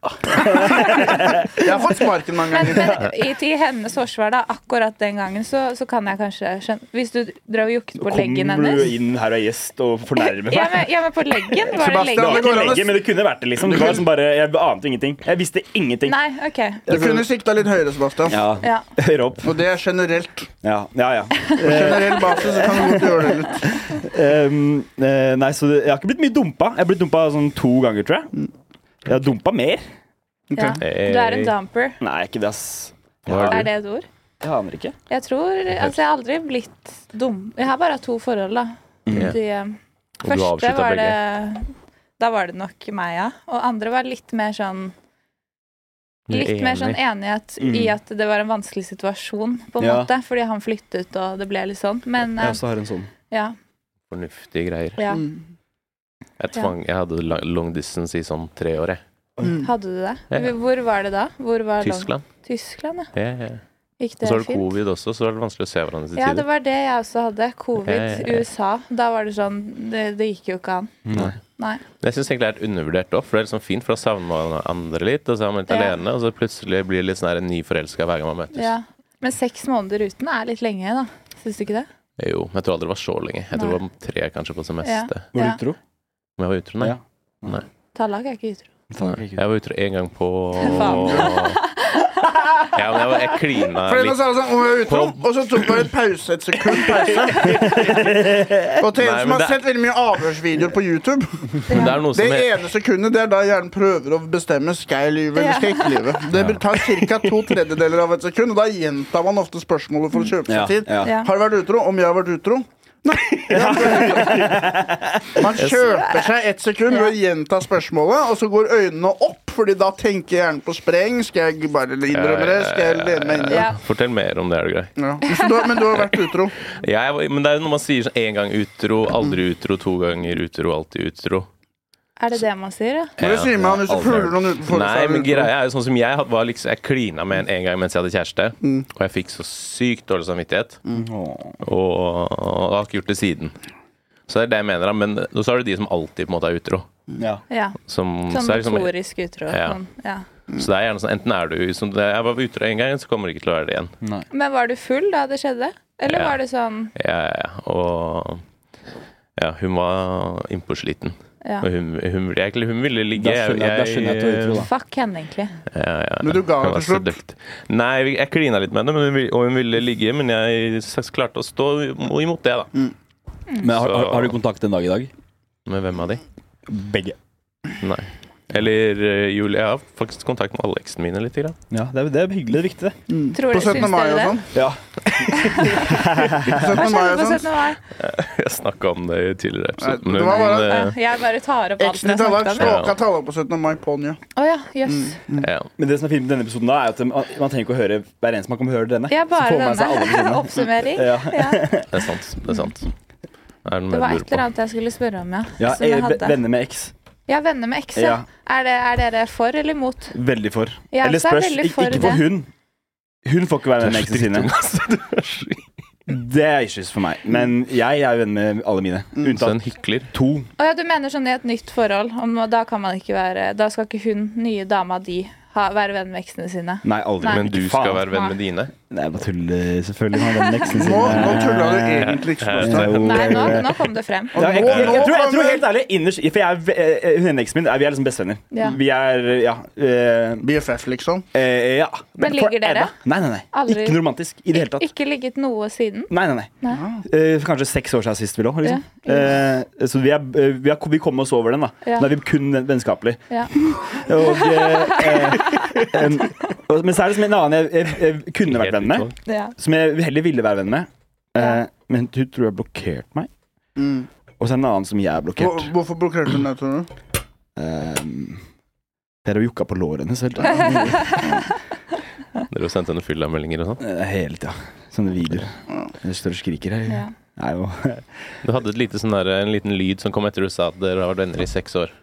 Speaker 1: Jeg har fått sparken mange
Speaker 4: Men,
Speaker 1: ganger.
Speaker 4: men i, til hennes forsvar, da, akkurat den gangen, så, så kan jeg kanskje skjønne Hvis du drev og jukket på leggen
Speaker 5: Kommer du
Speaker 4: hennes
Speaker 5: inn her og er gjest og fornærmer meg?
Speaker 4: ja men, ja, men på leggen? Var det
Speaker 1: Sebastian,
Speaker 5: Det var
Speaker 4: leggen?
Speaker 1: det går
Speaker 5: ikke
Speaker 1: an å-
Speaker 5: legget, men det kunne vært det, liksom. Det var liksom bare, jeg ante ingenting. Jeg visste ingenting.
Speaker 4: Nei, OK.
Speaker 1: Du kunne sikta litt høyere, Sebastian.
Speaker 5: Ja.
Speaker 4: Ja.
Speaker 5: Høyere opp.
Speaker 1: Og det er generelt.
Speaker 5: Ja, ja. ja.
Speaker 1: På generell basis så kan du godt gjøre det litt.
Speaker 5: Ehm, eh, nei, så det, jeg har ikke blitt mye dumpa. Jeg har blitt dumpa sånn to ganger, tror jeg. Jeg har dumpa mer.
Speaker 4: ja. Du er en damper.
Speaker 5: Nei, ikke det, ass.
Speaker 2: Hva
Speaker 4: Er
Speaker 2: er du?
Speaker 4: det et ord?
Speaker 5: Jeg aner ikke.
Speaker 4: Jeg tror Altså, jeg har aldri blitt dum. Jeg har bare hatt to forhold, da. De, eh,
Speaker 2: Mm. Og du har
Speaker 4: første
Speaker 2: avslutta
Speaker 4: var det
Speaker 2: begge.
Speaker 4: Da var det nok meg, ja. Og andre var litt mer sånn
Speaker 2: Du er
Speaker 4: Litt mer sånn
Speaker 2: enig.
Speaker 4: enighet
Speaker 5: Mm.
Speaker 4: i at det var en vanskelig situasjon, på en
Speaker 5: Ja.
Speaker 4: måte. Fordi han flyttet, og det ble litt sånn. Men eh,
Speaker 5: Jeg også har en sånn.
Speaker 4: ja.
Speaker 2: Fornuftige greier.
Speaker 4: ja.
Speaker 1: Mm.
Speaker 2: Jeg, tvang, jeg hadde la- long distance i sånn tre år, jeg.
Speaker 1: Mm.
Speaker 4: Hadde du det?
Speaker 2: Ja.
Speaker 4: Hvor var det da? Hvor var det-
Speaker 2: Tyskland.
Speaker 4: Tyskland, ja.
Speaker 2: Ja, ja.
Speaker 4: Gikk
Speaker 2: Og
Speaker 4: det,
Speaker 2: så har du
Speaker 4: fint?
Speaker 2: covid også, så det er det vanskelig å se hverandre til
Speaker 4: Ja, det
Speaker 2: tider.
Speaker 4: var det jeg også hadde.
Speaker 2: Ja,
Speaker 4: Covid,
Speaker 2: ja, ja.
Speaker 4: USA. Da var det sånn Det, det gikk jo ikke an.
Speaker 5: Nei.
Speaker 4: Nei.
Speaker 2: Men jeg syns egentlig det er undervurdert òg, for det er liksom fint, for da savner man andre litt, og så er man litt
Speaker 4: Ja.
Speaker 2: alene, og så plutselig blir det litt sånn her en ny forelska hver gang man møtes.
Speaker 4: Ja. Men seks måneder uten er litt lenge, da. Syns du ikke det?
Speaker 2: Jo, men jeg tror aldri det var så lenge. Jeg tror det var tre kanskje på semester.
Speaker 5: Var du
Speaker 4: Ja.
Speaker 5: utro?
Speaker 2: Men jeg var utro, nei.
Speaker 5: Ja.
Speaker 4: Tallag er ikke utro.
Speaker 2: Jeg var utro én gang på
Speaker 4: Faen.
Speaker 2: Ja, men jeg, var, jeg klina
Speaker 1: Fordi nå
Speaker 2: litt.
Speaker 1: sa han sånn om jeg er utro, og så tok bare et pause, et sekund pause. Og til en
Speaker 2: Nei,
Speaker 1: som har
Speaker 2: men det-
Speaker 1: sett veldig mye avhørsvideoer på YouTube,
Speaker 2: Men det er noe
Speaker 1: det
Speaker 2: som er
Speaker 1: ene sekundet det er da hjernen prøver å bestemme skal jeg lyve eller skal jeg ikke lyve. Det tar ca. to tredjedeler av et sekund, og da gjentar man ofte spørsmålet for å kjøpe seg tid.
Speaker 5: Ja.
Speaker 4: Ja.
Speaker 1: Har du vært utro? Om jeg har vært utro? Man kjøper seg ett sekund ved å gjenta spørsmålet, og så går øynene opp, Fordi da tenker hjernen på spreng. Skal jeg bare innrømme det? Skal jeg lene meg inn i det?
Speaker 4: Ja.
Speaker 2: Fortell mer om det, er du grei.
Speaker 1: Ja. Så du har- Men du har vært utro.
Speaker 2: Jeg, var- men det er jo når man sier sånn én gang utro, aldri utro, to ganger utro, alltid utro.
Speaker 4: Er det det man sier, ja?
Speaker 1: Hva sier man hvis du
Speaker 2: aldri
Speaker 1: puler
Speaker 2: hørt.
Speaker 1: noen utenfor? så
Speaker 2: Nei,
Speaker 1: er du
Speaker 2: men
Speaker 1: utro.
Speaker 2: greia er jo sånn som jeg had- var liksom, Jeg klina med en en gang mens jeg hadde kjæreste, og jeg fikk så sykt dårlig samvittighet. Og, og jeg har ikke gjort det siden. Så det er det jeg mener. da, Men og så er det de som alltid på en måte er utro.
Speaker 5: Ja.
Speaker 4: ja.
Speaker 2: Som,
Speaker 4: Sånn
Speaker 2: så, er det liksom,
Speaker 4: notorisk utro.
Speaker 2: Ja.
Speaker 4: Sånn, ja.
Speaker 2: så det er gjerne sånn Enten er du som det- Jeg var utro en gang, så kommer du ikke til å være det igjen.
Speaker 4: Men var du full da det skjedde? Eller
Speaker 2: Ja.
Speaker 4: var det sånn
Speaker 2: Ja, ja, ja. Og ja, hun var innpåsliten.
Speaker 4: ja.
Speaker 2: Og hun, hun, ville- jeg, hun ville ligge.
Speaker 5: Da skjønner jeg- da skjønner jeg at du er utro, da.
Speaker 4: Fuck henne, egentlig.
Speaker 2: Ja, ja.
Speaker 1: Men du ga
Speaker 2: Hun
Speaker 1: henne
Speaker 2: var
Speaker 1: til slutt?
Speaker 2: sedukt. Eh, Nei, vi- jeg klina litt med henne, men hun, vil- og hun ville ligge. Men jeg s- klarte å stå imot det, da.
Speaker 1: Mm.
Speaker 4: Mm.
Speaker 5: Men har, har, har du kontakt en dag i dag?
Speaker 2: Med hvem av de?
Speaker 5: Begge.
Speaker 2: Nei. Eller eh, Julie. Jeg har faktisk kontakt med alle eksene mine litt. Grann.
Speaker 5: Ja, det er, det er hyggelig. Det er viktig, det.
Speaker 4: Tror
Speaker 1: På
Speaker 4: du,
Speaker 1: 17.
Speaker 4: syns
Speaker 1: mai
Speaker 4: dere
Speaker 1: og
Speaker 4: det?
Speaker 1: sånn? På 17.
Speaker 5: Ja.
Speaker 4: Hva
Speaker 1: mai og
Speaker 4: skjedde på
Speaker 1: sånn.
Speaker 4: 17. mai?
Speaker 2: Jeg snakka om det i tidligere eh, episode.
Speaker 1: Nei, det var bare-
Speaker 4: Ja, Jeg bare tar opp alt
Speaker 1: Eksen
Speaker 4: jeg
Speaker 1: din har vært
Speaker 4: snakket om.
Speaker 2: om.
Speaker 1: stalka Tallak på 17. mai på Njø.
Speaker 4: Å ja, jøss.
Speaker 2: Mm.
Speaker 1: Mm.
Speaker 2: ja.
Speaker 5: Men det som er fint med denne episoden, da, er at man, man trenger ikke å høre hver eneste man kommer til å høre denne.
Speaker 4: Ja,
Speaker 5: Så
Speaker 4: bare
Speaker 5: får man seg alle
Speaker 4: denne.
Speaker 5: episodene.
Speaker 4: Oppsummering.
Speaker 5: Ja.
Speaker 4: Ja.
Speaker 2: Det er sant. Det er sant. Er det noe
Speaker 4: Det var
Speaker 2: mer du lurer
Speaker 4: et eller
Speaker 2: på?
Speaker 4: annet jeg skulle spørre om, ja.
Speaker 5: Ja,
Speaker 4: som jeg
Speaker 5: eh,
Speaker 4: hadde.
Speaker 5: venner med eks.
Speaker 4: Ja, venner med ekse.
Speaker 5: Ja.
Speaker 4: Er, det- er dere for eller imot?
Speaker 5: Veldig for.
Speaker 4: Ja,
Speaker 5: Eller
Speaker 4: så er jeg
Speaker 5: spørs.
Speaker 4: veldig
Speaker 5: Ik-
Speaker 4: for
Speaker 5: ikke for
Speaker 4: det.
Speaker 5: hun. Hun får ikke være venn med eksene sine.
Speaker 2: Du er slik.
Speaker 5: Det er issues for meg. Men jeg er venn med alle mine.
Speaker 2: Så
Speaker 5: Unntatt
Speaker 2: en hykler.
Speaker 5: to.
Speaker 4: Å ja, du mener sånn i et nytt forhold. Om, da, kan man ikke være, da skal ikke hun, nye dama di, ha, være venn med eksene sine.
Speaker 5: Nei, aldri.
Speaker 4: Nei.
Speaker 2: Men du skal være venn med
Speaker 4: Nei.
Speaker 2: dine. Eh,
Speaker 5: Nei, jeg bare tuller, selvfølgelig. Han er venn med eksene
Speaker 1: Nå, nå tulla du
Speaker 5: sine.
Speaker 1: egentlig
Speaker 2: Eh,
Speaker 1: ikke.
Speaker 5: Jo,
Speaker 1: Småstad.
Speaker 5: jo,
Speaker 4: Nei, nå,
Speaker 5: jo.
Speaker 4: nå kom det frem.
Speaker 5: Ja, jeg, jeg, jeg, tror, jeg tror
Speaker 1: kommer-
Speaker 5: helt ærlig innerst For jeg er, ve- eh, hun ene eksen min, er- vi er liksom bestevenner.
Speaker 4: Ja.
Speaker 5: Vi er ja. eh,
Speaker 1: BFF, liksom.
Speaker 5: eh, ja.
Speaker 4: Men ligger dere?
Speaker 5: Forever. Nei, nei, nei.
Speaker 4: Aldri.
Speaker 5: Ikke noe romantisk i det hele tatt.
Speaker 4: Ikke ligget noe siden.
Speaker 5: Nei, nei, nei.
Speaker 4: Nei.
Speaker 5: Eh, for kanskje seks år siden sist vi lå. Liksom.
Speaker 4: Ja.
Speaker 5: Eh, så vi, er, eh, vi, har- vi kom oss over den. da
Speaker 4: Ja.
Speaker 5: Nå er vi kun ven- vennskapelige.
Speaker 4: Ja.
Speaker 5: Og, eh, eh, em, og, men så er det som en annen jeg, jeg, jeg kunne vært venn med,
Speaker 4: Ja.
Speaker 5: som jeg heller ville være venn med.
Speaker 4: Ja.
Speaker 5: Eh, men hun tror jeg blokkerte meg.
Speaker 1: Mm.
Speaker 5: Og så er det en annen som jeg er
Speaker 1: Hvor,
Speaker 5: blokkert.
Speaker 1: hvorfor blokkerte hun deg, tror du?
Speaker 5: Um, Dere har jokka på låret hennes hele tida.
Speaker 2: Dere har sendt henne fyllameldinger og sånn.
Speaker 5: Eh, Hele tida. Sånne videoer. Jeg står og skriker her.
Speaker 4: Ja.
Speaker 5: Nei, jo.
Speaker 2: Du hadde et lite sånn der, en liten lyd som kom etter du sa at dere har vært venner i seks år.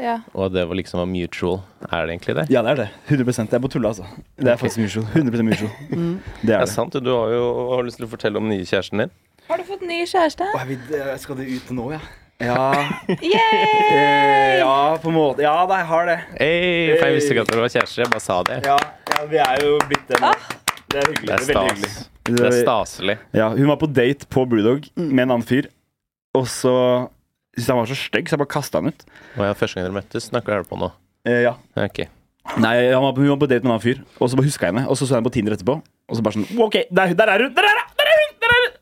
Speaker 4: Ja.
Speaker 2: Og at det var liksom var mutual. Er det egentlig det?
Speaker 5: Ja, det er det. 100 Det er på tulle, altså. Det er faktisk mutual. 100 mutual.
Speaker 4: Mm.
Speaker 5: Det er
Speaker 2: Det
Speaker 5: det.
Speaker 2: er sant. Du har jo har lyst til å fortelle om den nye kjæresten din.
Speaker 4: Har du fått ny kjæreste?
Speaker 5: Å, jeg vil- eh, skal det ut nå, ja? Ja,
Speaker 4: Yay!
Speaker 5: eh, ja, på en måte. Ja, da, jeg har det.
Speaker 2: Hey, for jeg visste ikke at dere var kjærester. Jeg bare sa det.
Speaker 5: Ja, ja vi er jo blitt det nå.
Speaker 4: Ah.
Speaker 5: Det er hyggelig.
Speaker 2: Det er
Speaker 5: Det er veldig
Speaker 2: stas.
Speaker 5: hyggelig.
Speaker 2: Det er staselig.
Speaker 5: Ja, hun var på date på Brewdog med en annen fyr, og så syntes jeg han var så stygg, så jeg bare kasta han ut.
Speaker 2: Og ja, første gang dere møttes, snakker dere på nå.
Speaker 5: Eh, ja.
Speaker 2: Ok.
Speaker 5: Nei, han var på, Hun var på date med en annen fyr, og så bare huska jeg henne. Og så så jeg henne på Tinder etterpå, og så bare sånn OK, der, der er hun! Der er hun! Der er hun! Der er hun!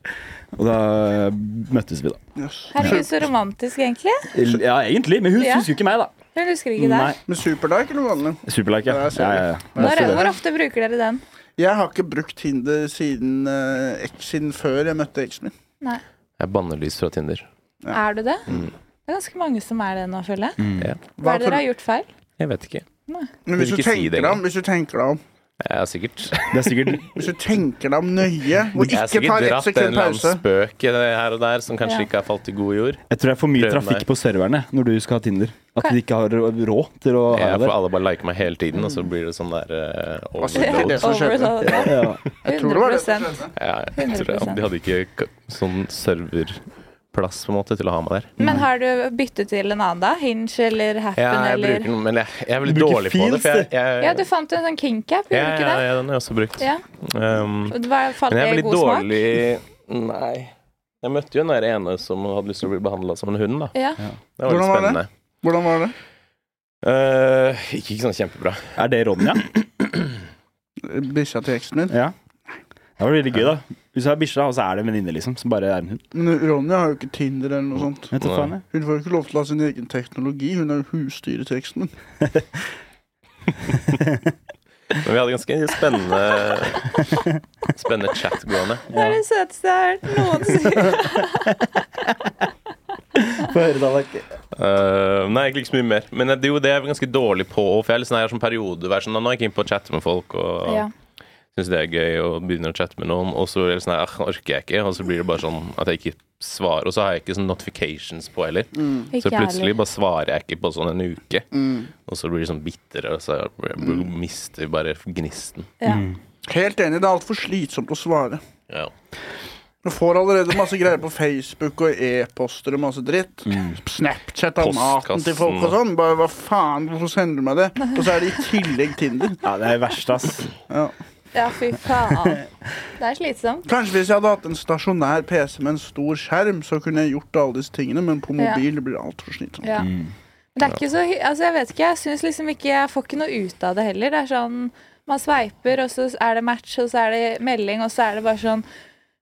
Speaker 5: Og da eh, møttes vi, da.
Speaker 1: Yes.
Speaker 4: Herregud, så romantisk, egentlig.
Speaker 5: Ja, egentlig, men hun
Speaker 4: Ja.
Speaker 5: husker jo ikke meg, da.
Speaker 4: Hun husker ikke deg.
Speaker 5: Nei,
Speaker 1: Med superlike eller vanlig?
Speaker 5: Superlike,
Speaker 1: Ja,
Speaker 5: ja.
Speaker 1: jeg ser
Speaker 5: ja,
Speaker 1: det.
Speaker 5: ja, ja.
Speaker 4: Når,
Speaker 5: Masse
Speaker 4: hvor
Speaker 5: det.
Speaker 4: ofte bruker dere den?
Speaker 1: Jeg har ikke brukt Tinder siden, eh, eks- siden før jeg møtte eksen min.
Speaker 4: Nei.
Speaker 2: Jeg er bannelys fra Tinder.
Speaker 4: Er du det?
Speaker 1: Mm.
Speaker 4: Det er ganske mange som er det nå, føler jeg.
Speaker 2: Ja.
Speaker 4: Hva er
Speaker 1: tror
Speaker 4: det dere
Speaker 1: du-
Speaker 4: har gjort feil?
Speaker 2: Jeg vet ikke.
Speaker 1: Men hvis
Speaker 2: Vil
Speaker 1: du
Speaker 2: ikke si
Speaker 1: tenker
Speaker 2: det
Speaker 1: deg om,
Speaker 2: engang.
Speaker 1: hvis du tenker deg om
Speaker 2: Jeg er sikkert
Speaker 5: det er sikkert
Speaker 1: Hvis du tenker deg om nøye og
Speaker 2: Jeg
Speaker 1: ikke
Speaker 2: har
Speaker 1: tar
Speaker 2: sikkert
Speaker 1: ett
Speaker 2: dratt en
Speaker 1: sekund
Speaker 2: eller annen
Speaker 1: pause
Speaker 2: spøk her og der som kanskje
Speaker 4: Ja.
Speaker 2: ikke har falt i god jord.
Speaker 5: Jeg tror det er for mye
Speaker 2: Prøv
Speaker 5: trafikk
Speaker 2: meg.
Speaker 5: på serverne når du skal ha Tinder. At de ikke har råd til å ha
Speaker 2: Jeg
Speaker 5: det
Speaker 2: får
Speaker 5: der.
Speaker 2: alle bare like meg hele tiden, og så blir det sånn der eh,
Speaker 1: Altså, det er
Speaker 2: overload.
Speaker 1: det som skjedde.
Speaker 4: Overall, ja.
Speaker 5: Ja.
Speaker 1: Jeg tror det var det
Speaker 4: 100
Speaker 1: som skjedde.
Speaker 2: Ja, jeg tror det.
Speaker 4: 100%.
Speaker 2: De hadde ikke k- sånn serverplass på en måte til å ha meg der.
Speaker 4: Men har du byttet til en annen, da? Hinge eller Happen
Speaker 2: Ja, jeg
Speaker 4: eller
Speaker 2: bruker den, men jeg, jeg er
Speaker 5: Du
Speaker 2: veldig
Speaker 5: bruker
Speaker 2: dårlig på det.
Speaker 5: Feels,
Speaker 2: For jeg,
Speaker 5: du.
Speaker 2: jeg,
Speaker 4: Ja, du fant en sånn kink-app,
Speaker 2: ja, ja,
Speaker 4: gjorde du ikke det?
Speaker 2: ja, den har jeg også brukt.
Speaker 4: Ja.
Speaker 2: Um,
Speaker 4: Og det var- Falt
Speaker 2: men jeg er
Speaker 4: det i
Speaker 2: veldig
Speaker 4: god smak?
Speaker 2: dårlig Nei. Jeg møtte jo den der ene som hadde lyst til å bli behandla som en hund, da.
Speaker 4: Ja.
Speaker 2: Det var litt
Speaker 1: Hvordan var det?
Speaker 2: spennende.
Speaker 1: Hvordan var det?
Speaker 2: Eh, ikke, ikke sånn kjempebra.
Speaker 5: Er det Ronja?
Speaker 1: Bikkja til eksen min.
Speaker 5: Ja. Det var veldig gøy, da. Hvis du har bikkja, og så er det en venninne, liksom, som bare er en hund.
Speaker 1: Men Ronja har jo ikke Tinder eller noe sånt.
Speaker 5: Vet du
Speaker 2: Nei.
Speaker 5: faen, jeg.
Speaker 1: Hun får jo ikke lov til å ha sin egen teknologi. Hun er jo husdyret til eksen min.
Speaker 2: Men vi hadde ganske spennende Spennende chat gående.
Speaker 4: Det er det søteste jeg har hørt noensinne.
Speaker 5: Få høre, Dalek.
Speaker 2: Eh, nei, egentlig ikke så mye mer. Men det, jo, det er jeg ganske dårlig på. For jeg er litt sånn her som periode vær sånn, Nå er jeg keen på å chatte med folk. Og
Speaker 4: Ja.
Speaker 2: synes det er gøy å begynne å chatte med noen, og så er det sånn her, «Ah, orker jeg ikke, og så blir det bare sånn at jeg ikke svarer, og så har jeg ikke sånn notifications på heller.
Speaker 4: Mm. Ikke
Speaker 2: Så
Speaker 4: jeg
Speaker 2: plutselig
Speaker 4: heller. Mm.
Speaker 2: bare svarer jeg ikke på sånn en uke, og så blir det sånn bitter, og så blir- mister vi bare gnisten.
Speaker 4: Ja.
Speaker 1: Helt enig, det er altfor slitsomt å svare.
Speaker 2: Ja.
Speaker 1: Du får allerede masse greier på Facebook og e-poster og masse dritt. Snapchat av maten til folk og sånn. Bare hva faen, hvorfor sender du meg det? Og så er det i tillegg Tinder.
Speaker 5: Ja, det er verst, ass.
Speaker 1: Ja.
Speaker 4: ja, fy faen. Det er slitsomt.
Speaker 1: Kanskje hvis jeg hadde hatt en stasjonær PC med en stor skjerm, så kunne jeg gjort alle disse tingene, men på
Speaker 4: Ja.
Speaker 1: mobil blir det altfor slitsomt.
Speaker 4: Ja. Men det er ikke så hy- Altså, jeg vet ikke. Jeg syns liksom ikke Jeg får ikke noe ut av det heller. Det er sånn Man sveiper, og så er det match, og så er det melding, og så er det bare sånn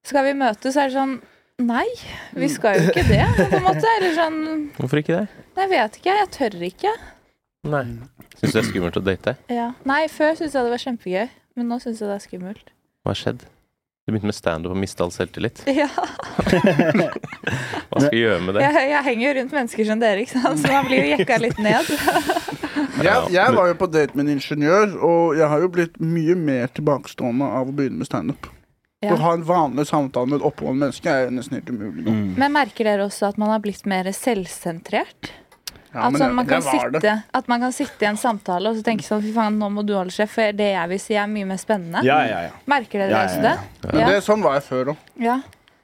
Speaker 4: Skal vi møtes? Så er det sånn Nei, vi skal jo ikke det, på en måte. Eller sånn
Speaker 2: Hvorfor ikke det?
Speaker 4: Nei, jeg vet ikke. Jeg tør ikke.
Speaker 2: Nei. Syns du det er skummelt å date?
Speaker 4: Ja. Nei, før syntes jeg det var kjempegøy, men nå syns jeg det er skummelt.
Speaker 2: Hva har skjedd? Du begynte med standup og mista all selvtillit.
Speaker 4: Ja,
Speaker 2: Hva skal jeg gjøre med det?
Speaker 4: jeg, jeg henger jo rundt mennesker som dere, ikke sant, så man blir jo jekka litt ned.
Speaker 1: Jeg, jeg var jo på date med en ingeniør, og jeg har jo blitt mye mer tilbakestående av å begynne med standup.
Speaker 4: Ja.
Speaker 1: Å ha en vanlig samtale med et oppegående menneske er jo nesten helt umulig. nå.
Speaker 4: Men merker dere også at man har blitt mer selvsentrert?
Speaker 1: Ja,
Speaker 4: at,
Speaker 1: men
Speaker 4: sånn,
Speaker 1: jeg-
Speaker 4: man kan
Speaker 1: jeg var det.
Speaker 4: sitte, at man kan sitte i en samtale og så tenke sånn Fy faen, nå må du holde sjef, for det jeg vil si, er mye mer spennende.
Speaker 5: Ja, ja, ja.
Speaker 4: Merker dere
Speaker 5: Ja,
Speaker 4: også
Speaker 5: ja,
Speaker 4: det?
Speaker 1: Men
Speaker 4: Ja.
Speaker 1: det, sånn var jeg før òg.
Speaker 4: ja.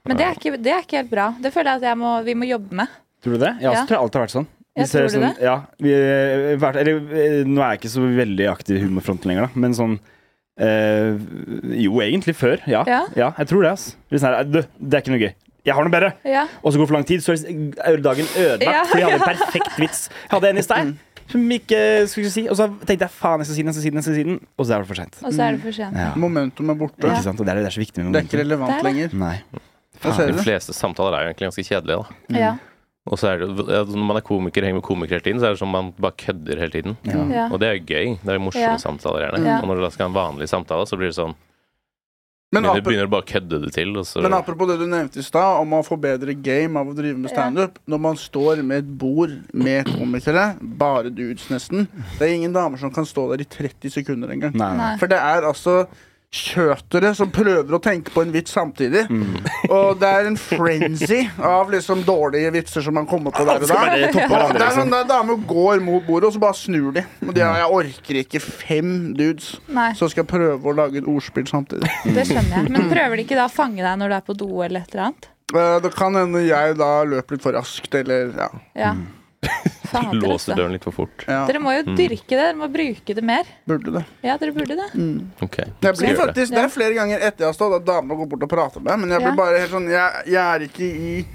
Speaker 4: Men det er, ikke, det er ikke helt bra. Det føler jeg at jeg må, vi må jobbe med.
Speaker 5: Tror du det? Ja,
Speaker 4: Ja.
Speaker 5: så tror jeg alltid har vært sånn.
Speaker 4: Ja,
Speaker 5: Hvis det er
Speaker 4: tror du
Speaker 5: sånn-
Speaker 4: det?
Speaker 5: Ja, vi, eh, vært, eller, eh, nå er jeg ikke så veldig aktiv i humorfronten lenger, da, men sånn eh, Jo, egentlig før. Ja. ja.
Speaker 4: Ja.
Speaker 5: jeg tror det. ass. Hvis det, er, du, det er ikke noe gøy. Jeg har noe bedre!
Speaker 4: Ja.
Speaker 5: Og så går det for lang tid, så er det- er dagen ødelagt.
Speaker 4: Ja,
Speaker 5: For jeg hadde
Speaker 4: ja.
Speaker 5: en perfekt vits. Jeg hadde en i stad som ikke skulle si. Og så tenkte jeg faen, jeg skal si den, jeg skal si den, jeg skal si den. Og så er det for seint.
Speaker 4: Og så er det for sent.
Speaker 5: Ja.
Speaker 1: Momentum er borte.
Speaker 5: Ikke sant? Og det er det er så viktig med
Speaker 1: Det er ikke
Speaker 5: momenter.
Speaker 1: relevant
Speaker 4: Der, da.
Speaker 1: lenger.
Speaker 5: Nei.
Speaker 1: Jeg ser
Speaker 2: De
Speaker 1: det.
Speaker 2: fleste samtaler er jo egentlig ganske kjedelige, da.
Speaker 4: Ja.
Speaker 2: Og så er det, jo- ja, når man er komiker henger med komikere hele tiden, så er det som man bare kødder hele tiden.
Speaker 5: Ja.
Speaker 4: Ja.
Speaker 2: Og det er jo gøy. Det er jo morsomme
Speaker 4: Ja.
Speaker 2: samtaler, gjerne.
Speaker 4: Ja.
Speaker 2: Og når du da skal ha en vanlig samtale, så blir det sånn
Speaker 1: Men,
Speaker 2: begynner,
Speaker 1: apropos-
Speaker 2: begynner du bare å kødde det til, og så
Speaker 1: men apropos det du nevnte i stad, om å forbedre game av å drive med standup. Når man står med et bord med komikere, bare dudes nesten Det er ingen damer som kan stå der i 30 sekunder engang.
Speaker 5: Nei, nei.
Speaker 4: Nei.
Speaker 1: For det er altså kjøtere som prøver å tenke på en vits samtidig.
Speaker 5: Mm.
Speaker 1: Og det er en frenzy av liksom dårlige vitser som man kommer på der og
Speaker 5: Skal
Speaker 1: da.
Speaker 5: bare toppe
Speaker 1: Og
Speaker 5: hverandre,
Speaker 1: Det er
Speaker 5: liksom.
Speaker 1: sånn der damer går mot bordet, og så bare snur de. Og de er, jeg orker ikke fem dudes
Speaker 4: Nei,
Speaker 1: som skal prøve å lage et ordspill samtidig.
Speaker 4: det skjønner jeg. Men prøver de ikke da å fange deg når du er på do eller et eller annet?
Speaker 1: Eh, Det kan hende jeg da løper litt for raskt, eller ja.
Speaker 4: Ja. Fader,
Speaker 2: låser
Speaker 4: altså.
Speaker 2: døren litt for fort.
Speaker 1: ja
Speaker 4: Dere må jo dyrke det. Dere må bruke det mer.
Speaker 1: burde det.
Speaker 4: Ja, dere burde det.
Speaker 2: Ok.
Speaker 1: Jeg
Speaker 2: Skal
Speaker 1: blir
Speaker 2: gjøre det.
Speaker 1: faktisk, det er flere ganger etter jeg har stått at damer går bort og prater med meg, men jeg
Speaker 4: Ja.
Speaker 1: blir bare helt sånn Jeg, jeg er ikke i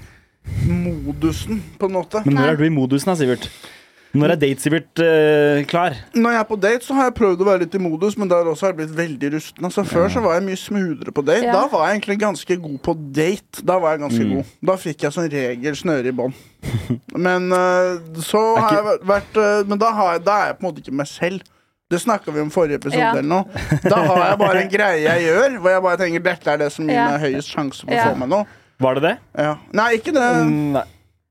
Speaker 1: modusen, på en måte.
Speaker 5: Men når
Speaker 4: Nei.
Speaker 5: er du i modusen, da, Sivert? Når er date-Sivert eh, klar?
Speaker 1: Når jeg er på date, så har jeg prøvd å være litt i modus, men der også har jeg blitt veldig rusten. Altså, før så var jeg mye smoothere på date.
Speaker 4: Ja.
Speaker 1: Da var jeg egentlig ganske god på date. Da var jeg ganske
Speaker 5: Mm.
Speaker 1: god. Da fikk jeg som regel snøre i bånd. Men øh, så har jeg vært- vært øh, Men da, har jeg, da er jeg på en måte ikke meg selv. Det snakka vi om i forrige episode.
Speaker 4: Ja.
Speaker 1: eller noe Da har jeg bare en greie jeg gjør, hvor jeg bare tenker dette er det som gir
Speaker 4: Ja.
Speaker 1: meg høyest sjanse for å
Speaker 4: Ja. Mm.
Speaker 1: få meg noe.
Speaker 5: Var det det?
Speaker 1: Ja. Nei, ikke det.
Speaker 5: Nei.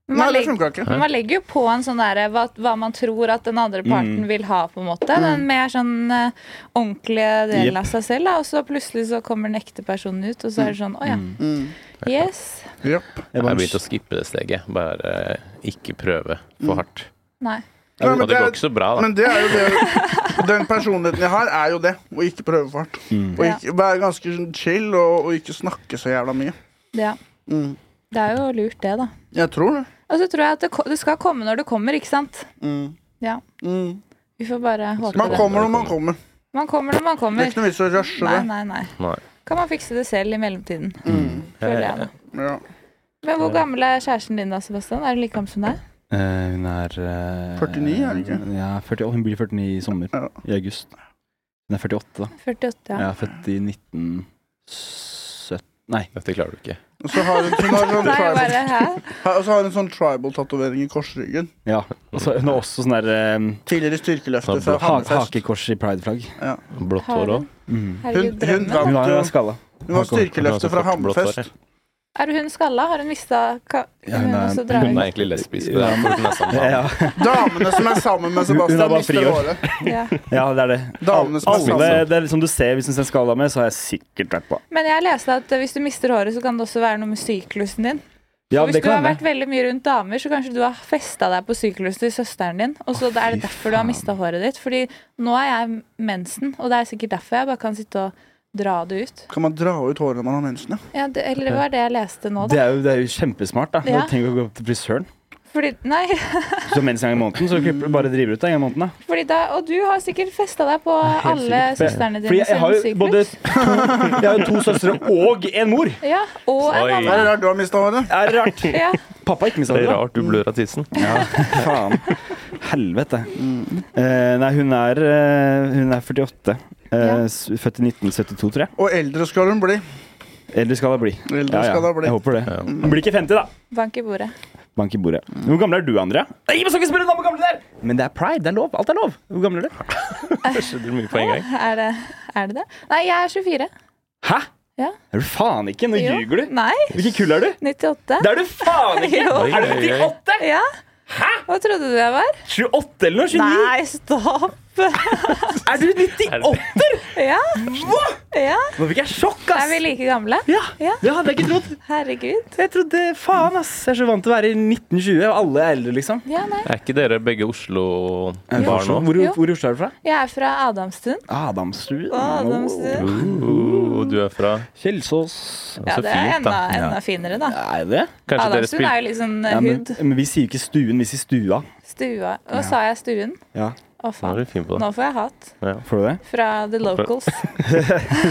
Speaker 4: Men
Speaker 1: Nei,
Speaker 4: man,
Speaker 1: det
Speaker 4: legger,
Speaker 1: funka ikke.
Speaker 4: men man legger jo på en sånn derre hva, hva man tror at den andre
Speaker 1: Mm.
Speaker 4: parten vil ha, på en måte. Den mer sånn eh, ordentlige delen
Speaker 5: Jepp.
Speaker 4: av seg selv. Da. Og så plutselig så kommer den ekte personen ut, og så
Speaker 1: Mm.
Speaker 4: er det sånn Å ja. Yes.
Speaker 1: Japp.
Speaker 5: Jeg
Speaker 2: Jeg
Speaker 5: bare-
Speaker 2: har begynt å skippe det steget. Bare eh, ikke prøve
Speaker 4: Mm.
Speaker 2: for hardt.
Speaker 4: Nei.
Speaker 1: Ja, men
Speaker 2: og det
Speaker 1: det er-
Speaker 2: går ikke så bra, da.
Speaker 1: Men det er jo det Den personligheten jeg har, er jo det. Å ikke prøve for hardt. Og ikke, være ganske sånn chill og, og ikke snakke så jævla mye.
Speaker 4: Ja.
Speaker 1: Mm.
Speaker 4: Det er jo lurt, det, da.
Speaker 1: Jeg tror det.
Speaker 4: Og så tror jeg at det, ko- det skal komme når det kommer, ikke sant? Ja.
Speaker 1: Mm.
Speaker 4: Vi får bare håpe
Speaker 1: Man
Speaker 4: det.
Speaker 1: kommer når man kommer.
Speaker 4: Man kommer når man
Speaker 1: Det er
Speaker 4: kommer.
Speaker 1: ikke noe vits i å rushe
Speaker 4: Nei,
Speaker 1: det.
Speaker 4: nei, nei.
Speaker 2: Nei.
Speaker 4: Kan man fikse det selv i mellomtiden.
Speaker 2: Jeg,
Speaker 4: Føler jeg, da.
Speaker 1: Ja.
Speaker 4: Men hvor gammel er kjæresten din da, Sebastian? Er hun like gammel som deg?
Speaker 5: Eh, hun er eh,
Speaker 1: 49 er det ikke?
Speaker 5: Ja, 40, og hun blir 49 i sommer.
Speaker 1: Ja.
Speaker 5: I august. Hun er 48, da.
Speaker 4: 48, ja.
Speaker 5: Jeg er født i 1970. Nei.
Speaker 2: Dette klarer du ikke.
Speaker 1: Og så har hun, hun har sånn
Speaker 4: Nei, jeg
Speaker 1: tribal,
Speaker 4: bare, hæ?
Speaker 1: ha- og så har hun sånn tribal-tatovering i korsryggen.
Speaker 5: Ja. Og så hun har også sånn der eh,
Speaker 1: Tidligere styrkeløfter
Speaker 2: Sånn
Speaker 1: fra
Speaker 5: ha
Speaker 1: Hammerfest.
Speaker 5: hakekors i prideflagg. Mm.
Speaker 2: Blått
Speaker 4: Har
Speaker 2: hår
Speaker 4: du?
Speaker 2: òg.
Speaker 4: Herregud,
Speaker 1: Hun- hun
Speaker 4: drømmen.
Speaker 1: vant-
Speaker 5: Hun har hun er skalla.
Speaker 1: Hun har
Speaker 5: hakekors.
Speaker 1: styrkeløfter fra Hammerfest.
Speaker 4: Er hun skalla? Har hun mista ka...
Speaker 5: Ja,
Speaker 4: hun
Speaker 5: hun er-
Speaker 4: også
Speaker 2: Hun er
Speaker 4: drar
Speaker 2: egentlig lesbisk. Det er derfor hun er sammen med
Speaker 5: Ja,
Speaker 2: ham.
Speaker 1: Damene som er sammen med
Speaker 5: Hun- hun har
Speaker 1: Sebastian,
Speaker 5: bare
Speaker 1: mister
Speaker 5: friår.
Speaker 1: håret.
Speaker 4: ja.
Speaker 5: ja, det er det.
Speaker 1: Damene som er
Speaker 5: Alle,
Speaker 1: sammen.
Speaker 5: det er som du ser Hvis hun ser skalla med, så har jeg sikkert vært på.
Speaker 4: Men jeg leste at eh, hvis du mister håret, så kan det også være noe med syklusen din.
Speaker 5: Ja,
Speaker 4: Og hvis
Speaker 5: det
Speaker 4: du har
Speaker 5: kan
Speaker 4: vært
Speaker 5: hende.
Speaker 4: veldig mye rundt damer, så kanskje du har festa deg på syklusen til søsteren din. Og så er det derfor du har mista håret ditt. Fordi nå er jeg mensen, og det er sikkert derfor jeg bare kan sitte og dra det ut.
Speaker 1: Kan man dra ut håret når man har mensen? ja?
Speaker 4: Ja, det, eller det var det jeg leste nå,
Speaker 5: Det
Speaker 4: da.
Speaker 5: er jo, det er jo kjempesmart. da
Speaker 4: Ja.
Speaker 5: Tenk å gå til frisøren.
Speaker 4: Fordi, nei,
Speaker 5: Så mens en gang i måneden, så
Speaker 4: Mm.
Speaker 5: klipper du bare driver ut deg en gang i måneden. da
Speaker 4: fordi da, og du har sikkert festa deg på alle
Speaker 5: sikkert.
Speaker 4: søstrene
Speaker 5: Fordi
Speaker 4: dine
Speaker 5: jeg
Speaker 4: sin
Speaker 5: har jo både
Speaker 4: syklus.
Speaker 5: to, jeg har jo to søstre og en mor.
Speaker 4: Ja, og en
Speaker 2: Oi.
Speaker 1: Er
Speaker 4: annen.
Speaker 1: det rart du har mista håret?
Speaker 5: Er det rart?
Speaker 4: Ja.
Speaker 5: Pappa ikke mista
Speaker 2: Det
Speaker 5: det.
Speaker 2: er
Speaker 5: da.
Speaker 2: rart du blør av tissen.
Speaker 5: Ja, faen. Helvete.
Speaker 4: Mm.
Speaker 5: Eh, nei, hun er, eh, hun er 48. Eh,
Speaker 4: Ja.
Speaker 5: s- Født i 1972, tror jeg.
Speaker 1: Og eldre skal hun bli.
Speaker 5: Eller skal hun bli?
Speaker 1: Eldre skal hun bli.
Speaker 5: Jeg håper Mm. det.
Speaker 2: Ja.
Speaker 5: Hun blir ikke 50, da.
Speaker 4: Bank i bordet.
Speaker 5: Bank i bordet. Hvor gammel er du, Andrea? Nei, men skal ikke spørre deg om hvor gammel du er! Men det er pride. Det er lov. Alt er lov. Hvor gammel er du?
Speaker 2: Det skjedde mye på en gang.
Speaker 4: Er det, er det det? Nei, jeg er 24.
Speaker 5: Hæ?
Speaker 4: Ja.
Speaker 5: Er du faen ikke? Nå
Speaker 4: Jo.
Speaker 5: ljuger du.
Speaker 4: Nei,
Speaker 5: Hvilken kull er du?
Speaker 4: 98.
Speaker 5: Det er du faen ikke!
Speaker 4: Jo.
Speaker 5: Er du 98?
Speaker 4: Ja. Hva trodde du jeg var?
Speaker 5: 28 eller noe? 29?
Speaker 4: Nei, stopp!
Speaker 5: Er du 98?
Speaker 4: Ja. ja.
Speaker 5: Nå fikk jeg sjokk,
Speaker 4: Er vi like gamle?
Speaker 5: Ja,
Speaker 4: Ja.
Speaker 5: Det hadde jeg ikke trodd.
Speaker 4: Herregud.
Speaker 5: Jeg trodde, faen ass, jeg er så vant til å være i 1920, og alle er eldre, liksom.
Speaker 4: Ja, nei.
Speaker 2: Er ikke dere begge Oslo-barn nå?
Speaker 5: Hvor,
Speaker 4: Jo.
Speaker 5: hvor i Oslo er du fra?
Speaker 4: Jeg er fra Adamstuen.
Speaker 5: Adamstuen.
Speaker 4: Adamstuen.
Speaker 2: Uh, du er fra
Speaker 5: Kjelsås.
Speaker 4: Ja,
Speaker 2: Så
Speaker 4: det er
Speaker 2: fint, da.
Speaker 4: enda, enda finere, da.
Speaker 5: Er det?
Speaker 2: Kanskje dere
Speaker 4: Adamstuen er
Speaker 2: spilte
Speaker 4: jo litt sånn
Speaker 5: Ja,
Speaker 4: eh,
Speaker 5: men,
Speaker 4: hud.
Speaker 5: men vi sier jo ikke stuen, vi sier stua.
Speaker 4: Stua. Og sa jeg stuen?
Speaker 5: Ja.
Speaker 4: Å,
Speaker 2: Nå er
Speaker 4: faen.
Speaker 2: du fin på det.
Speaker 4: Nå får jeg hat
Speaker 5: Får du det?
Speaker 4: fra the locals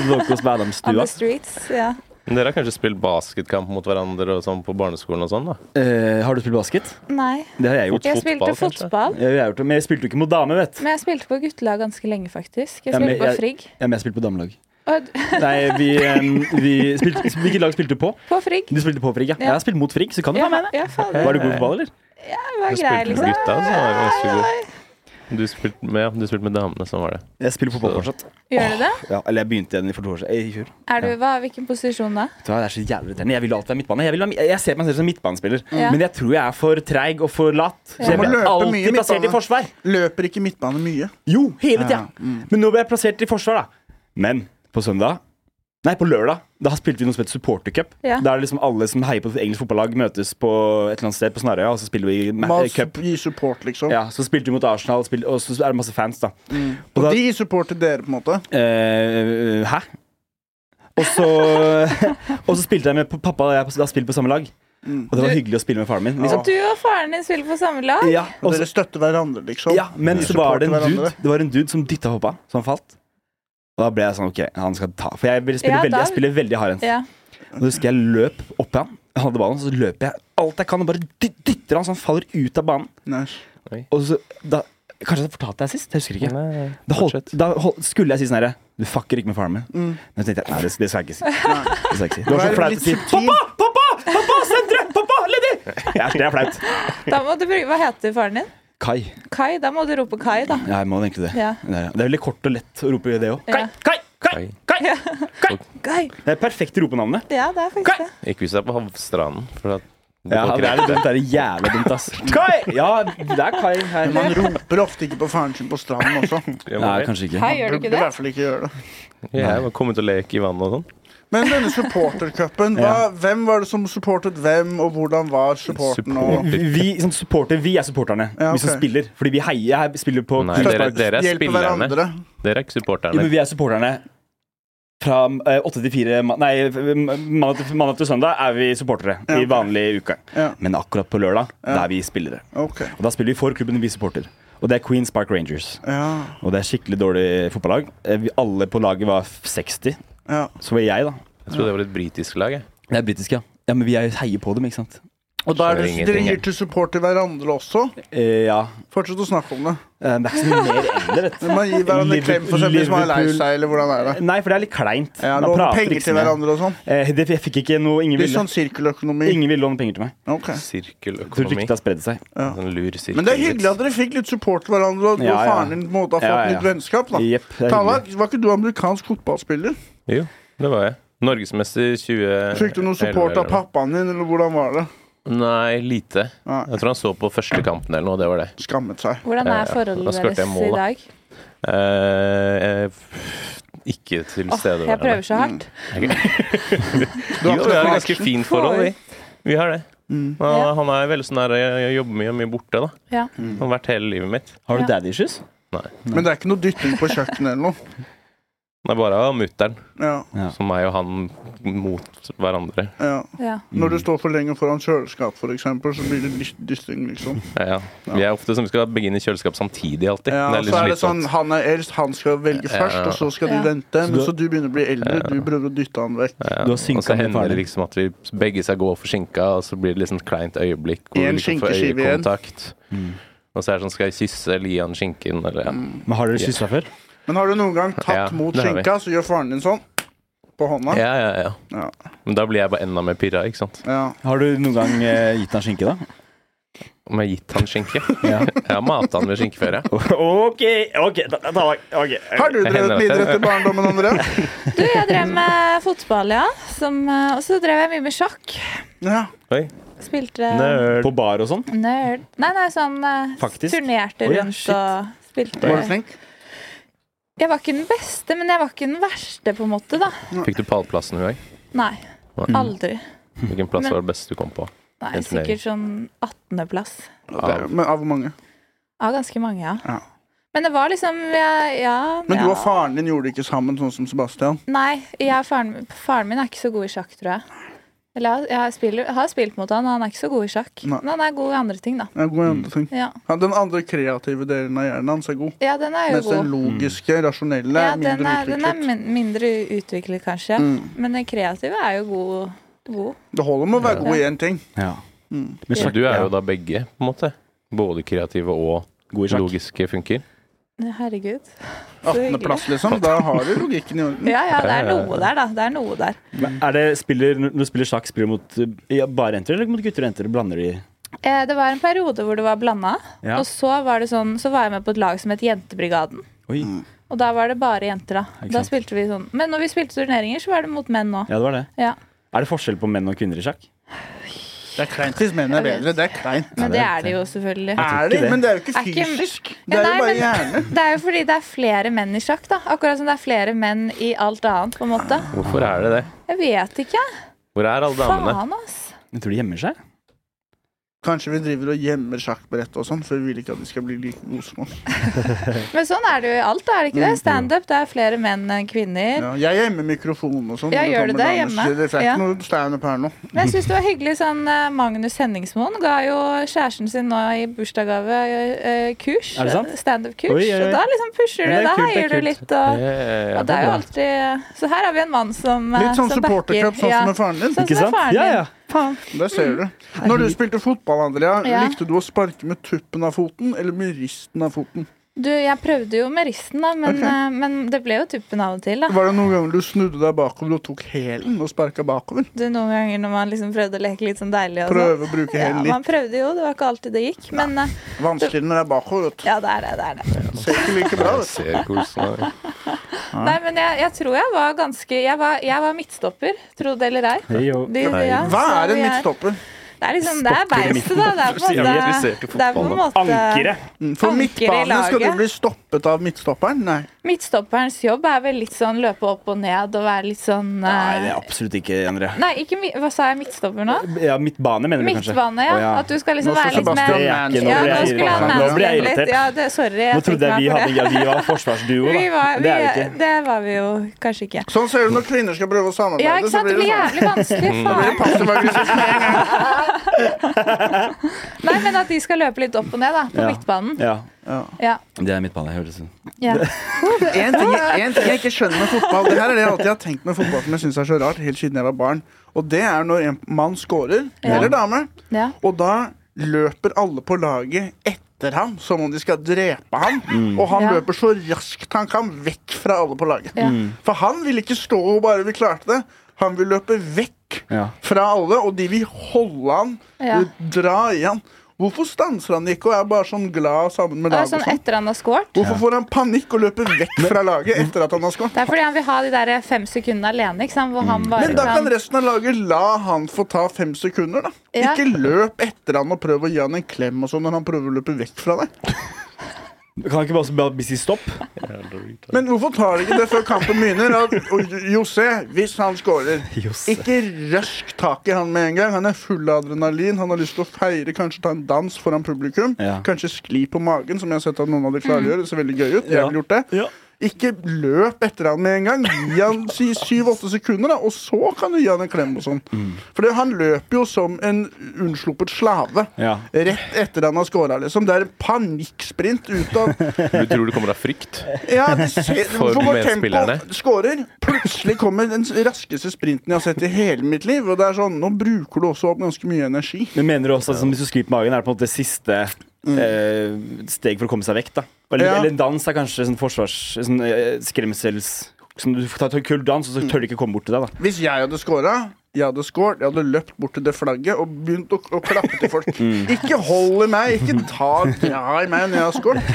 Speaker 5: Locals med
Speaker 4: on
Speaker 5: Adamstua.
Speaker 4: the streets. Ja.
Speaker 2: Men dere har kanskje spilt basketkamp mot hverandre og sånn på barneskolen og sånn, da?
Speaker 5: Eh, har du spilt basket?
Speaker 4: Nei.
Speaker 5: Det har jeg gjort.
Speaker 4: Jeg spilte
Speaker 2: Fotball, kanskje?
Speaker 4: fotball.
Speaker 5: Jeg, jeg har gjort det, men jeg spilte jo ikke mot dame, vet du.
Speaker 4: Men jeg spilte på guttelag ganske lenge, faktisk. Jeg
Speaker 5: Ja, men
Speaker 4: spilte på
Speaker 5: jeg-
Speaker 4: Frigg.
Speaker 5: Ja, men jeg spilte på damelag.
Speaker 4: Og,
Speaker 5: Nei, vi, em, vi spilte, Hvilket lag spilte du på?
Speaker 4: på Frigg.
Speaker 5: Du spilte på Frigg, ja.
Speaker 4: Ja.
Speaker 5: Jeg har spilt mot Frigg, så kan du
Speaker 4: Ja,
Speaker 5: ta med det.
Speaker 4: ja, faen, det
Speaker 5: Var du god på ball, eller?
Speaker 4: var
Speaker 2: Du
Speaker 4: grei,
Speaker 2: spilte med
Speaker 4: liksom.
Speaker 2: gutta, så var det ganske god. Du spilte med, ja, du spilte med damene, sånn var det.
Speaker 5: Jeg spiller fotball fortsatt.
Speaker 4: Gjør du det?
Speaker 5: Ja, eller jeg begynte igjen for to år siden. Eh, I fjor.
Speaker 4: Er du, hva, hvilken posisjon da?
Speaker 5: Vet du hva, Det er så jævlig irriterende. Jeg vil alltid være midtbane. Jeg, vil være, mi- jeg ser på meg selv som midtbanespiller,
Speaker 4: Ja.
Speaker 5: men jeg tror jeg er for treig og for lat. Så
Speaker 4: Ja.
Speaker 5: jeg
Speaker 1: Du må løpe
Speaker 5: blir
Speaker 1: mye i
Speaker 5: alltid plassert i
Speaker 1: midtbane.
Speaker 5: forsvar.
Speaker 1: Løper ikke midtbane mye.
Speaker 5: Jo, hele tida.
Speaker 1: Ja, mm.
Speaker 5: Men nå ble jeg plassert i forsvar, da. Men på søndag Nei, på lørdag. Da spilte vi noe som heter supportercup.
Speaker 4: Ja.
Speaker 5: Da er det liksom alle som heier på et engelsk fotballag, møtes på et eller annet sted på Snarøya, og så spiller vi ma-
Speaker 1: Man
Speaker 5: cup.
Speaker 1: gir support, liksom. Mm.
Speaker 5: Ja, så spilte vi mot Arsenal, spil- og så er det masse fans, da.
Speaker 1: Og
Speaker 5: Og da
Speaker 1: de gir support til dere, på en måte.
Speaker 5: Eh, hæ? Og så, og så spilte jeg med pappa og jeg har spilt på samme lag.
Speaker 1: Mm.
Speaker 5: Og det var hyggelig å spille med faren min. Liksom.
Speaker 4: Du og faren din spiller på samme lag?
Speaker 5: Ja,
Speaker 1: Og
Speaker 5: og så,
Speaker 1: dere støtter hverandre, liksom.
Speaker 5: ja, men
Speaker 1: Dere
Speaker 5: så var det
Speaker 1: supporter
Speaker 5: en dude
Speaker 1: hverandre.
Speaker 5: Det var en dude som dytta og hoppa, så han falt. Og da ble jeg sånn OK, han skal ta For jeg vil spille
Speaker 4: Ja,
Speaker 5: veldig,
Speaker 4: da-
Speaker 5: jeg spiller veldig hardhendt.
Speaker 4: Ja.
Speaker 5: Og da husker jeg løp opp til han. Jeg hadde ballen, så løper jeg alt jeg kan og bare dy- dytter han så han faller ut av banen.
Speaker 1: Nice.
Speaker 5: Og så da Kanskje jeg fortalte deg sist? Jeg husker ikke.
Speaker 2: Nei,
Speaker 5: Da, holdt,
Speaker 2: fortsett.
Speaker 5: da holdt, skulle jeg si sånn herre Du fucker ikke med faren min. Men så tenkte jeg Mm. nei, det, det skal jeg ikke si. Det skal jeg ikke si. Det var
Speaker 1: Vær
Speaker 5: så flaut
Speaker 1: litt
Speaker 5: å si
Speaker 1: subtil.
Speaker 5: Pappa! Pappa! Pappa! Sentre! Pappa! Ledig! Ja, det er flaut.
Speaker 4: Da må du bruke, hva heter faren din?
Speaker 5: Kai.
Speaker 4: Kai? Da må du rope Kai, da.
Speaker 5: Ja, jeg må egentlig det.
Speaker 4: Ja.
Speaker 5: Det, er, det er veldig kort og lett å rope det òg.
Speaker 4: Ja.
Speaker 5: Kai! Kai!
Speaker 2: Kai.
Speaker 5: Kai! Kai! Kai!
Speaker 4: Kai.
Speaker 5: Det er perfekt ropenavnet.
Speaker 4: Ja, det er faktisk
Speaker 5: Kai.
Speaker 4: det.
Speaker 2: Ikke hvis du er på havstranden, for at du
Speaker 5: Ja, det
Speaker 2: får ikke
Speaker 5: er litt dumt. Det er jævlig dumt, ass. Kai! Ja, det er Kai her.
Speaker 1: Man roper ofte ikke på faren sin på stranden også.
Speaker 5: Nei,
Speaker 2: rett.
Speaker 5: kanskje ikke.
Speaker 4: Kai, gjør du
Speaker 1: Burde
Speaker 4: ikke
Speaker 1: i
Speaker 4: det?
Speaker 1: hvert fall ikke gjøre det.
Speaker 2: Jeg var kommet og leke i vannet og sånn.
Speaker 1: Men denne supportercupen, hva- hvem var det som supportet hvem, og hvordan var supporten? Og
Speaker 5: Vi som supporter, vi er supporterne.
Speaker 1: Ja,
Speaker 5: Vi som
Speaker 1: ok.
Speaker 5: spiller. Fordi vi heier. Jeg spiller på
Speaker 2: Nei, dere, dere er
Speaker 1: hjelpe
Speaker 2: spillerne.
Speaker 1: hverandre?
Speaker 2: Dere er ikke
Speaker 5: Jo, men
Speaker 2: supporterne.
Speaker 5: vi er supporterne. Fra eh, åtte til fire ma- Nei, f- mandag til, mandag til søndag er vi supportere i vanlig uke.
Speaker 1: Ja.
Speaker 5: Men akkurat på lørdag da er vi spillere.
Speaker 1: Ok.
Speaker 5: Og da spiller vi for klubben vi supporter. Og det er Queens Park Rangers.
Speaker 1: Ja.
Speaker 5: Og det er skikkelig dårlig fotballag. Eh, Vi, alle på laget var f- 60.
Speaker 1: ja.
Speaker 5: Så var jeg, da.
Speaker 2: Jeg trodde det var et britisk lag. Jeg.
Speaker 5: Det er britisk, ja. Ja, Men vi er jo heier på dem, ikke sant?
Speaker 1: Og da er
Speaker 2: Skjønner
Speaker 1: det,
Speaker 2: ingenting,
Speaker 1: dere gir
Speaker 2: jeg.
Speaker 1: til support til hverandre også?
Speaker 5: Eh, ja.
Speaker 1: Fortsett å snakke om det.
Speaker 5: Eh, Det er ikke så mye mer enn det, vet du.
Speaker 1: Men Man gir hverandre en klem, for eksempel, hvis man er lei seg, sånn eller hvordan er det?
Speaker 5: Nei, for det er litt kleint.
Speaker 1: Ja,
Speaker 5: Man
Speaker 1: Låne
Speaker 5: prater
Speaker 1: penger
Speaker 5: liksom
Speaker 1: til
Speaker 5: med-
Speaker 1: hverandre og sånn.
Speaker 5: Eh, det, jeg fikk ikke noe Ingen
Speaker 1: Litt
Speaker 5: ville,
Speaker 1: sånn sirkeløkonomi.
Speaker 5: ingen ville låne penger til meg.
Speaker 1: Ok.
Speaker 5: Jeg tror
Speaker 2: Sirkeløkonomi.
Speaker 5: ryktet har spredd seg.
Speaker 2: Sånn lur sirkel.
Speaker 1: Men det er hyggelig at dere fikk litt support til hverandre, og at du
Speaker 5: Ja,
Speaker 1: og
Speaker 5: ja.
Speaker 1: faren din på en måte har fått
Speaker 5: Ja, ja.
Speaker 1: litt vennskap. da
Speaker 5: Jepp. det er
Speaker 1: Tallak,
Speaker 5: hyggelig.
Speaker 1: var ikke du amerikansk fotballspiller?
Speaker 2: Jo, det var jeg. Norgesmester 20...
Speaker 1: Fikk du noe support av pappaen din, eller hvordan var det?
Speaker 2: Nei, lite.
Speaker 1: Nei.
Speaker 2: Jeg tror han så på første kampen eller noe, det var det.
Speaker 1: Skammet seg.
Speaker 4: Hvordan
Speaker 2: Ja, ja.
Speaker 4: er forholdet
Speaker 2: Da skårte jeg
Speaker 4: deres
Speaker 2: mål,
Speaker 4: i
Speaker 2: da. Eh, eh,
Speaker 4: dag?
Speaker 2: ikke til
Speaker 4: Åh,
Speaker 2: stede.
Speaker 4: jeg prøver så hardt.
Speaker 1: Du har
Speaker 2: Jo, vi
Speaker 1: ikke
Speaker 2: har et
Speaker 1: noe
Speaker 2: ganske
Speaker 1: action.
Speaker 2: fint forhold, vi. Vi har det.
Speaker 1: Mm.
Speaker 2: Han,
Speaker 4: Ja.
Speaker 2: han er veldig sånn der Jeg jeg jobber mye og mye borte, da.
Speaker 4: Ja.
Speaker 1: Mm.
Speaker 2: Han har vært hele livet mitt.
Speaker 5: Har du
Speaker 4: Ja.
Speaker 5: daddy issues?
Speaker 1: Men det er ikke noe dytting på kjøkkenet eller noe.
Speaker 2: Det er bare av mutter'n,
Speaker 1: Ja,
Speaker 2: som meg og han mot hverandre.
Speaker 1: ja.
Speaker 4: Ja.
Speaker 5: Mm.
Speaker 1: Når du står for lenge foran kjøleskap, for eksempel, så blir det litt dytting, liksom.
Speaker 2: Ja, ja. Vi er ofte som vi skal begge inn i kjøleskap samtidig, alltid.
Speaker 1: Ja, og
Speaker 2: det er liksom litt
Speaker 1: så er det sånn,
Speaker 2: slitsomt.
Speaker 1: han er eldst, han skal velge
Speaker 2: Ja.
Speaker 1: først, og så skal de
Speaker 4: Ja.
Speaker 1: vente. Men
Speaker 5: du-
Speaker 1: så du begynner å bli eldre, du prøver å dytte han vekk.
Speaker 2: Ja,
Speaker 5: Du har
Speaker 2: og
Speaker 5: synka
Speaker 2: så
Speaker 5: med faren
Speaker 2: hender det
Speaker 5: din.
Speaker 2: liksom at vi begge skal gå for skinka, og så blir det liksom et kleint øyeblikk hvor
Speaker 1: En
Speaker 2: vi liksom får
Speaker 1: skinkeskive igjen. Mm.
Speaker 2: øyekontakt. Og så er det sånn Skal jeg kysse eller gi han skinken, eller ja.
Speaker 5: Men har dere kyssa før?
Speaker 1: Men har du noen gang
Speaker 2: Ja,
Speaker 1: tatt mot
Speaker 2: det har vi.
Speaker 1: skinka, så gjør faren din sånn på hånda?
Speaker 2: ja, ja, ja.
Speaker 1: Ja.
Speaker 2: Men da blir jeg bare enda mer pirra, ikke sant.
Speaker 1: Ja.
Speaker 5: Har du noen gang eh, gitt han skinke, da?
Speaker 2: Om jeg har gitt han skinke.
Speaker 5: Ja.
Speaker 2: Jeg har mata han med skinke før, jeg.
Speaker 5: OK, ok, da, da, da, ok.
Speaker 1: Har du drevet
Speaker 2: hender
Speaker 1: med
Speaker 2: at jeg-
Speaker 1: idrett i barndommen, André?
Speaker 4: Du, jeg drev med fotball, ja. Som, eh, og så drev jeg mye med sjakk.
Speaker 1: Ja.
Speaker 2: Oi.
Speaker 4: Spilte
Speaker 2: Nerd.
Speaker 5: På bar og sånn?
Speaker 4: Nerd. Nei, nei, sånn eh,
Speaker 5: Faktisk?
Speaker 4: turnerte
Speaker 5: Å, ja,
Speaker 4: rundt
Speaker 5: shit.
Speaker 4: og
Speaker 1: Var du
Speaker 4: spilte.
Speaker 1: flink?
Speaker 4: Jeg var ikke den beste, men jeg var ikke den verste, på en måte, da.
Speaker 2: Fikk du pallplassen i dag?
Speaker 4: Nei.
Speaker 1: Mm.
Speaker 2: Nei.
Speaker 4: Aldri.
Speaker 2: Hvilken plass
Speaker 4: Men-
Speaker 2: var det beste du kom på?
Speaker 4: Nei,
Speaker 2: En turnering.
Speaker 4: sikkert sånn 18.-plass.
Speaker 1: Det er- Men av hvor mange?
Speaker 4: Av ganske mange, ja.
Speaker 1: Ja.
Speaker 4: Men det var liksom jeg, Ja.
Speaker 1: Men
Speaker 4: ja.
Speaker 1: du og faren din gjorde det ikke sammen, sånn som Sebastian.
Speaker 4: Nei, jeg og faren, faren min er ikke så god i sjakk, tror jeg. Eller jeg, jeg, spiller, jeg har spilt mot han, og han er ikke så god i sjakk.
Speaker 1: Nei.
Speaker 4: Men han er god i andre ting, da.
Speaker 1: Ja, god i
Speaker 2: Mm.
Speaker 1: andre ting.
Speaker 4: Ja,
Speaker 1: Ja, den andre kreative delen av hjernen hans er god.
Speaker 4: ja den er jo
Speaker 1: Mens den
Speaker 4: god.
Speaker 1: logiske,
Speaker 2: Mm.
Speaker 1: rasjonelle
Speaker 4: Ja,
Speaker 1: er
Speaker 4: den
Speaker 1: mindre
Speaker 4: er, den er
Speaker 1: utviklet. Mm.
Speaker 4: min, mindre utviklet, kanskje. Men den kreative er jo god. god.
Speaker 1: Det holder med å være god i én ting.
Speaker 5: Ja. Men
Speaker 2: Så
Speaker 5: sjakk-
Speaker 2: du er jo
Speaker 5: ja.
Speaker 2: da begge, på en måte. Både kreative og
Speaker 5: god i sjakk.
Speaker 2: logiske funker.
Speaker 4: Herregud. Så hyggelig.
Speaker 1: 18.-plass, liksom. Da har du logikken i orden.
Speaker 4: Ja, ja, det er noe der, da. Det er noe der.
Speaker 5: Men Er det spiller, når du spiller sjakk, spiller du mot eh, ja, bare jenter eller mot gutter og jenter? Blander de
Speaker 4: Eh, det var en periode hvor det var blanda.
Speaker 5: Ja.
Speaker 4: Og så var, det sånn, så var jeg med på et lag som het Jentebrigaden.
Speaker 5: Oi.
Speaker 4: Og da var det bare jenter, da.
Speaker 5: Ikke
Speaker 4: da
Speaker 5: sant.
Speaker 4: spilte vi sånn. Men når vi spilte turneringer, så var det mot menn òg.
Speaker 5: Ja, det var det.
Speaker 4: Ja.
Speaker 5: Er det forskjell på menn og kvinner i sjakk?
Speaker 1: Det er kleint hvis menn er bedre. Det er kleint.
Speaker 4: Men
Speaker 5: det
Speaker 4: det
Speaker 5: er
Speaker 4: er det jo, selvfølgelig.
Speaker 1: Er
Speaker 5: ikke
Speaker 1: det?
Speaker 5: det.
Speaker 1: Men det er jo ikke
Speaker 4: Er ikke-
Speaker 1: fysisk.
Speaker 4: Ja,
Speaker 1: Det er
Speaker 4: nei,
Speaker 1: jo bare
Speaker 4: men-
Speaker 1: hjerne.
Speaker 4: Det er jo fordi det er flere menn i sjakk, da. Akkurat som det er flere menn i alt annet, på en måte.
Speaker 2: Hvorfor er det det?
Speaker 4: Jeg vet ikke.
Speaker 2: Hvor er alle damene?
Speaker 4: Faen, ass.
Speaker 5: Jeg tror de gjemmer
Speaker 4: Eh.
Speaker 5: seg.
Speaker 1: Kanskje vi driver og gjemmer sjakkbrett og sånn, for vi vil ikke at de skal bli like gode som oss.
Speaker 4: Men sånn er det jo i alt, da, er det ikke
Speaker 5: Mm.
Speaker 4: det? Standup, det er flere menn enn kvinner.
Speaker 1: Ja, jeg gjemmer mikrofonen og sånn.
Speaker 4: Ja,
Speaker 1: når
Speaker 4: gjør du
Speaker 1: kommer
Speaker 4: det
Speaker 1: damer,
Speaker 4: hjemme?
Speaker 1: så Det er
Speaker 4: Ja.
Speaker 1: ikke noe standup her nå.
Speaker 4: Men jeg syns det var hyggelig sånn eh, Magnus Henningsmoen ga jo kjæresten sin nå i bursdagsgave eh, kurs.
Speaker 5: Er det sant?
Speaker 4: Standup-kurs.
Speaker 5: Oi, oi, oi.
Speaker 4: Og da liksom pusher du,
Speaker 5: Ja, det er
Speaker 4: da
Speaker 5: kult, det er
Speaker 4: heier du
Speaker 5: kult.
Speaker 4: litt og
Speaker 2: Ja,
Speaker 4: ja, det er jo alltid eh, Så her har vi en mann som eh,
Speaker 1: Litt sånn
Speaker 4: som backer.
Speaker 1: supportercup, sånn
Speaker 4: Ja,
Speaker 1: som med faren din.
Speaker 4: Sånn
Speaker 5: Ikke
Speaker 4: som
Speaker 5: sant?
Speaker 4: med faren
Speaker 5: Ja,
Speaker 4: din.
Speaker 5: ja. Faen.
Speaker 1: Der ser du. Når du spilte fotball, Andrea,
Speaker 4: Mm. Ja.
Speaker 1: likte du å sparke med tuppen av foten eller med risten av foten?
Speaker 4: Du, jeg prøvde jo med risten, da, men,
Speaker 1: Ok.
Speaker 4: eh, men det ble jo tuppen av og til, da.
Speaker 1: Var det noen ganger du snudde deg bakover og tok hælen og sparka bakover?
Speaker 4: Du, noen ganger når man liksom prøvde å leke litt sånn deilig og sånn.
Speaker 1: Prøve å bruke
Speaker 4: Ja,
Speaker 1: hælen litt.
Speaker 4: man prøvde jo, det var ikke alltid det gikk, men eh,
Speaker 1: Vanskeligere når det er bakover. vet du.
Speaker 4: ja, det er det. det, er det.
Speaker 1: Ser ikke like bra
Speaker 2: Jeg
Speaker 1: ut.
Speaker 2: ser kosen her.
Speaker 4: Nei, men jeg, jeg tror jeg var ganske Jeg var, jeg var midtstopper, tro det eller ei.
Speaker 5: Hei, jo.
Speaker 4: De- de- ja,
Speaker 1: Hva
Speaker 4: så
Speaker 1: er en
Speaker 4: vi
Speaker 1: midtstopper?
Speaker 4: Det er liksom, det er beistet, da. Det er på
Speaker 2: Jeg blir
Speaker 4: en måte,
Speaker 2: interessert i
Speaker 4: det er på en
Speaker 2: fotball,
Speaker 4: måte
Speaker 5: Ankeret.
Speaker 1: Mm, For
Speaker 4: Anker i
Speaker 1: midtbane skal du
Speaker 4: laget.
Speaker 1: bli stoppet av midtstopperen? Nei.
Speaker 4: Midtstopperens jobb er vel litt sånn løpe opp og ned og være litt sånn eh,
Speaker 5: Nei, det er absolutt ikke, André.
Speaker 4: Nei, ikke mi, hva sa jeg midtstopper nå?
Speaker 5: Ja, midtbane, mener du kanskje?
Speaker 4: Midtbane, ja.
Speaker 5: Å, ja.
Speaker 4: At du skal
Speaker 1: Nå
Speaker 4: liksom
Speaker 1: skal
Speaker 4: være litt mer
Speaker 1: Sebastian
Speaker 5: Ja,
Speaker 1: Manns-
Speaker 5: nå
Speaker 4: Ja,
Speaker 5: ble
Speaker 4: nå
Speaker 5: jeg
Speaker 4: skulle
Speaker 5: irritert. Nå
Speaker 4: han
Speaker 5: ble jeg
Speaker 4: mansplaine litt.
Speaker 5: irritert.
Speaker 4: Ja, det, sorry,
Speaker 5: Nå
Speaker 4: jeg
Speaker 5: trodde
Speaker 4: meg
Speaker 5: jeg vi,
Speaker 4: for
Speaker 5: hadde,
Speaker 4: det.
Speaker 5: ja, vi var forsvarsduo,
Speaker 4: Vi
Speaker 5: da.
Speaker 4: var, vi,
Speaker 5: Det er vi ikke.
Speaker 4: det var vi jo kanskje ikke.
Speaker 1: Sånn ser det når kvinner skal prøve å samarbeide.
Speaker 4: Ja, ikke
Speaker 1: så
Speaker 4: sant? Det
Speaker 1: blir det
Speaker 4: blir
Speaker 1: sånn.
Speaker 4: jævlig vanskelig. Faen.
Speaker 1: Passiv-aggressiv.
Speaker 4: Nei, men at de skal løpe litt opp og ned da, på
Speaker 5: Ja.
Speaker 4: midtbanen.
Speaker 5: Ja,
Speaker 4: Ja.
Speaker 5: det er midtbane. Jeg hører det sånn.
Speaker 4: ja.
Speaker 1: En ting, en ting jeg ikke skjønner med fotball, det her er det jeg alltid har tenkt med fotball som jeg synes er så rart, helt siden jeg var barn, og det er når en mann scorer,
Speaker 4: Ja.
Speaker 1: eller dame,
Speaker 4: ja.
Speaker 1: og da løper alle på laget etter etter ham som om de skal drepe ham. Og han
Speaker 4: Ja.
Speaker 1: løper så raskt han kan vekk fra alle på laget.
Speaker 4: Ja.
Speaker 1: For han vil ikke stå og bare vi klarte det. Han vil løpe vekk
Speaker 5: Ja.
Speaker 1: fra alle, og de vil holde han, eh,
Speaker 4: Ja.
Speaker 1: dra i han. Hvorfor stanser han ikke og er bare sånn glad sammen med
Speaker 4: Det er
Speaker 1: laget?
Speaker 4: sånn
Speaker 1: og sånn?
Speaker 4: etter han har scoret.
Speaker 1: Hvorfor får han panikk og løper vekk fra laget etter at han har skåret?
Speaker 4: Det er fordi han vil ha de der fem sekundene alene. Ikke sant? Hvor han bare
Speaker 1: Mm. Men da
Speaker 4: kan-
Speaker 1: kan resten av laget la han få ta fem sekunder, da.
Speaker 4: Ja.
Speaker 1: Ikke løp etter han og prøv å gi han en klem og sånn når han prøver å løpe vekk fra deg.
Speaker 5: Kan han ikke bare også bare si stopp?
Speaker 1: Men hvorfor tar de ikke det før kampen begynner? At og J- Jose, hvis han scorer
Speaker 5: Josse.
Speaker 1: Ikke røsk tak i han med en gang. Han er full av adrenalin. Han har lyst til å feire, kanskje ta en dans foran publikum.
Speaker 5: Ja.
Speaker 1: Kanskje skli på magen, som jeg har sett at noen av de klarer å gjøre. Det ser veldig gøy ut. Jeg
Speaker 5: Ja.
Speaker 1: ville gjort det.
Speaker 5: Ja.
Speaker 1: Ikke løp etter han med en gang. Gi han si syv-åtte sekunder, da, og så kan du gi han en klem og sånn.
Speaker 5: Mm.
Speaker 1: For det- han løper jo som en unnsluppet slave.
Speaker 5: Ja.
Speaker 1: Rett etter han har scora, liksom. Det er en panikksprint ut av
Speaker 2: Du tror det kommer av frykt?
Speaker 1: ja, det ser,
Speaker 2: For
Speaker 1: hvorfor går
Speaker 2: medspillerne.
Speaker 1: tempo skårer? Plutselig kommer den raskeste sprinten jeg har sett i hele mitt liv. Og det er sånn, Nå bruker du også opp ganske mye energi.
Speaker 5: Men mener du også at sånn, hvis du skriver på magen, er det på en måte det siste eh, steg for å komme seg vekk? da? Eller,
Speaker 1: Ja.
Speaker 5: eller en dans er kanskje sånn forsvars... Sånn, eh, skremsels... Sånn, du tar en kul dans, og så tør de ikke komme bort til deg. da
Speaker 1: Hvis jeg hadde scora jeg hadde skåret, jeg hadde løpt bort til det flagget og begynt å, å klappe til folk.
Speaker 2: Mm.
Speaker 1: Ikke hold i meg, ikke ta dra i meg når jeg har skåret.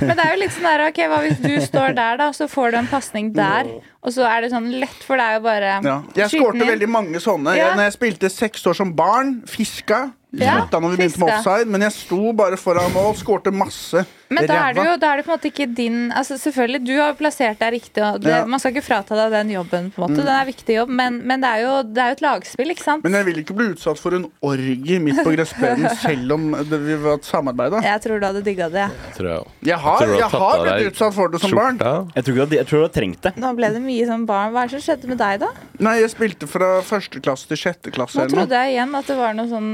Speaker 4: Men det er jo litt sånn der, ok, hva hvis du står der, da, så får du en pasning der, og så er det sånn lett, for det er jo bare
Speaker 1: Ja. Jeg
Speaker 4: skyte
Speaker 1: skårte
Speaker 4: den inn.
Speaker 1: veldig mange sånne.
Speaker 4: Ja.
Speaker 1: Jeg, når jeg spilte seks år som barn, fiska.
Speaker 4: Ja,
Speaker 1: Slutta når vi begynte med
Speaker 4: fiska.
Speaker 1: offside, men jeg sto bare foran mål, skårte masse.
Speaker 4: Men da er det
Speaker 1: Ræva.
Speaker 4: jo da er det på en måte ikke din altså Selvfølgelig, du har plassert deg riktig, og det,
Speaker 1: Ja. Mm.
Speaker 4: man skal ikke frata deg den jobben, på en måte. Den er en viktig jobb, men, men det er jo det er jo et lagspill, ikke sant?
Speaker 1: Men jeg vil ikke bli utsatt for en orgie midt på gressplenen selv om det vi var et samarbeid. da.
Speaker 4: Jeg tror du hadde digga det. jeg.
Speaker 2: Tror jeg.
Speaker 1: Jeg har,
Speaker 2: Jeg tror du har
Speaker 1: jeg
Speaker 2: tatt
Speaker 1: har
Speaker 2: av
Speaker 1: blitt
Speaker 2: deg
Speaker 1: utsatt for det som barn.
Speaker 2: Skjorta?
Speaker 5: Jeg tror, ikke du hadde, jeg tror du hadde trengt det.
Speaker 4: Nå ble det mye sånn barn. Hva er det som skjedde med deg, da?
Speaker 1: Nei, jeg spilte fra første klasse til sjette klasse.
Speaker 4: Nå
Speaker 1: eller noe.
Speaker 4: trodde jeg igjen at det var noe sånn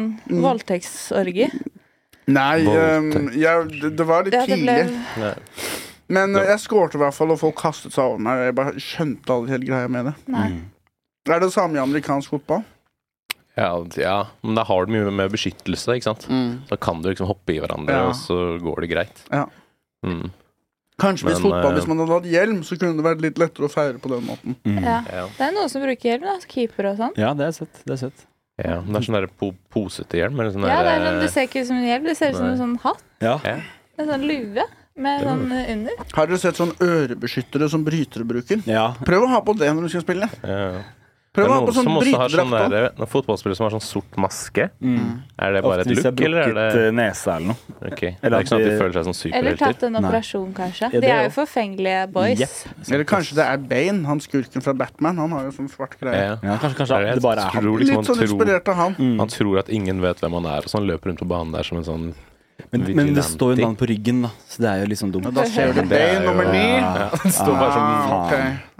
Speaker 4: voldtektsorgi.
Speaker 1: Nei,
Speaker 2: Voldtekt.
Speaker 1: ehm, jeg, det, det var litt
Speaker 4: Ja, det ble
Speaker 1: tidlig. Men eh, jeg skårte i hvert fall, og folk kastet seg over meg. og Jeg bare skjønte aldri helt greia med det.
Speaker 4: Nei.
Speaker 2: Mm.
Speaker 1: Er det samme i amerikansk fotball?
Speaker 2: Ja, ja, men da har du mye med beskyttelse, ikke sant?
Speaker 4: Mm.
Speaker 2: Da kan du liksom hoppe i hverandre,
Speaker 1: Ja.
Speaker 2: og så går det greit.
Speaker 1: Ja.
Speaker 2: Mm,
Speaker 1: Kanskje hvis,
Speaker 2: Men,
Speaker 1: fotball,
Speaker 2: eh,
Speaker 1: hvis man hadde hatt hjelm, så kunne det vært litt lettere å feire på den måten.
Speaker 4: Ja.
Speaker 2: ja.
Speaker 4: Det er noen som bruker hjelm, da. Keeper og sånn.
Speaker 5: Ja, det er søtt. Det er søtt.
Speaker 2: ja, men Det er sånn der po posete hjelm. Eller sånn
Speaker 4: Ja, det, er
Speaker 2: der,
Speaker 4: sånn, det ser ikke ut som en hjelm, det ser ut som en sånn hatt.
Speaker 5: Ja.
Speaker 2: Ja.
Speaker 4: En sånn lue med sånn eh, under.
Speaker 1: Har dere sett sånn ørebeskyttere som brytere bruker?
Speaker 5: ja.
Speaker 1: Prøv å ha på det når du skal spille.
Speaker 2: ja. Det
Speaker 1: Prøv å
Speaker 2: er
Speaker 1: ha
Speaker 2: noen
Speaker 1: på sånn
Speaker 2: som også har sånn
Speaker 1: brytedrakt. også.
Speaker 2: der, noen fotballspillere som har sånn sort maske. Er det bare
Speaker 5: Mm. Ofte
Speaker 2: et
Speaker 5: hvis jeg
Speaker 2: look,
Speaker 5: har
Speaker 2: eller er
Speaker 5: brukket
Speaker 2: det
Speaker 5: eh, nese eller noe.
Speaker 2: Ok, Det
Speaker 5: eller
Speaker 2: er ikke sånn at de
Speaker 5: at de-
Speaker 2: føler seg som
Speaker 4: Eller tatt
Speaker 2: superhelter.
Speaker 4: en
Speaker 5: Nei.
Speaker 4: operasjon, kanskje.
Speaker 5: Ja, det
Speaker 4: De er
Speaker 5: er
Speaker 4: jo forfengelige boys.
Speaker 1: Eller kanskje det er Bane, han skurken fra Batman. Han har jo sånn svart greie.
Speaker 2: Ja.
Speaker 5: Ja, kanskje, kanskje
Speaker 2: Jeg
Speaker 5: det bare er han.
Speaker 2: tror liksom
Speaker 1: Litt
Speaker 2: han
Speaker 1: sånn
Speaker 2: tror,
Speaker 1: inspirert av han.
Speaker 2: han
Speaker 5: Mm.
Speaker 2: tror at ingen vet hvem han er, og så han løper rundt på banen der som en sånn
Speaker 5: Men, men det står jo en mann på ryggen, da. Så det er jo litt sånn
Speaker 1: Og
Speaker 5: dumt.
Speaker 1: da ser du
Speaker 2: Det er
Speaker 1: Bane
Speaker 2: jo-
Speaker 1: nummer ni.
Speaker 2: Ja, det står bare som
Speaker 1: Ah, ok.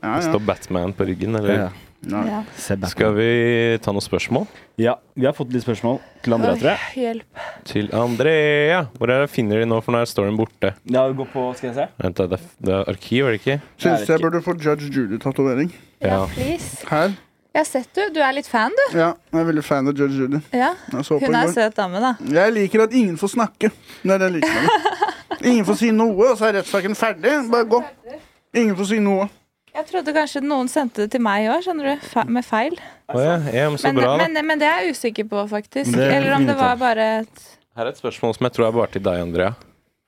Speaker 1: Ja,
Speaker 2: det
Speaker 1: ja.
Speaker 2: står Batman på ryggen, eller?
Speaker 5: Ja.
Speaker 4: Ja.
Speaker 5: Se back.
Speaker 2: Skal vi ta noen spørsmål?
Speaker 5: Ja, vi har fått litt spørsmål til Andrea, tror jeg.
Speaker 4: Oi, Hjelp.
Speaker 2: Til Andrea. Hvor er det finner de nå, for nå er storyen borte.
Speaker 5: Ja, vi går på, skal jeg se.
Speaker 2: Vent, da, det, er- det er arkiv, er det ikke?
Speaker 1: Syns
Speaker 5: Det er
Speaker 1: jeg
Speaker 5: ikke-
Speaker 1: burde få Judge Judy-tatovering.
Speaker 4: Ja,
Speaker 2: Ja.
Speaker 4: please.
Speaker 1: Her.
Speaker 4: Jeg har sett du. Du er litt fan, du.
Speaker 1: Ja, jeg er veldig fan av Judge Judy.
Speaker 4: Ja.
Speaker 1: Jeg så på i
Speaker 4: Hun er
Speaker 1: går.
Speaker 4: søt dame, da.
Speaker 1: Jeg liker at ingen får snakke. Det er det jeg liker med det. Ingen får si noe, og så er rettssaken ferdig. Bare gå. Ingen får si noe.
Speaker 4: Jeg trodde kanskje noen sendte det til meg òg, skjønner du. Fe med feil.
Speaker 2: Å ja, ja, men så
Speaker 4: Men,
Speaker 2: bra, da.
Speaker 4: men, men det er jeg usikker på, faktisk.
Speaker 5: Det er
Speaker 4: Eller om det
Speaker 5: fint, da.
Speaker 4: var bare et
Speaker 2: Her er et spørsmål som jeg tror er bare til deg, Andrea.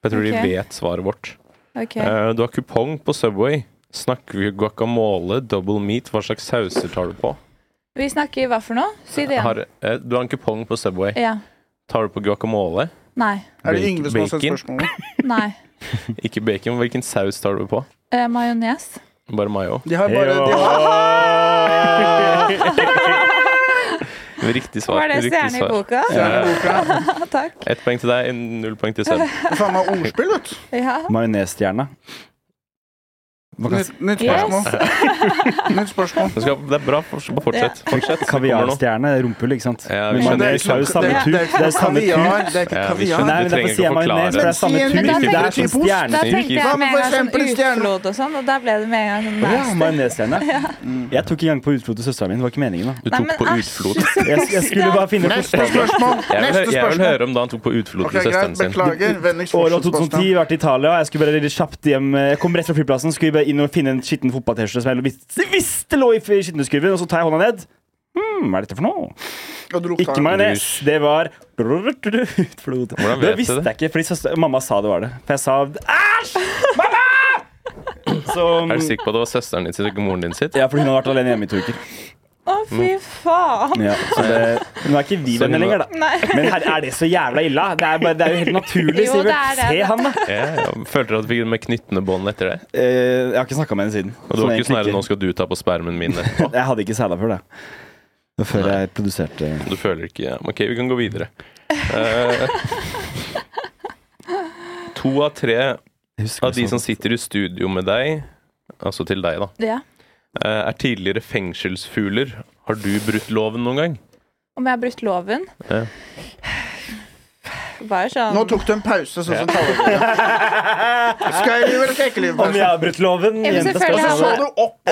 Speaker 2: Jeg tror
Speaker 4: Ok.
Speaker 2: de vet svaret vårt.
Speaker 4: OK.
Speaker 2: Eh, du har kupong på Subway. Snakker vi guacamole, double meat? Hva slags sauser tar du på?
Speaker 4: Vi snakker hva for noe? Si det igjen.
Speaker 2: Har, eh, du har en kupong på Subway.
Speaker 4: Ja.
Speaker 2: Tar du på guacamole?
Speaker 4: Nei.
Speaker 1: Er det
Speaker 2: Bacon-
Speaker 1: Yngve som har sett
Speaker 2: bacon?
Speaker 1: spørsmålet?
Speaker 4: Nei.
Speaker 2: Ikke bacon. Hvilken saus tar du på?
Speaker 4: Eh, Majones.
Speaker 2: Bare mayo.
Speaker 1: De har bare de har,
Speaker 2: Riktig svar.
Speaker 4: Var det
Speaker 2: riktig
Speaker 4: stjerne i
Speaker 2: svar.
Speaker 4: boka?
Speaker 1: de har boka.
Speaker 4: Takk.
Speaker 2: Ett poeng til deg, null poeng til Seb.
Speaker 1: Det er Faen meg ordspill, vet du.
Speaker 4: Ja.
Speaker 5: Majonesstjerna. Man kan
Speaker 1: Nytt, nytt spørsmål.
Speaker 4: Yes.
Speaker 1: Nytt spørsmål.
Speaker 2: Det, skal, det er bra. forts- Fortsett. fortsett. Det kommer nå.
Speaker 5: Kaviarstjerne, rumpehulk, sant?
Speaker 2: Ja,
Speaker 5: men
Speaker 2: vi skjønner.
Speaker 5: man, det er jo samme tut. Det er samme
Speaker 1: kaviar.
Speaker 5: tut.
Speaker 1: Det er ikke
Speaker 2: Ja, vi
Speaker 1: kaviar.
Speaker 2: skjønner.
Speaker 5: Nei, men
Speaker 2: Du trenger
Speaker 5: derfor
Speaker 2: ikke
Speaker 5: sier jeg majones, for det er samme
Speaker 1: forklare.
Speaker 5: tut.
Speaker 4: Men
Speaker 5: Det
Speaker 4: da
Speaker 5: er
Speaker 1: tenker jeg-
Speaker 5: sånn
Speaker 4: Da
Speaker 5: stjernetyp.
Speaker 4: tenkte
Speaker 1: Hva
Speaker 4: jeg
Speaker 1: med
Speaker 4: med en
Speaker 1: for
Speaker 4: gang sånn
Speaker 1: eksempel stjerne?
Speaker 4: utflod og sånn, og da ble det med en gang sånn
Speaker 5: Ja,
Speaker 4: nasty.
Speaker 5: majonesstjerne. Jeg tok ikke engang på utflod til søstera mi. Det var ikke meningen, da.
Speaker 2: Du
Speaker 4: Nei,
Speaker 2: tok
Speaker 4: men
Speaker 2: på
Speaker 4: æsj,
Speaker 2: utflod.
Speaker 4: synes
Speaker 5: Jeg, jeg skulle bare finne
Speaker 1: Neste
Speaker 5: forslag.
Speaker 1: spørsmål.
Speaker 2: Jeg vil,
Speaker 1: Neste
Speaker 2: hø- jeg vil
Speaker 1: spørsmål.
Speaker 2: høre om da han tok på utflod
Speaker 1: Ok,
Speaker 2: til
Speaker 1: greit.
Speaker 2: søsteren sin.
Speaker 1: Beklager. Vennligst
Speaker 5: Året
Speaker 1: fortsett,
Speaker 5: 2010,
Speaker 1: Sebastian.
Speaker 5: vært i Italia. Jeg skulle bare litt kjapt hjem eh, Jeg kom rett fra flyplassen, skulle bare inn og finne en skitten fotballtesje som jeg visste, visste lå i skittentøyskurven, og så tar jeg hånda ned. Hmm, hva er dette for noe?
Speaker 1: Og du lukta
Speaker 5: Ikke
Speaker 1: den.
Speaker 5: majones. Det var utflod.
Speaker 2: Hvordan
Speaker 5: Det
Speaker 2: vet du
Speaker 5: visste
Speaker 2: det?
Speaker 5: jeg ikke, fordi søster, mamma sa det var det. For jeg sa æsj! Mamma! Så
Speaker 2: Er du sikker på at det var søsteren din sitt og ikke moren din sitt?
Speaker 5: ja, fordi hun har vært alene hjemme i to uker.
Speaker 4: Å, fy
Speaker 2: Mm.
Speaker 4: faen.
Speaker 5: Ja, så det, nå er ikke vi
Speaker 2: Så hun
Speaker 5: venner lenger,
Speaker 2: var-
Speaker 5: da.
Speaker 4: Nei.
Speaker 5: Men her, er det så jævla ille? da? Det er, bare, det er jo helt naturlig.
Speaker 4: Jo,
Speaker 5: Sivert.
Speaker 4: det er det.
Speaker 5: Se han, da.
Speaker 2: Ja, ja. Følte du at du fikk det med knyttende bånd etter det?
Speaker 5: Eh, jeg har ikke snakka med henne siden.
Speaker 2: Og det
Speaker 5: Sånn
Speaker 2: var ikke sånn her,
Speaker 5: egentlig
Speaker 2: nå skal du ta på spermen min etterpå.
Speaker 5: Jeg hadde ikke sæla før det. Det var Før jeg produserte
Speaker 2: Du føler ikke ja. OK, vi kan gå videre. Eh, to av tre
Speaker 5: jeg husker
Speaker 2: av de
Speaker 5: ikke
Speaker 2: som
Speaker 5: sånn.
Speaker 2: sitter i studio med deg, altså til deg, da,
Speaker 4: Ja.
Speaker 2: eh, er tidligere fengselsfugler. Har du brutt loven noen gang?
Speaker 4: Om jeg har brutt loven?
Speaker 2: Ja.
Speaker 4: Bare sånn
Speaker 1: Nå tok du en pause, sånn som taler. Skal jeg eller skal jeg ikke lyve?
Speaker 5: Om jeg har brutt loven?
Speaker 4: Ja, men
Speaker 5: jente skal
Speaker 4: selvfølgelig
Speaker 1: Så
Speaker 5: ha
Speaker 4: har
Speaker 1: du opp.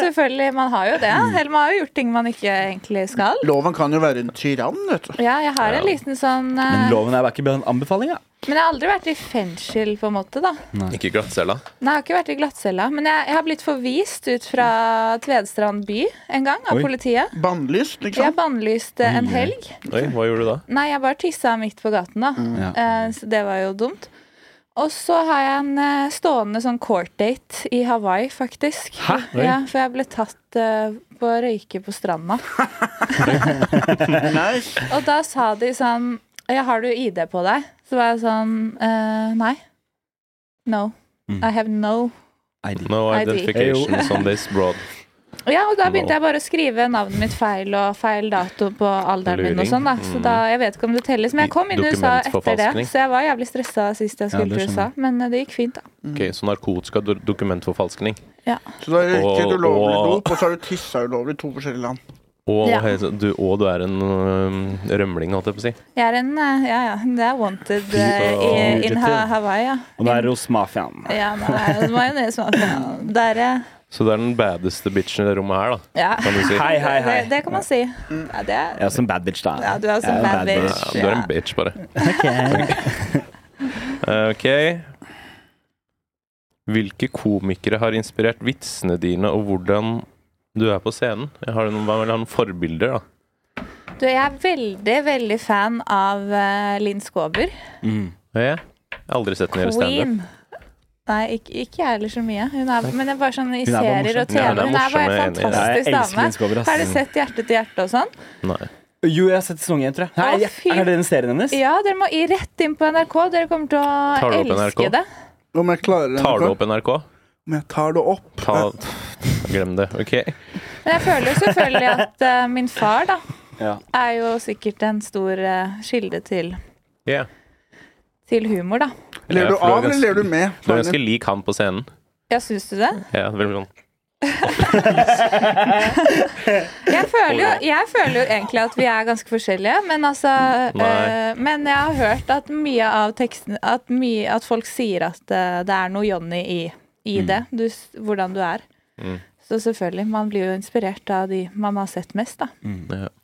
Speaker 4: Selvfølgelig, man har jo det.
Speaker 2: Mm.
Speaker 4: Eller man har jo gjort ting man ikke egentlig skal.
Speaker 1: Loven kan jo være en tyrann, vet du.
Speaker 4: Ja, jeg har
Speaker 2: Ja.
Speaker 4: en liten sånn eh,
Speaker 5: Men loven er ikke en anbefaling, da.
Speaker 4: Men jeg har aldri vært i fengsel, på en måte, da.
Speaker 2: Ikke i glattcella?
Speaker 4: Nei, jeg har ikke vært i glattcella. Men jeg, jeg har blitt forvist ut fra Tvedestrand by en gang av
Speaker 5: Oi. Sånn.
Speaker 4: politiet.
Speaker 1: Bannlyst, liksom.
Speaker 4: Jeg bannlyste eh, en helg.
Speaker 2: Oi, hva gjorde du da?
Speaker 4: Nei, jeg bare tissa midt på gaten, da.
Speaker 5: Mm. Ja.
Speaker 4: Eh, Så det var jo dumt. Og så har jeg en eh, stående sånn court-date i Hawaii, faktisk.
Speaker 5: Hæ? Oi.
Speaker 4: Ja, For jeg ble tatt eh, på å røyke på stranda.
Speaker 1: Nice.
Speaker 4: Og da sa de sånn ja, 'Har du ID på deg?' Så var jeg sånn eh, Nei. No.
Speaker 5: Mm.
Speaker 4: I have no.
Speaker 2: No
Speaker 4: ID.
Speaker 2: identification on this broad.
Speaker 4: Ja, og da
Speaker 2: No.
Speaker 4: begynte jeg bare å skrive navnet mitt feil og feil dato på alderen min og
Speaker 2: Luring.
Speaker 4: sånn, da. Så
Speaker 2: Mm.
Speaker 4: da, jeg vet ikke om det telles. Men jeg kom inn i USA etter det,
Speaker 2: Dokumentforfalskning.
Speaker 4: så jeg var jævlig stressa sist jeg
Speaker 5: Ja, det
Speaker 4: skulle til USA.
Speaker 5: skjønner
Speaker 4: Men eh, det gikk fint, da.
Speaker 2: Ok, Så narkotika, do- dokumentforfalskning
Speaker 1: Så da røyker du
Speaker 2: Og-
Speaker 1: ulovlig
Speaker 2: og-
Speaker 1: dop, og så har du tissa ulovlig i to forskjellige land.
Speaker 2: og,
Speaker 4: Ja.
Speaker 2: hei, så du, og du er en øhm, rømling, holdt jeg på å si.
Speaker 4: Jeg er en eh, Ja, ja. Det er wanted eh, i, in ha Hawaii, ja.
Speaker 5: Og nå er det hos mafiaen.
Speaker 4: Ja, nå er det majones. Der, eh,
Speaker 2: Så du er den baddeste bitchen i det rommet her, da.
Speaker 4: ja.
Speaker 2: Kan du si.
Speaker 5: Hei, hei, hei.
Speaker 4: Det, det kan man si. Ja, det er,
Speaker 5: Jeg er som bad bitch, da.
Speaker 4: ja du er
Speaker 5: Jeg
Speaker 4: sånn
Speaker 5: er
Speaker 4: bad bitch.
Speaker 2: Ja, du er
Speaker 4: Ja.
Speaker 2: en bitch, bare.
Speaker 5: Ok.
Speaker 2: Eh, Ok. Hvilke komikere har inspirert vitsene dine, og hvordan du er på scenen? Jeg har noen, hva- eller noen forbilder, da.
Speaker 4: Du, jeg er veldig, veldig fan av eh, Linn Skåber.
Speaker 5: Mm.
Speaker 2: Ja, Jeg har aldri sett henne gjøre standup.
Speaker 4: Queen. Nei, ikke, ikke jeg heller så mye. Hun er, men det er bare sånn i
Speaker 5: Hun er bare
Speaker 4: serier
Speaker 5: morsom.
Speaker 4: og TV.
Speaker 2: Ja, hun er
Speaker 4: Hun er
Speaker 2: morsom,
Speaker 4: bare
Speaker 2: jeg er
Speaker 4: en
Speaker 5: Ja, jeg
Speaker 2: enig i det.
Speaker 4: fantastisk
Speaker 5: elsker Linn
Speaker 4: dame.
Speaker 5: Skåber,
Speaker 4: Har du
Speaker 5: ass.
Speaker 4: sett Hjerte til hjerte og sånn?
Speaker 2: Nei.
Speaker 5: Jo, jeg har sett sesong én, tror jeg. Nei,
Speaker 4: Å,
Speaker 5: jeg-
Speaker 4: fy-
Speaker 5: er det den serien hennes?
Speaker 4: Ja, dere må i rett inn på NRK. Dere kommer til
Speaker 2: Tar du
Speaker 4: å
Speaker 2: opp
Speaker 4: elske
Speaker 2: NRK?
Speaker 4: det.
Speaker 1: Om jeg klarer det,
Speaker 2: Tar du
Speaker 1: Nicole?
Speaker 2: opp NRK?
Speaker 1: Om jeg tar det opp.
Speaker 2: Ta, glem det. Ok.
Speaker 4: Men jeg føler jo selvfølgelig at eh, min far da
Speaker 5: Ja.
Speaker 4: er jo sikkert en stor eh, kilde til,
Speaker 2: Yeah.
Speaker 4: til humor, da.
Speaker 1: Ler
Speaker 2: Ja,
Speaker 1: du av,
Speaker 2: for det er
Speaker 1: eller
Speaker 2: ganske-
Speaker 1: ler du med?
Speaker 2: Du er ganske lik han på scenen.
Speaker 4: Ja, syns du det?
Speaker 2: Ja, veldig sånn.
Speaker 4: Jeg føler, jo, jeg føler jo egentlig at vi er ganske forskjellige, men altså
Speaker 2: Nei.
Speaker 4: eh, Men jeg har hørt at mye av teksten At, mye, at folk sier at eh, det er noe Johnny i, i
Speaker 5: Mm.
Speaker 4: det. Du, s- hvordan du er.
Speaker 2: Mm.
Speaker 4: Så selvfølgelig. Man blir jo inspirert av de man har sett mest, da.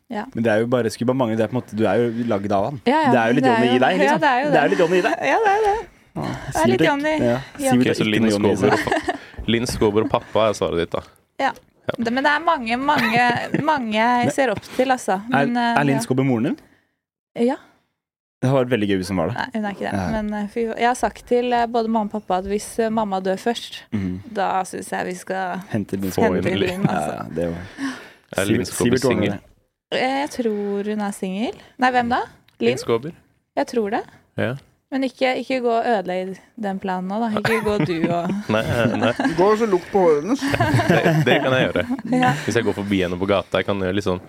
Speaker 2: Ja.
Speaker 5: Men det er jo bare skulle bare mangle. Det er på en måte, du er jo lagd av han.
Speaker 4: Ja, ja,
Speaker 5: det er jo litt
Speaker 4: det er
Speaker 5: Johnny i
Speaker 4: jo-
Speaker 5: deg,
Speaker 4: ja,
Speaker 5: liksom.
Speaker 4: det er jo
Speaker 5: det er
Speaker 4: det.
Speaker 5: litt Johnny i deg.
Speaker 4: Ja, det er det. Det er litt
Speaker 5: Sivert-
Speaker 4: Johnny.
Speaker 5: Ja.
Speaker 4: Ja.
Speaker 5: Sivert
Speaker 2: Ok,
Speaker 5: er
Speaker 2: så
Speaker 5: ikke
Speaker 2: Linn
Speaker 5: noe Johnny i seg.
Speaker 2: Skåber, og pa- Linn Skåber og pappa er svaret ditt, da.
Speaker 4: Ja. Det, men det er mange, mange, mange jeg ser opp til, altså.
Speaker 5: Er,
Speaker 4: Men, eh,
Speaker 5: er Linn
Speaker 4: ja.
Speaker 5: Skåber moren din?
Speaker 4: Ja.
Speaker 5: Det hadde vært veldig gøy hvis hun var det.
Speaker 4: Nei, hun er ikke det.
Speaker 5: Nei.
Speaker 4: Men eh, fy, jeg har sagt til eh, både mamma og pappa at hvis eh, mamma dør først,
Speaker 5: Mm.
Speaker 4: da syns jeg vi skal
Speaker 5: Henter Linn
Speaker 2: Få
Speaker 5: Skåber.
Speaker 2: inn
Speaker 4: hente
Speaker 2: Linn.
Speaker 4: Linn, altså.
Speaker 5: Ja, ja, det var.
Speaker 2: Er Linn
Speaker 5: Sivert-
Speaker 2: Skåber
Speaker 5: Sivert ordner
Speaker 2: singel?
Speaker 5: det.
Speaker 4: Eh, Jeg tror hun er singel. Nei, hvem da?
Speaker 2: Linn
Speaker 4: Linn?
Speaker 2: Skåber?
Speaker 4: Jeg tror det.
Speaker 2: Ja.
Speaker 4: Men ikke, ikke gå og ødelegge den planen nå, da. Ikke gå du og
Speaker 2: Nei, nei,
Speaker 1: Gå og så lukt på håret hennes.
Speaker 2: det, det kan jeg gjøre.
Speaker 4: Ja.
Speaker 2: Hvis jeg går forbi henne på gata, jeg kan gjøre litt sånn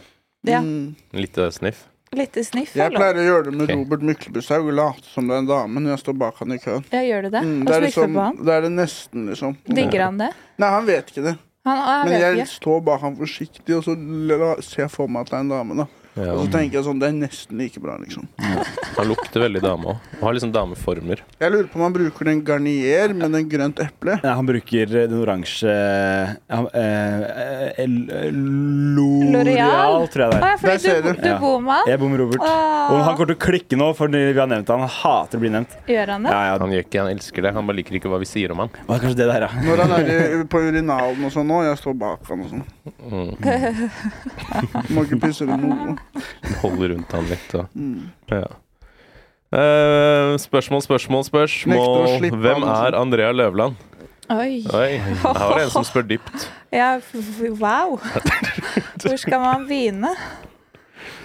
Speaker 4: ja.
Speaker 1: Mm.
Speaker 2: litt eh, sniff.
Speaker 4: Lite sniff,
Speaker 1: Jeg
Speaker 4: eller?
Speaker 1: pleier å gjøre det med
Speaker 2: Ok.
Speaker 1: Robert Myklebusthaug og late som det er en dame når jeg står bak han i køen.
Speaker 4: Ja, gjør du det?
Speaker 1: Mm, det,
Speaker 4: Og så
Speaker 1: er
Speaker 4: liksom,
Speaker 1: liksom,
Speaker 4: på han?
Speaker 1: det er det nesten, liksom.
Speaker 4: Digger han det?
Speaker 1: Nei, han vet ikke det.
Speaker 4: Han, å, jeg
Speaker 1: Men
Speaker 4: vet
Speaker 1: jeg
Speaker 4: ikke.
Speaker 1: står bak han forsiktig, og så la- ser jeg for meg at det er en dame. da
Speaker 2: Ja.
Speaker 1: Og så tenker jeg sånn, det er nesten like bra, liksom.
Speaker 2: Han lukter veldig dame òg. Har liksom dameformer.
Speaker 1: Jeg lurer på om han bruker den garnier med den grønt eple.
Speaker 5: Nei, han bruker eh, den oransje eh, han, eh, eh, L-
Speaker 4: L'Oreal?
Speaker 5: L'Oreal, tror jeg det
Speaker 4: Å,
Speaker 5: er.
Speaker 4: ja,
Speaker 1: Der
Speaker 4: fordi
Speaker 1: ser
Speaker 4: du,
Speaker 1: du.
Speaker 4: du
Speaker 5: Ja.
Speaker 4: bor med han?
Speaker 5: Jeg bor med Robert.
Speaker 4: Åh.
Speaker 5: Og han kommer til å klikke nå, for vi har nevnt han. Han hater å bli nevnt.
Speaker 4: Gjør han det?
Speaker 5: Ja, ja.
Speaker 2: Han gjør ikke, han elsker det. Han bare liker ikke hva vi sier om han.
Speaker 5: Hva er kanskje det der, ja?
Speaker 1: Når han er i, på urinalen og sånn nå, jeg står bak han og sånn.
Speaker 2: Mm.
Speaker 1: Må ikke pisse det noe.
Speaker 2: Holder rundt han litt. Og.
Speaker 4: Mm.
Speaker 2: Ja. Eh, spørsmål, spørsmål,
Speaker 1: Nekter å
Speaker 2: spørsmål.
Speaker 1: slippe
Speaker 2: Hvem
Speaker 1: han, altså.
Speaker 2: er Andrea Løvland?
Speaker 4: Oi.
Speaker 2: Oi, her var det en som spør dypt.
Speaker 4: Ja, f- f- wow. Hvor skal man begynne?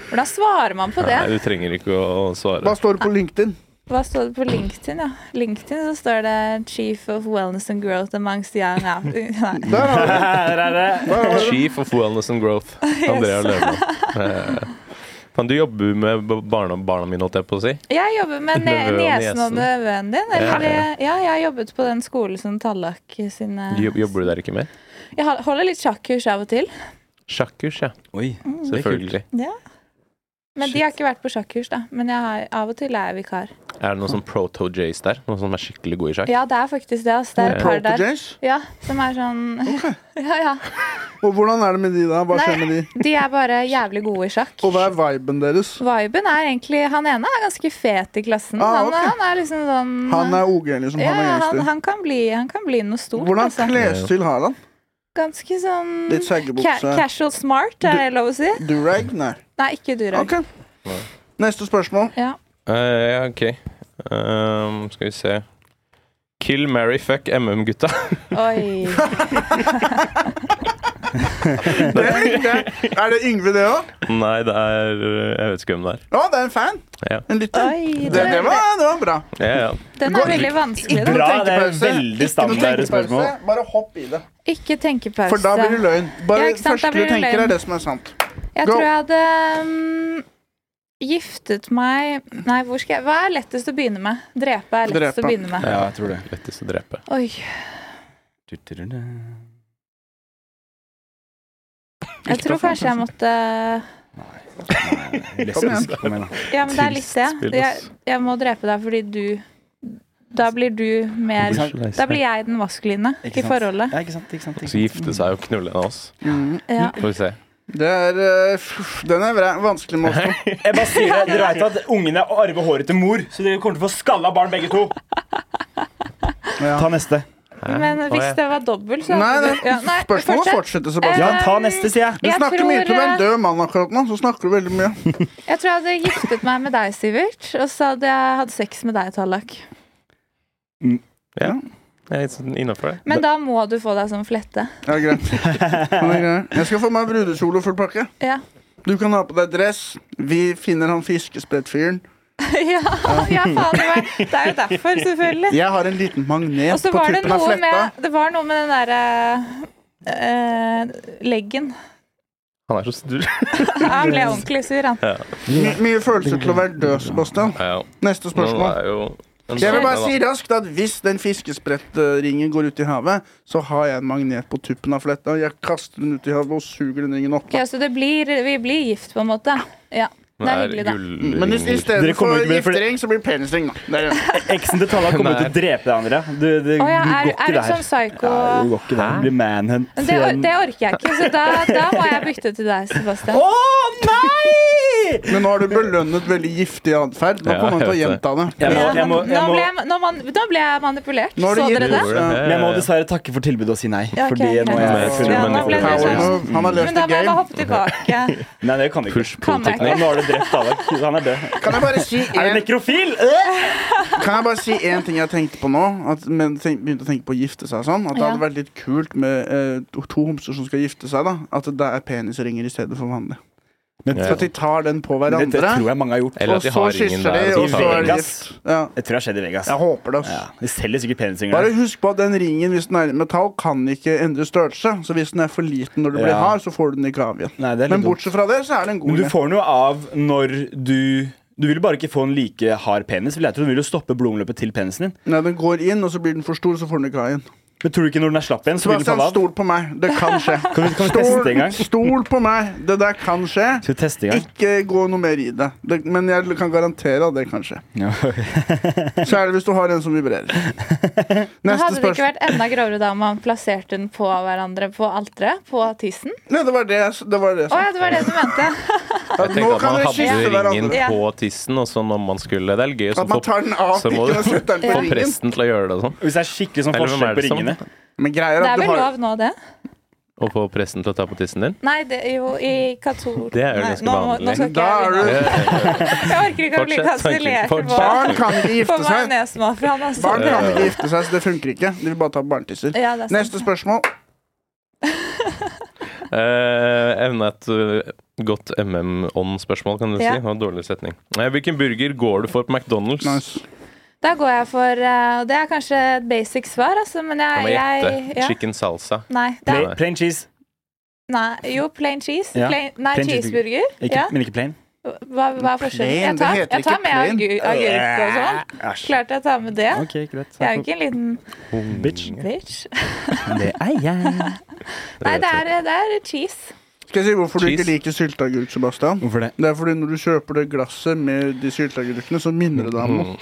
Speaker 4: Hvordan svarer man på det?
Speaker 2: Nei, du trenger ikke å svare.
Speaker 1: Hva står det på LinkedIn?
Speaker 4: Hva står det på LinkedIn? ja? LinkedIn så står det 'Chief of Wellness and Growth amongst young out'. Nei.
Speaker 1: Der har vi det.
Speaker 5: Her er det.
Speaker 1: Der har vi det.
Speaker 2: Chief of Wellness and Growth, Andrea Løvland. Eh, Kan du jobbe med b- barna, barna mine, holdt jeg på å si?
Speaker 4: Jeg jobber med ne
Speaker 2: Nevø og
Speaker 4: nesen og
Speaker 2: nesen.
Speaker 4: nevøen din. Eller,
Speaker 2: Ja, ja.
Speaker 4: eh, ja, jeg har jobbet på den skolen som Tallak sine
Speaker 2: Jobb- Jobber du der ikke mer?
Speaker 4: Jeg hol- holder litt sjakkurs av og til.
Speaker 2: Sjakkurs, ja.
Speaker 5: Oi.
Speaker 2: Selvfølgelig.
Speaker 4: Ja. Men de har ikke vært på sjakkurs, da. Men jeg har, av og til er jeg vikar.
Speaker 2: Er det noen sånn proto-jays der? Noen som er skikkelig gode i sjakk?
Speaker 4: Ja, det er faktisk det. ass. Det er et par der.
Speaker 1: Protojays?
Speaker 4: Ja, som er sånn Ja, ja.
Speaker 1: Og hvordan er det med de da? Hva skjer
Speaker 4: Nei.
Speaker 1: med de?
Speaker 4: De er bare jævlig gode i sjakk.
Speaker 1: Og hva er viben deres?
Speaker 4: Viben er egentlig Han ene er ganske fet i klassen.
Speaker 1: Ah,
Speaker 4: han,
Speaker 1: ok.
Speaker 4: han er liksom sånn
Speaker 1: Han er OG, liksom.
Speaker 4: ja,
Speaker 1: Han er
Speaker 4: ja, han,
Speaker 1: gangster.
Speaker 4: han, kan bli, han kan bli noe stort.
Speaker 1: Hvordan
Speaker 4: altså.
Speaker 1: klesstil har han?
Speaker 4: Ganske sånn
Speaker 1: Litt
Speaker 4: ca
Speaker 1: seggebukse?
Speaker 4: casual smart, er det lov å si?
Speaker 1: Durag? Nei.
Speaker 4: Nei, ikke durag.
Speaker 1: Ok. Neste spørsmål.
Speaker 4: Ja.
Speaker 2: Eh, ja, ok. Ehm, skal vi se Kill, marry, fuck MM-gutta.
Speaker 4: Oi.
Speaker 1: Det er, Yngve. er det Yngve, det òg?
Speaker 2: Nei, det er Jeg vet ikke hvem det er.
Speaker 1: Å, det er en fan.
Speaker 2: Ja.
Speaker 1: En lytter.
Speaker 4: Oi
Speaker 1: Det,
Speaker 4: den,
Speaker 1: det, var, det var bra.
Speaker 2: Ja, ja.
Speaker 4: den
Speaker 1: Gå-
Speaker 4: er veldig vanskelig,
Speaker 1: Ikke
Speaker 4: da.
Speaker 5: Bra,
Speaker 1: noe
Speaker 5: det er
Speaker 1: tenkepause.
Speaker 5: veldig
Speaker 1: Ikke noe
Speaker 5: standard
Speaker 1: tenkepause.
Speaker 5: spørsmål.
Speaker 1: Bare hopp i det.
Speaker 4: Ikke tenkepause.
Speaker 1: For da blir det løgn.
Speaker 4: Ja,
Speaker 1: Bare
Speaker 4: ikke sant, da
Speaker 1: første
Speaker 4: blir
Speaker 1: du
Speaker 4: det
Speaker 1: tenker,
Speaker 4: løgn.
Speaker 1: er det som er sant.
Speaker 4: Jeg
Speaker 1: Go.
Speaker 4: tror jeg hadde mm, giftet meg Nei, hvor skal jeg Hva er lettest å begynne med? Drepe er lettest
Speaker 1: Drepe.
Speaker 4: å begynne med.
Speaker 5: Ja, jeg tror det.
Speaker 2: Lettest å drepe.
Speaker 4: Oi. Jeg tror kanskje jeg måtte
Speaker 5: Lesbisk. Kom igjen, da.
Speaker 4: Ja, men det er litt det. Jeg, jeg må drepe deg fordi du Da blir du mer
Speaker 5: Ikke
Speaker 4: Da blir jeg den maskuline
Speaker 5: Ikke
Speaker 4: i
Speaker 5: sant?
Speaker 4: forholdet.
Speaker 5: Ja, ikke sant, ikke sant, ikke
Speaker 2: Så
Speaker 5: sant.
Speaker 2: gifte seg og knulle en av oss.
Speaker 4: Ja.
Speaker 2: Får vi se.
Speaker 1: Mm. Det er, eh, pff, den er vre- vanskelig med oss.
Speaker 5: Jeg bare sier det, Dere vet at ungene arver håret til mor, så dere kommer til å få skalla barn begge to. Ta neste.
Speaker 2: Hæ?
Speaker 4: Men
Speaker 2: Å,
Speaker 4: hvis
Speaker 2: ja.
Speaker 4: det var dobbelt, så
Speaker 1: Nei,
Speaker 4: hadde
Speaker 1: det,
Speaker 4: du- ja, nei,
Speaker 1: spørsmålet
Speaker 4: fortsett. Eh,
Speaker 1: fortsetter, Sebastian.
Speaker 5: Ja, ta neste, sier
Speaker 1: Du
Speaker 5: jeg.
Speaker 4: jeg
Speaker 1: snakker mye til
Speaker 4: tror,
Speaker 1: en
Speaker 4: eh,
Speaker 1: død mann akkurat nå, så snakker du veldig mye.
Speaker 4: Jeg tror jeg hadde giftet meg med deg, Sivert. Og så hadde jeg hatt sex med deg, Tallak.
Speaker 2: Jeg er litt sånn innenfor det.
Speaker 4: Men da må du få deg sånn flette.
Speaker 1: Ja, greit. Ja, det er greit. Jeg skal få meg brudekjole og full pakke.
Speaker 4: Ja.
Speaker 1: Du kan ha på deg dress. Vi finner han fiskesprettfyren.
Speaker 4: ja, ja, faen, det, var, det er jo derfor, selvfølgelig.
Speaker 1: Jeg har en liten
Speaker 4: Og
Speaker 1: magnet
Speaker 4: så
Speaker 1: på
Speaker 4: var det
Speaker 1: tuppen av
Speaker 4: noe
Speaker 1: fletta.
Speaker 4: med Det var noe med den derre leggen.
Speaker 2: Han er så stur.
Speaker 4: Han ble ordentlig sur, han.
Speaker 1: My, mye følelser til å være død, Sebastian.
Speaker 2: Ja, ja.
Speaker 1: Neste
Speaker 2: Nå
Speaker 1: spørsmål.
Speaker 2: er jo en
Speaker 1: Jeg vil bare
Speaker 2: dame,
Speaker 1: si raskt at hvis den fiskesprettringen går ut i havet, så har jeg en magnet på tuppen av fletta. Jeg kaster den ut i havet og suger den ringen opp.
Speaker 4: Ok, så det blir, vi blir gift, på en måte. Ja,
Speaker 2: da.
Speaker 4: Det er
Speaker 2: Det
Speaker 4: hyggelig,
Speaker 2: er
Speaker 4: da.
Speaker 2: gullringer.
Speaker 1: Mm. Men i i stedet
Speaker 5: Dere kommer
Speaker 1: for
Speaker 5: ikke med-
Speaker 1: giftering, så blir det penisring, da. Det er det.
Speaker 5: Eksen til Talla kommer til å drepe deg, Andrea. Du, det,
Speaker 4: Å ja,
Speaker 5: du
Speaker 4: er,
Speaker 5: går
Speaker 4: er
Speaker 5: ikke
Speaker 4: det
Speaker 5: der.
Speaker 4: sånn psycho
Speaker 5: Ja, du går ikke der. Du blir manhunt.
Speaker 4: Men det, or- det orker jeg ikke, så da, da må jeg bytte til deg, Sebastian.
Speaker 5: Å nei!
Speaker 1: Men nå har du belønnet veldig giftig atferd. Nå
Speaker 2: Ja,
Speaker 1: kommer han til å
Speaker 2: jeg vet
Speaker 1: gjenta
Speaker 2: det.
Speaker 1: det.
Speaker 5: Jeg må,
Speaker 4: Ja,
Speaker 5: jeg må,
Speaker 4: nå,
Speaker 5: jeg må,
Speaker 4: ble jeg, nå, man, nå ble jeg manipulert.
Speaker 1: Nå har du
Speaker 4: Så dere
Speaker 1: gitt
Speaker 4: det?
Speaker 2: Gjorde det?
Speaker 5: men jeg må dessverre takke for tilbudet og si nei.
Speaker 4: Ja, ok,
Speaker 5: Fordi nå
Speaker 4: greit.
Speaker 5: er jeg full
Speaker 4: Ja, nå ble det
Speaker 1: Power
Speaker 4: sånn.
Speaker 5: manipulation.
Speaker 1: move. Han har
Speaker 4: Men
Speaker 1: løst
Speaker 4: da
Speaker 1: the
Speaker 4: må jeg bare
Speaker 1: game.
Speaker 4: hoppe tilbake.
Speaker 5: Nei, det kan du ikke.
Speaker 2: Push
Speaker 4: Kan jeg
Speaker 5: Nei,
Speaker 2: pull-teknikk.
Speaker 5: nå har du drept Talla. Han er død.
Speaker 1: Kan jeg bare si
Speaker 5: Er du
Speaker 1: en
Speaker 5: nekrofil?
Speaker 1: Kan jeg bare si én ting jeg tenkte på nå? At men tenk, begynte å tenke på å gifte seg og sånn. At det
Speaker 4: Ja.
Speaker 1: hadde vært litt kult med eh, to- to homser som skal gifte seg. da At det er penisringer i stedet for vanlig.
Speaker 5: Men
Speaker 1: Så at de tar den på hverandre.
Speaker 5: dette tror jeg mange har gjort.
Speaker 2: Eller at de
Speaker 1: og så
Speaker 2: har ringen
Speaker 1: kysser
Speaker 2: der.
Speaker 1: de,
Speaker 2: og
Speaker 1: og
Speaker 2: så
Speaker 1: så
Speaker 2: tar
Speaker 1: er de
Speaker 2: de den.
Speaker 5: Vegas.
Speaker 1: gift. Ja.
Speaker 5: Jeg tror det har skjedd i Vegas.
Speaker 1: Jeg håper det. ass.
Speaker 5: Ja, de selger sikkert penisringer.
Speaker 1: Bare husk på at den ringen, hvis den er i metall, kan ikke endre størrelse. Så hvis den er for liten når du blir
Speaker 5: Ja.
Speaker 1: hard, så får du den ikke av igjen.
Speaker 5: Nei, det er litt
Speaker 1: Men bortsett fra det, så er det en god
Speaker 5: Men du
Speaker 1: idé.
Speaker 5: får noe av når du Du vil bare ikke få en like hard penis. Vil jeg tro. Du vil jo stoppe blodomløpet til penisen din.
Speaker 1: Nei, den går inn, og så blir den for stor, så får den ikke av igjen.
Speaker 5: Men tror du ikke når den er slapp igjen, så vil den
Speaker 1: Sebastian,
Speaker 5: falle av?
Speaker 1: stol på meg. Det kan skje.
Speaker 5: Kan vi, kan vi teste en gang?
Speaker 1: Stol, stol på meg. Det der kan skje.
Speaker 5: Skal vi teste en gang?
Speaker 1: Ikke gå noe mer i det. det. Men jeg kan garantere at det kan skje.
Speaker 5: Ja.
Speaker 1: Særlig hvis du har en som vibrerer.
Speaker 4: Men
Speaker 1: Neste
Speaker 4: hadde det ikke
Speaker 1: spørsmål.
Speaker 4: vært enda grovere da om man plasserte den på hverandre på alteret? På tissen?
Speaker 1: Nei, det var det jeg s- det var det jeg
Speaker 4: Å
Speaker 1: sa.
Speaker 4: ja, det var det du mente.
Speaker 1: At
Speaker 2: Jeg
Speaker 1: Nå
Speaker 2: tenkte at
Speaker 1: kan
Speaker 2: man
Speaker 1: dere kysse
Speaker 2: hadde ringen
Speaker 1: hverandre.
Speaker 4: Ja.
Speaker 2: på tissen, og så når man skulle Det er litt gøy. Så
Speaker 1: At man
Speaker 2: få,
Speaker 1: tar den av,
Speaker 2: så må
Speaker 1: ikke
Speaker 2: du-
Speaker 1: setter den
Speaker 2: få
Speaker 1: på ringen.
Speaker 2: presten til å gjøre det og sånn.
Speaker 5: Hvis det er skikkelig sånn
Speaker 2: Eller hvem
Speaker 5: forskjell på
Speaker 2: er det som-
Speaker 5: ringene.
Speaker 1: Men greier
Speaker 4: Det
Speaker 1: at
Speaker 4: er
Speaker 1: du
Speaker 4: vel
Speaker 1: har
Speaker 4: lov nå, det?
Speaker 2: Å få presten til å ta på tissen din.
Speaker 4: Nei, det er jo i katol...
Speaker 2: Det er jo
Speaker 4: Nei,
Speaker 2: ganske
Speaker 4: nå, må- Nå
Speaker 2: vanlig.
Speaker 4: skal ikke
Speaker 1: Da
Speaker 4: jeg
Speaker 1: er
Speaker 4: begynne.
Speaker 1: du
Speaker 2: Eh,
Speaker 4: Jeg orker ikke å bli
Speaker 2: Fortsett,
Speaker 4: kansellert
Speaker 2: Sankin,
Speaker 4: på,
Speaker 2: fortsett.
Speaker 1: Barn kan ikke
Speaker 4: på
Speaker 1: gifte seg.
Speaker 4: majonesmafiaen. Altså.
Speaker 1: Barn kan ikke gifte seg, så det funker ikke. De vil bare ta barnetisser.
Speaker 4: Ja, det er sant.
Speaker 1: Neste spørsmål.
Speaker 2: Eh, evne et eh, godt MM-ånd-spørsmål, kan du si.
Speaker 4: Ja.
Speaker 2: Det var en dårlig setning. Eh, hvilken burger går du for på McDonald's?
Speaker 1: Nice.
Speaker 4: Da går jeg for eh, og Det er kanskje et basic svar, altså, men
Speaker 2: Jeg
Speaker 4: jeg,
Speaker 2: må
Speaker 4: jeg
Speaker 2: gjette.
Speaker 4: ja.
Speaker 2: Chicken salsa.
Speaker 4: Nei, det er,
Speaker 5: Plain, plain cheese.
Speaker 4: nei. Jo, plain cheese.
Speaker 5: Ja.
Speaker 4: Plain, nei,
Speaker 5: Plain
Speaker 4: cheeseburger.
Speaker 5: Ikke,
Speaker 4: Ja.
Speaker 5: Men ikke plain.
Speaker 4: Hva, hva er forskjellen?
Speaker 1: Plain,
Speaker 4: Jeg
Speaker 1: det
Speaker 4: tar,
Speaker 1: heter
Speaker 4: jeg tar
Speaker 1: ikke
Speaker 4: med
Speaker 1: plain.
Speaker 4: agur- agurk og sånn.
Speaker 5: Æsj.
Speaker 4: Klart jeg tar med det.
Speaker 5: Ok, greit.
Speaker 4: Jeg er jo ikke en liten
Speaker 5: Bitch.
Speaker 4: bitch.
Speaker 5: Det er jeg.
Speaker 4: Nei, det er, det er cheese.
Speaker 1: Skal jeg si hvorfor du ikke
Speaker 2: Cheese.
Speaker 1: liker sylteagurk, Sebastian?
Speaker 5: Hvorfor det?
Speaker 1: Det er fordi når du kjøper det glasset med de sylteagurkene, så minner det deg
Speaker 2: Mm.
Speaker 1: om noe.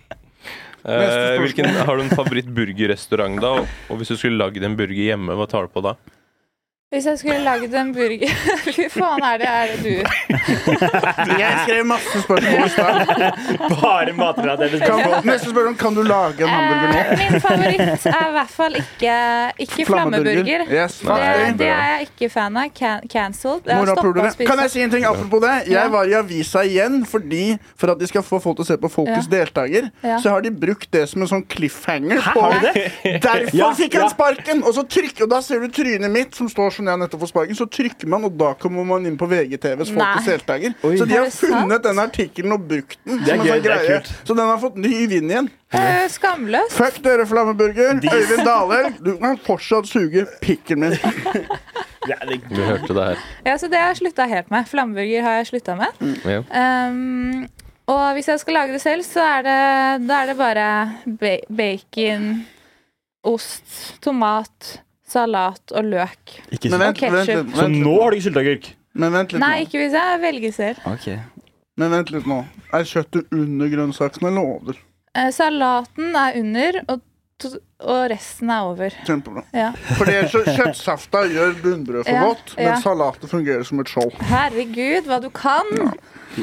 Speaker 2: Eh, hvilken, har du en favorittburgerrestaurant, da? Og, og hvis du skulle lagd en burger hjemme, hva tar du på da?
Speaker 4: Hvis jeg skulle laget en burger Fy faen, er det, er det du?
Speaker 1: Jeg skrev masse spørsmål i stad.
Speaker 5: Bare matrelaterte spørsmål.
Speaker 1: Kan- Neste spørsmål kan du lage en hamburger nå.
Speaker 4: Eh, min favoritt er i hvert fall ikke, ikke flammeburger.
Speaker 1: Yes, fuck
Speaker 4: Det,
Speaker 1: det.
Speaker 4: det er jeg ikke fan av. Can cancelled. Jeg har stoppet å
Speaker 1: Morapulere.
Speaker 4: spise.
Speaker 1: Kan jeg si en ting apropos det?
Speaker 4: Ja.
Speaker 1: Jeg var i avisa igjen fordi for at de skal få folk til å se på Folkets deltaker.
Speaker 4: Ja.
Speaker 1: Så har de brukt det som en sånn cliffhanger. På.
Speaker 5: Har du det?
Speaker 1: Derfor
Speaker 5: Ja,
Speaker 1: fikk han
Speaker 5: ja.
Speaker 1: sparken! Og så trykker, og da ser du trynet mitt, som står sånn jeg nettopp får sparken. Så trykker man, og da kommer man inn på VGTVs Folkets
Speaker 4: Nei.
Speaker 1: deltaker.
Speaker 5: Oi.
Speaker 1: Så de
Speaker 4: Er
Speaker 1: har
Speaker 4: det sant?
Speaker 1: funnet den artikkelen og brukt den.
Speaker 5: Det er
Speaker 1: som en
Speaker 5: gøy,
Speaker 1: sånn
Speaker 5: det er
Speaker 1: greie.
Speaker 5: kult.
Speaker 1: Så den har fått ny vind igjen.
Speaker 4: Eh, skamløs.
Speaker 1: Fuck dere, Flammeburger.
Speaker 5: De-
Speaker 1: Øyvind Dahlhaug, du kan fortsatt suge pikken min.
Speaker 5: Ja, det
Speaker 2: Du hørte det her.
Speaker 4: Ja, så det har jeg slutta helt med. Flammeburger har jeg slutta med.
Speaker 1: Mm.
Speaker 2: Ja.
Speaker 4: Um, og hvis jeg skal lage det selv, så er det, da er det bare ba bacon, ost, tomat, salat og løk.
Speaker 5: ikke
Speaker 1: Men vent,
Speaker 5: sant.
Speaker 1: vent,
Speaker 4: Og ketchup.
Speaker 1: litt-
Speaker 5: Så
Speaker 1: vent,
Speaker 5: nå
Speaker 1: litt-
Speaker 5: har du ikke sylteagurk?
Speaker 1: men vent litt nå.
Speaker 4: Nei, ikke hvis jeg velger selv.
Speaker 5: Okay.
Speaker 1: Men vent litt nå. Er kjøttet under grønnsakene eller over?
Speaker 4: Eh, salaten er under, og, to- og resten er over.
Speaker 1: Kjempebra.
Speaker 4: Ja.
Speaker 1: For det er så kjøttsafta gjør bunnbrød for
Speaker 4: Ja,
Speaker 1: godt, men
Speaker 4: ja.
Speaker 1: salatet fungerer som et skjold.
Speaker 4: Herregud, hva du kan!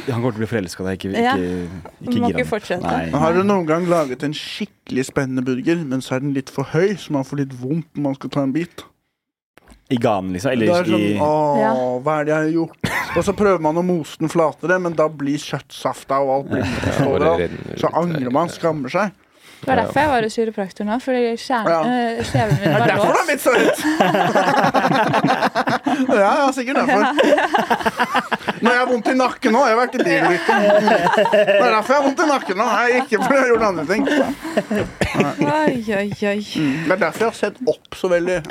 Speaker 5: Han kommer til å bli forelska i deg. Ikke,
Speaker 4: Ja.
Speaker 5: ikke, ikke
Speaker 4: Må
Speaker 5: gir
Speaker 4: ikke
Speaker 5: han.
Speaker 4: fortsette.
Speaker 5: Nei.
Speaker 1: Men Har du noen gang laget en skikkelig spennende burger, men så er den litt for høy, så man får litt vondt når man skal ta en bit?
Speaker 5: I ganen, liksom?
Speaker 1: Det
Speaker 5: Eller
Speaker 1: er sånn,
Speaker 5: i
Speaker 4: Ja.
Speaker 1: åh, hva er det jeg har gjort? Og så prøver man å mose den flatere, men da blir kjøttsafta og alt blir
Speaker 2: Bare
Speaker 1: over.
Speaker 2: renner ut
Speaker 1: Så angrer man,
Speaker 2: der.
Speaker 1: skammer seg.
Speaker 4: Det var derfor jeg var hos kiropraktor nå, fordi kjern-
Speaker 1: Ja.
Speaker 4: eh, kjeven
Speaker 1: Det
Speaker 4: min
Speaker 1: er
Speaker 4: var
Speaker 1: derfor det
Speaker 4: låst.
Speaker 1: er blitt så høyt! ja, ja, sikkert derfor. Når jeg har vondt i nakken nå, jeg har vært i bilulykke. Det er derfor jeg har vondt i nakken nå. Jeg ikke fordi jeg har gjort andre ting. Mm.
Speaker 4: Oi, oi, oi.
Speaker 1: Det er derfor jeg har sett opp så veldig.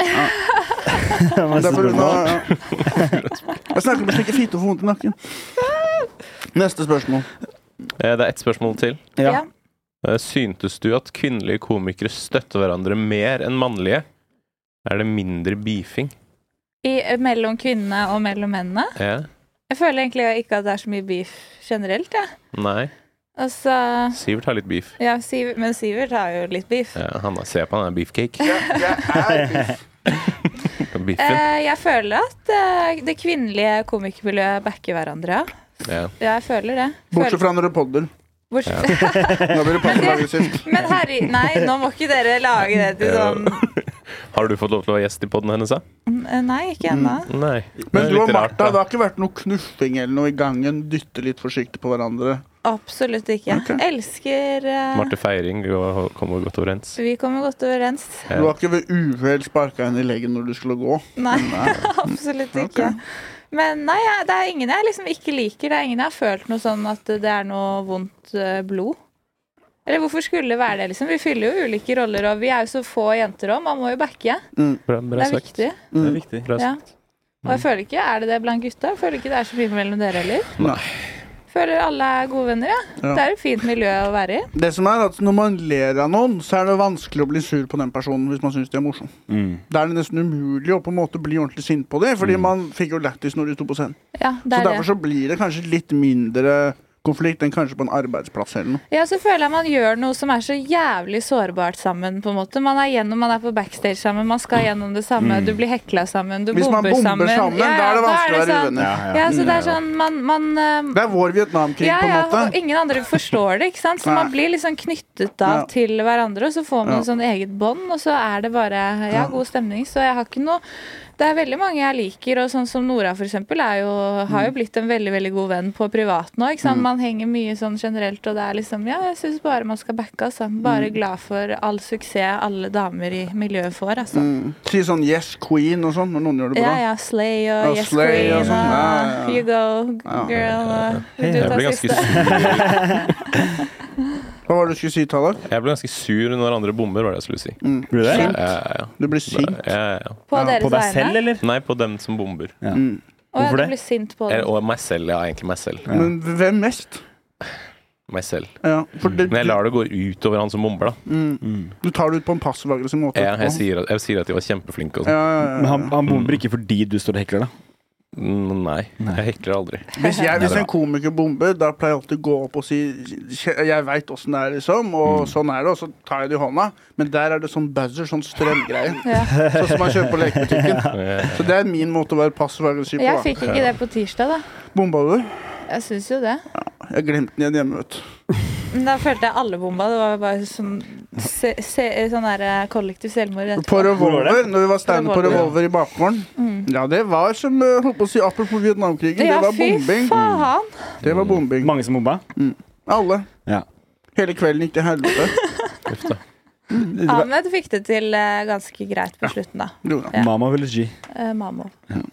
Speaker 5: Hva
Speaker 1: Det er
Speaker 5: synes
Speaker 1: på
Speaker 5: du om
Speaker 1: grunn av,
Speaker 5: det?
Speaker 1: ja. Jeg snakker om å slikke fitte og få vondt i nakken. Neste spørsmål.
Speaker 2: Eh, Det er ett spørsmål til.
Speaker 5: Ja.
Speaker 4: Ja.
Speaker 2: Eh, Syntes du at kvinnelige komikere støtter hverandre mer enn mannlige? Er det mindre beefing?
Speaker 4: I, mellom kvinnene og mellom mennene.
Speaker 2: Ja.
Speaker 4: Jeg føler egentlig ikke at det er så mye beef generelt, jeg.
Speaker 2: Nei.
Speaker 4: Altså
Speaker 2: Sivert har litt beef.
Speaker 4: ja, Siv- Men Sivert har jo litt beef.
Speaker 2: Ja, han er, se på han er beefcake.
Speaker 1: Jeg, jeg er
Speaker 2: Beefen.
Speaker 4: Eh, jeg føler at eh, det kvinnelige komikermiljøet backer hverandre. ja.
Speaker 2: Ja.
Speaker 4: Ja, jeg føler det.
Speaker 1: Bortsett
Speaker 4: Føler,
Speaker 1: fra når det podder.
Speaker 4: bortsett,
Speaker 1: Da blir det passiv-aggressivt.
Speaker 4: Men herri... Nei, nå må ikke dere lage det til sånn
Speaker 2: Har du fått lov til å være gjest i poden hennes, da?
Speaker 4: Eh, Nei, ikke ennå.
Speaker 2: Nei. Det
Speaker 1: Men
Speaker 2: er
Speaker 1: du og
Speaker 2: litt rart,
Speaker 1: Martha,
Speaker 2: da.
Speaker 1: det har ikke vært noe knuffing eller noe i gangen? Dytte litt forsiktig på hverandre?
Speaker 4: Absolutt ikke.
Speaker 1: Ok.
Speaker 4: Elsker eh,
Speaker 2: Marte Feiring og- kommer godt overens.
Speaker 4: Vi kommer godt overens.
Speaker 1: Du har ikke ved uhell sparka henne i leggen når du skulle gå?
Speaker 4: Nei, absolutt ikke. Men nei, jeg, det er ingen jeg liksom ikke liker. Det er ingen jeg har følt noe sånn at det er noe vondt eh, blod. Eller hvorfor skulle det være det, liksom? Vi fyller jo ulike roller, og vi er jo så få jenter òg. Man må jo backe.
Speaker 6: Bra,
Speaker 4: Det
Speaker 6: bra
Speaker 4: er
Speaker 6: sagt.
Speaker 4: viktig.
Speaker 5: Det er viktig.
Speaker 6: Bra
Speaker 4: Ja.
Speaker 6: sagt.
Speaker 4: Og jeg føler ikke Er det det blant gutta? Jeg føler ikke det er så mye mellom dere heller.
Speaker 1: Nei.
Speaker 4: Føler alle er gode venner, ja.
Speaker 1: Ja.
Speaker 4: Det er et fint miljø å være i.
Speaker 1: Det som er at Når man ler av noen, så er det vanskelig å bli sur på den personen hvis man syns de er morsom. Da er det nesten umulig å på en måte bli ordentlig sint på dem, fordi man fikk jo lættis når de sto på scenen.
Speaker 4: Ja, det
Speaker 1: Så
Speaker 4: er det.
Speaker 1: derfor så blir det kanskje litt mindre konflikt enn kanskje på en arbeidsplass eller noe.
Speaker 4: Ja, så føler jeg man gjør noe som er så jævlig sårbart sammen, på en måte. Man er gjennom, man er på backstage sammen, man skal gjennom det samme, du blir hekla sammen, du
Speaker 1: Hvis man
Speaker 4: bomber
Speaker 1: bomber
Speaker 4: sammen.
Speaker 1: sammen, da er det vanskelig å være
Speaker 4: sånn-
Speaker 1: uvenner.
Speaker 4: Ja, så det er sånn, man, man eh,
Speaker 1: Det er vår Vietnamkrig,
Speaker 4: ja,
Speaker 1: på
Speaker 4: ja,
Speaker 1: en måte.
Speaker 4: og ingen andre forstår det, ikke sant? Så
Speaker 1: Nei.
Speaker 4: man blir liksom knyttet av
Speaker 1: Ja.
Speaker 4: til hverandre, og så får man
Speaker 1: Ja.
Speaker 4: et sånn eget bånd, og så er det bare ja,
Speaker 1: Ja.
Speaker 4: god stemning. Så jeg har ikke noe Det er veldig mange jeg liker, og sånn som Nora for eksempel, er jo, har
Speaker 1: Mm.
Speaker 4: jo blitt en veldig, veldig god venn på privat nå, ikke sant? Man henger mye sånn generelt, og det er liksom Ja, jeg syns bare man skal backe, altså.
Speaker 1: Mm.
Speaker 4: Bare glad for all suksess alle damer i miljøet får, altså.
Speaker 1: Mm. Si sånn 'yes, queen' og sånn når noen gjør det bra.
Speaker 4: Ja, ja. Slay
Speaker 1: Ja,
Speaker 4: og Yes
Speaker 1: slay
Speaker 4: Queen
Speaker 1: og
Speaker 4: og
Speaker 1: sånn. Ja, ja, ja.
Speaker 4: You Go
Speaker 1: Ja.
Speaker 4: Girl og Vil du
Speaker 2: Jeg ble
Speaker 4: ta
Speaker 2: ganske
Speaker 4: siste?
Speaker 2: sur,
Speaker 1: Hva var det du skulle si, Tallak?
Speaker 2: jeg ble ganske sur når andre bomber, var det jeg skulle si.
Speaker 5: Blir det?
Speaker 2: Ja, ja, ja.
Speaker 1: Du blir sint.
Speaker 2: Ja, ja, ja.
Speaker 4: På
Speaker 1: Ja,
Speaker 4: deres
Speaker 5: På deg
Speaker 4: vegne?
Speaker 5: selv, eller?
Speaker 2: Nei, på dem som bomber.
Speaker 1: Mm.
Speaker 4: Å ja,
Speaker 5: Hvorfor
Speaker 4: du
Speaker 5: det?
Speaker 4: blir sint på
Speaker 2: Eh,
Speaker 4: det.
Speaker 2: Og meg selv. Ja, egentlig meg selv.
Speaker 1: Men hvem mest?
Speaker 2: Meg selv.
Speaker 1: Ja, for det,
Speaker 2: Mm.
Speaker 1: Mm.
Speaker 2: Men jeg lar det gå ut over han som bomber, da.
Speaker 5: Mm.
Speaker 1: du tar det ut på en passiv-aggressiv måte.
Speaker 2: Jeg, jeg,
Speaker 1: etterpå.
Speaker 2: sier at, jeg sier at de var kjempeflinke og
Speaker 1: ja, ja,
Speaker 2: sånn.
Speaker 1: ja.
Speaker 5: Men han, han bomber ikke fordi du står og hekler, da.
Speaker 2: Mm, Nei, jeg hekler aldri.
Speaker 1: Hvis, jeg, hvis en komiker bomber, da pleier jeg alltid å gå opp og si "Kje- Jeg veit åssen det er, liksom,
Speaker 2: Mm.
Speaker 1: og sånn er det, og så tar jeg det i hånda. Men der er det sånn buzzer, sånn strømgreie.
Speaker 4: Ja.
Speaker 1: Sånn som man kjøper på lekebutikken. Så det er min måte å være passiv aggressiv
Speaker 4: Jeg
Speaker 1: på.
Speaker 4: fikk ikke det på tirsdag, da.
Speaker 1: da. Bomba du?
Speaker 4: Jeg syns jo det.
Speaker 1: Jeg glemte den igjen hjemme, vet du.
Speaker 4: Men da følte jeg alle bomba. Det var jo bare sånn, se, se, sånn der eh, kollektiv selvmord
Speaker 1: På
Speaker 4: etterpå.
Speaker 1: Revolver, når vi var standup på
Speaker 4: Revolver. Mm.
Speaker 1: Revolver i bakgården. Ja, det var som eh, holdt på å si apropos Vietnamkrigen. Det
Speaker 4: Ja,
Speaker 1: var
Speaker 4: fy
Speaker 1: bombing.
Speaker 4: faen!
Speaker 1: Det var bombing.
Speaker 5: Mange som bomba.
Speaker 1: Alle.
Speaker 5: Ja.
Speaker 1: Hele kvelden gikk til helvete.
Speaker 2: Uff, da.
Speaker 4: Ahmed fikk det til eh, ganske greit på slutten, da.
Speaker 1: Jo da.
Speaker 4: Ja.
Speaker 5: Mama vil G.
Speaker 4: Eh, Mamo.
Speaker 1: Mm.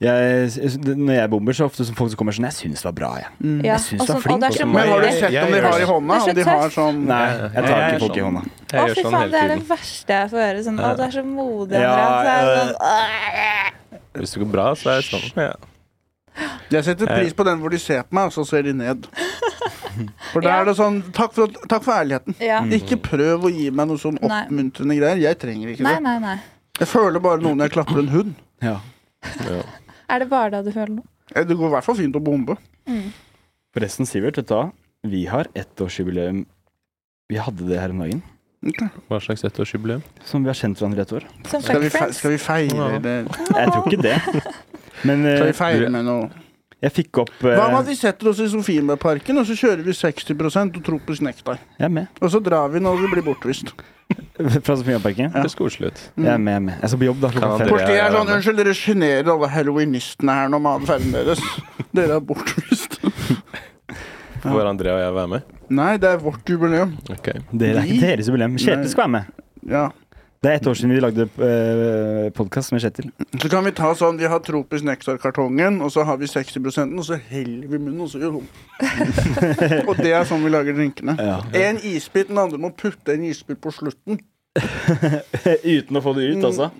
Speaker 5: Jeg, jeg- når jeg bomber, så er det ofte som folk som kommer sånn Jeg syns det var bra, jeg.
Speaker 4: Ja.
Speaker 5: Jeg syns det er
Speaker 4: og sånn- og det er så
Speaker 2: flink,
Speaker 1: altså. Men har du
Speaker 2: Jeg-
Speaker 1: sett
Speaker 2: jeg
Speaker 1: om de
Speaker 2: gjør
Speaker 1: har i
Speaker 2: det.
Speaker 1: hånda?
Speaker 4: Det er så
Speaker 1: Om de har
Speaker 4: tøft.
Speaker 1: sånn
Speaker 5: Nei, jeg tar
Speaker 2: Jeg
Speaker 5: ikke folk
Speaker 2: er
Speaker 5: i
Speaker 2: sånn.
Speaker 5: hånda.
Speaker 4: Å,
Speaker 2: Jeg gjør
Speaker 4: fy
Speaker 2: sånn
Speaker 4: faen, det
Speaker 2: hele
Speaker 4: er det
Speaker 2: tiden.
Speaker 4: verste jeg får høre. Sånn, å, du er så modig,
Speaker 5: Ja,
Speaker 4: Andreas. Så
Speaker 1: øh.
Speaker 4: er det sånn,
Speaker 2: Hvis det går bra, så er det sånn. Ja.
Speaker 1: Jeg setter pris på den hvor de ser på meg, og så ser de ned. For da
Speaker 4: Ja.
Speaker 1: er det sånn Takk for, takk for ærligheten.
Speaker 4: «Åh!»
Speaker 5: Mm.
Speaker 4: ja.
Speaker 1: Ikke prøv å gi meg noe sånn
Speaker 4: Nei.
Speaker 1: oppmuntrende greier. Jeg trenger ikke
Speaker 4: Nei,
Speaker 1: det.
Speaker 4: nei, nei.
Speaker 1: Jeg føler bare noe når jeg klapper en hund.
Speaker 5: Ja.
Speaker 4: Er det bare da du føler noe? Mm.
Speaker 1: Eh, Det går i hvert fall fint å bombe.
Speaker 5: Forresten, Sivert, vet du hva? Vi har ettårsjubileum. Vi hadde det her om dagen.
Speaker 2: Hva slags ettårsjubileum?
Speaker 5: Som vi har kjent hverandre i et år.
Speaker 4: Som
Speaker 1: Skal vi, fe
Speaker 4: fuckfriends?
Speaker 1: skal vi feire,
Speaker 2: Ja.
Speaker 1: eller
Speaker 5: Jeg tror ikke det. Men eh,
Speaker 1: skal vi feire med noe?
Speaker 5: jeg fikk opp eh,
Speaker 1: Hva med at vi setter oss i Sofienbergparken, og så kjører vi 60 og tropisk nektar?
Speaker 5: Jeg er med.
Speaker 1: Og så drar vi når vi blir bortvist.
Speaker 5: Fra Sofiemarken.
Speaker 2: Det høres koselig ut.
Speaker 5: Jeg er med, jeg er med. Jeg skal på jobb, da.
Speaker 2: Kan
Speaker 5: Klokka fem.
Speaker 2: Andrea-
Speaker 1: Politiet er sånn Unnskyld, dere sjenerer alle heroinistene her nå med atferden deres. Dere er bortvist.
Speaker 2: Får Andrea og jeg være med?
Speaker 1: Nei, det er vårt jubileum.
Speaker 2: Ok.
Speaker 5: Det er ikke deres jubileum. Kjetil skal være med.
Speaker 1: Ja.
Speaker 5: Det er ett år siden vi lagde uh, podkast med Kjetil.
Speaker 1: Så kan vi ta sånn, vi har tropisk nektarkartongen, og så har vi 60 og så heller vi munnen, og så gjør hun. og det er sånn vi lager drinkene.
Speaker 5: Ja.
Speaker 1: En isbit, den andre må putte en isbit på slutten.
Speaker 5: Eh, Uten å få det ut, altså.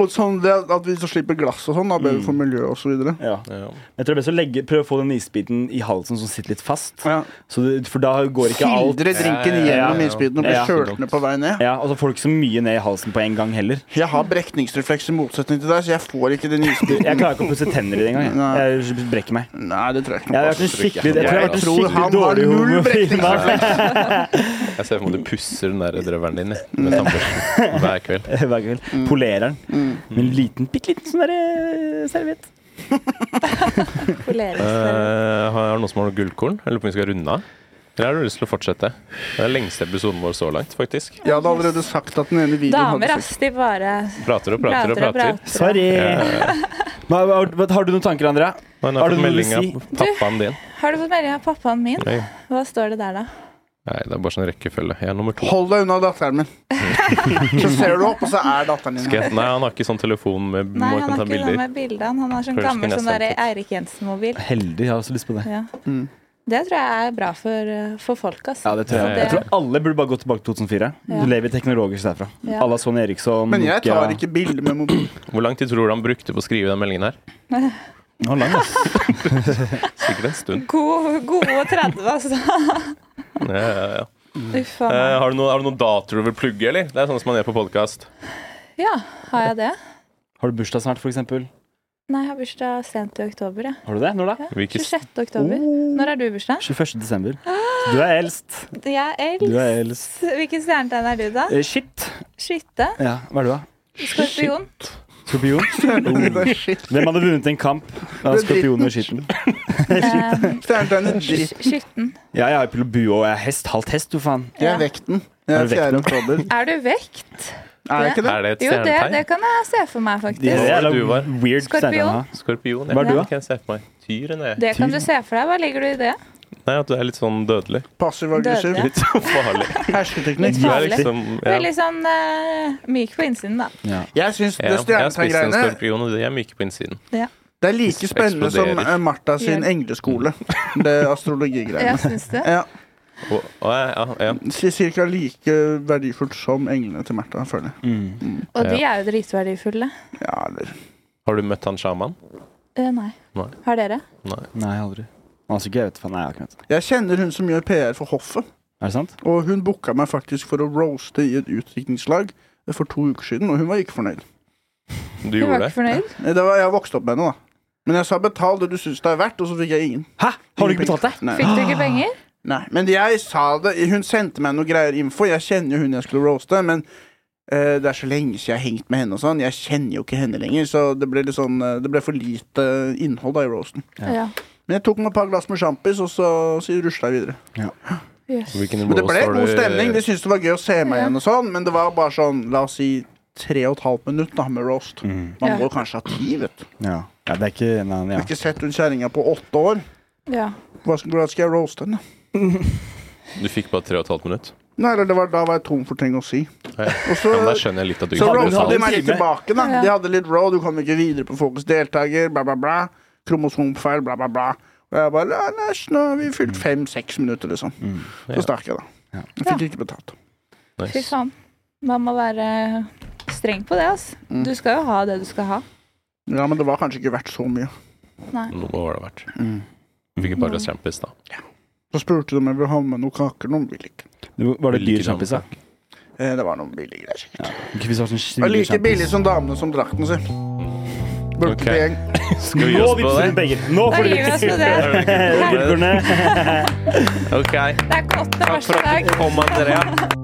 Speaker 1: Og sånn det at vi så slipper glass og sånn, da bedre for miljøet og så videre.
Speaker 5: Ja.
Speaker 2: Ja.
Speaker 5: Jeg tror det er best å legge, prøve å få den isbiten i halsen som sitter litt fast.
Speaker 1: Ja.
Speaker 5: Så det, for da går ikke alt
Speaker 1: Sildre drinken
Speaker 2: Ja, ja, ja, ja.
Speaker 1: gjennom isbiten og bli
Speaker 5: Ja.
Speaker 1: kjølt ned på vei ned.
Speaker 5: ja, Og så får du ikke så mye ned i halsen på en gang heller.
Speaker 1: Jeg har brekningsrefleks i motsetning til deg, så jeg får ikke den
Speaker 5: Jeg
Speaker 1: isbiten.
Speaker 5: klarer ikke å pusse tenner i det engang. jeg. Jeg brekker meg.
Speaker 1: Nei, det tror jeg ikke.
Speaker 5: Jeg
Speaker 1: noe
Speaker 5: har
Speaker 1: på.
Speaker 5: vært en skikkelig, jeg tror jeg har vært en
Speaker 1: Jeg tror
Speaker 5: skikkelig
Speaker 1: han har
Speaker 5: dårlig
Speaker 1: null altså.
Speaker 5: homofil mann
Speaker 2: Jeg ser for meg at du pusser den der drøveren din jeg,
Speaker 5: Mm.
Speaker 2: med tannbørsten hver kveld.
Speaker 5: hver kveld.
Speaker 1: Mm.
Speaker 5: Polerer den med en liten, bitte liten sånn der, eh, serviett.
Speaker 4: Polerer,
Speaker 1: Øh.
Speaker 4: polerer.
Speaker 2: Eh, har noen som har noe gullkorn? Jeg lurer på om vi skal runde av? Eller har du lyst til å fortsette? Det er lengste episoden vår så langt, faktisk.
Speaker 1: Jeg hadde allerede sagt at den ene videoen
Speaker 4: Damer,
Speaker 1: hadde
Speaker 4: ass. De bare
Speaker 2: Prater og prater og prater.
Speaker 5: Sorry! Hva, hva, hva- har du noen tanker, Andrea?
Speaker 2: Men
Speaker 5: Har
Speaker 2: jeg har
Speaker 5: du
Speaker 2: fått
Speaker 5: noe å
Speaker 2: melding av
Speaker 5: si?
Speaker 2: pappaen din.
Speaker 4: Har du fått melding av pappaen min?
Speaker 2: Nei.
Speaker 4: Hva står det der, da?
Speaker 2: Nei, det er bare sånn rekkefølge. Jeg er nummer to.
Speaker 1: Hold deg unna datteren min. så ser du opp, og så er datteren din
Speaker 2: Skal
Speaker 1: her.
Speaker 2: jeg- Nei, han har ikke sånn telefon med
Speaker 4: Nei,
Speaker 2: hvor jeg
Speaker 4: han
Speaker 2: kan
Speaker 4: har
Speaker 2: ta
Speaker 4: ikke noe
Speaker 2: bilder.
Speaker 4: med bildene. Han har sånn
Speaker 2: Kanskje
Speaker 4: gammel
Speaker 2: skulle jeg
Speaker 4: sånn der
Speaker 2: sendt
Speaker 4: Eirik Jensen-mobil.
Speaker 5: Heldig. Jeg har også lyst på det.
Speaker 4: Ja.
Speaker 1: Mm.
Speaker 4: Det tror jeg er bra for, eh, for folk, altså.
Speaker 5: Ja, det tror jeg.
Speaker 2: Det-
Speaker 5: jeg tror alle burde bare gå tilbake til 2004.
Speaker 4: Ja.
Speaker 5: Du lever i teknologisk derfra.
Speaker 4: Ja.
Speaker 5: Alle har Sonny Eriksson.
Speaker 1: Men jeg
Speaker 5: Nokia.
Speaker 1: tar ikke bilder med mobil.
Speaker 2: Hvor lang tid tror du han brukte på å skrive den meldingen her?
Speaker 5: Nå er han lang, ass.
Speaker 2: Sikkert en stund.
Speaker 4: God- Gode 30, altså.
Speaker 2: Ja, ja, ja.
Speaker 4: Uff a
Speaker 2: Eh,
Speaker 4: meg.
Speaker 2: har, du noen, har du noen datoer du vil plugge, eller? Det er sånn som man gjør på podkast.
Speaker 4: Ja, har jeg det?
Speaker 5: Har du bursdag snart, for eksempel?
Speaker 4: Nei, jeg har bursdag sent i oktober, jeg.
Speaker 5: Har du det? Når da?
Speaker 2: Hvilke
Speaker 4: 26. oktober.
Speaker 5: Oh.
Speaker 4: Når har du bursdag?
Speaker 5: 21. desember. Du er eldst.
Speaker 4: Jeg er
Speaker 5: Du
Speaker 4: eldst.
Speaker 5: er eldst.
Speaker 4: Hvilken stjernetegn er du, da?
Speaker 5: Eh, shit.
Speaker 4: Skytte?
Speaker 5: Ja, hva er du, da?
Speaker 4: Skorpion?
Speaker 5: Skorpion?
Speaker 1: Det er shit.
Speaker 5: Hvem hadde vunnet en kamp av
Speaker 1: Det er
Speaker 5: skorpion og skitten?
Speaker 4: Ehm,
Speaker 1: Stjernetegnet dritt.
Speaker 4: Skytten.
Speaker 5: Ja, jeg har jo bue og jeg er hest. Halvt hest, du faen.
Speaker 1: Jeg er
Speaker 4: Ja.
Speaker 1: vekten. Jeg er
Speaker 5: Er du
Speaker 1: 4.
Speaker 5: vekten?
Speaker 1: oktober.
Speaker 4: Er du vekt?
Speaker 1: Er jeg ikke det?
Speaker 2: Er det et
Speaker 4: Jo, det, det
Speaker 2: stjernetegn?
Speaker 4: kan jeg se for meg,
Speaker 5: Det
Speaker 4: faktisk.
Speaker 5: er
Speaker 2: Hva var
Speaker 5: jævla
Speaker 2: det du var?
Speaker 5: Weird
Speaker 4: Skorpion?
Speaker 5: stjernetegn, da.
Speaker 2: Skorpion.
Speaker 5: Hva er du, da?
Speaker 2: Kan jeg se for meg. Tyren, jeg.
Speaker 4: Det kan du se for deg. Hva legger du i det?
Speaker 2: Nei, at du er litt sånn dødelig.
Speaker 1: Passiv aggressiv.
Speaker 4: Døde.
Speaker 2: Litt sånn farlig.
Speaker 1: Hersketeknikk.
Speaker 2: Du er
Speaker 4: Farlig.
Speaker 2: liksom ja.
Speaker 4: Veldig sånn eh, myk på innsiden, da.
Speaker 1: Jeg syns
Speaker 2: Ja,
Speaker 1: det
Speaker 2: jeg har spist en
Speaker 1: stjernetegngreiene
Speaker 2: skorpion, og de er myke på innsiden.
Speaker 1: Det er like spennende som
Speaker 2: Eksploderer.
Speaker 1: eh, Martha sin
Speaker 4: Ja.
Speaker 1: engleskole. Det astrologigreiene.
Speaker 4: Jeg syns det.
Speaker 1: Ja.
Speaker 2: Og, og, ja, ja.
Speaker 1: c- Cirka like verdifullt som englene til Märtha, føler jeg.
Speaker 5: Mm.
Speaker 4: Og de er jo dritverdifulle.
Speaker 1: Ja, eller
Speaker 2: Har du møtt han sjaman?
Speaker 4: Eh, nei.
Speaker 2: Nei.
Speaker 4: Har dere?
Speaker 2: Nei.
Speaker 5: Nei, aldri. Altså, ikke jeg vet faen. Nei, jeg har ikke møtt.
Speaker 1: Jeg kjenner hun som gjør PR for hoffet.
Speaker 5: Er det sant?
Speaker 1: Og hun booka meg faktisk for å roaste i et utdrikningslag for to uker siden, og hun var ikke fornøyd. Eh,
Speaker 2: Du
Speaker 4: Du var
Speaker 2: gjorde
Speaker 4: ikke
Speaker 2: det?
Speaker 4: fornøyd?
Speaker 1: Det var, jeg vokste opp med henne, da. Men jeg sa betal det du syns det er verdt, og så fikk jeg ingen.
Speaker 5: Hæ? Har du ikke betalt deg?
Speaker 1: Nei.
Speaker 4: Fikk du ikke penger?
Speaker 1: Nei, men jeg sa det Hun sendte meg noe greier info Jeg kjenner jo hun jeg skulle roaste Men eh, det er så lenge siden jeg har hengt med henne og sånn Jeg kjenner jo ikke henne lenger Så det ble, litt sånn, eh, det ble for lite innhold da i roasten
Speaker 5: Ja.
Speaker 4: Ja.
Speaker 1: Men jeg tok meg et par glass med sjampis Og så, så ruslet jeg videre
Speaker 4: Jøss.
Speaker 2: Hvilken
Speaker 1: Men det ble
Speaker 2: roast har
Speaker 1: god
Speaker 2: du-
Speaker 1: stemning De syntes det var gøy å se meg
Speaker 4: Ja.
Speaker 1: igjen og sånn Men det var bare sånn, la oss si Tre og et halvt minutt da med roast
Speaker 5: Mm.
Speaker 1: Man
Speaker 4: Ja.
Speaker 1: må kanskje ha ti, vet du Jeg
Speaker 5: Ja. ja. Det er ikke Nei, ja.
Speaker 1: har ikke sett hun kjæringa på åtte år
Speaker 4: Ja.
Speaker 1: Hva skal, hvordan skal jeg roaste henne?
Speaker 2: Du fikk bare tre og et halvt minutt.
Speaker 1: Nei, eller det var, da var jeg tom for ting å si
Speaker 2: Ja, ja.
Speaker 1: Og så
Speaker 2: Men da skjønner jeg litt at du
Speaker 1: Så
Speaker 2: ikke
Speaker 1: Rose
Speaker 2: hadde
Speaker 1: hadde
Speaker 5: hadde
Speaker 2: betalt.
Speaker 5: en
Speaker 1: meg litt
Speaker 5: time.
Speaker 1: tilbake, da.
Speaker 4: Ja.
Speaker 1: De hadde litt raw, du kom ikke videre på fokus deltaker, bla, bla, bla. Kromosomfeil, bla, bla, bla. Og jeg bare «Ja, Nei, nå har vi fylt fem-seks minutter, liksom.
Speaker 2: Mm.
Speaker 5: Mm.
Speaker 2: Ja.
Speaker 1: Så stakk jeg,
Speaker 5: Ja.
Speaker 1: da. Jeg fikk ikke betalt.
Speaker 4: Fy
Speaker 2: Nice.
Speaker 4: faen. Man må være eh, streng på det, altså.
Speaker 1: Mm.
Speaker 4: Du skal jo ha det du skal ha.
Speaker 1: Ja, men det var kanskje ikke verdt så mye.
Speaker 4: Nei.
Speaker 2: Noe var det verdt.
Speaker 1: Mm.
Speaker 2: Du fikk et par sjampis, da.
Speaker 1: Så spurte de om jeg ville ha med noen kaker. Noen ville ikke.
Speaker 5: Du- Var det altså. dyr
Speaker 2: Like
Speaker 5: sjampis, da?
Speaker 1: Eh, Det var noen billige greier. sikkert.
Speaker 5: Ikke hvis det var sånn
Speaker 1: Det var like
Speaker 5: sjampis.
Speaker 1: billig som damene som drakten sin. Burde
Speaker 2: Ok.
Speaker 1: ikke gjeng.
Speaker 2: Skal vi gi
Speaker 5: Nå
Speaker 2: oss på
Speaker 5: vipser hun
Speaker 2: det?
Speaker 5: penger. Nå
Speaker 4: Da
Speaker 5: får du
Speaker 4: gir vi oss med det.
Speaker 5: Gullkornet.
Speaker 2: Ok.
Speaker 4: Det er ikke åttende
Speaker 2: Takk for
Speaker 4: verste
Speaker 2: at
Speaker 4: dag.
Speaker 2: du kom, Andrea.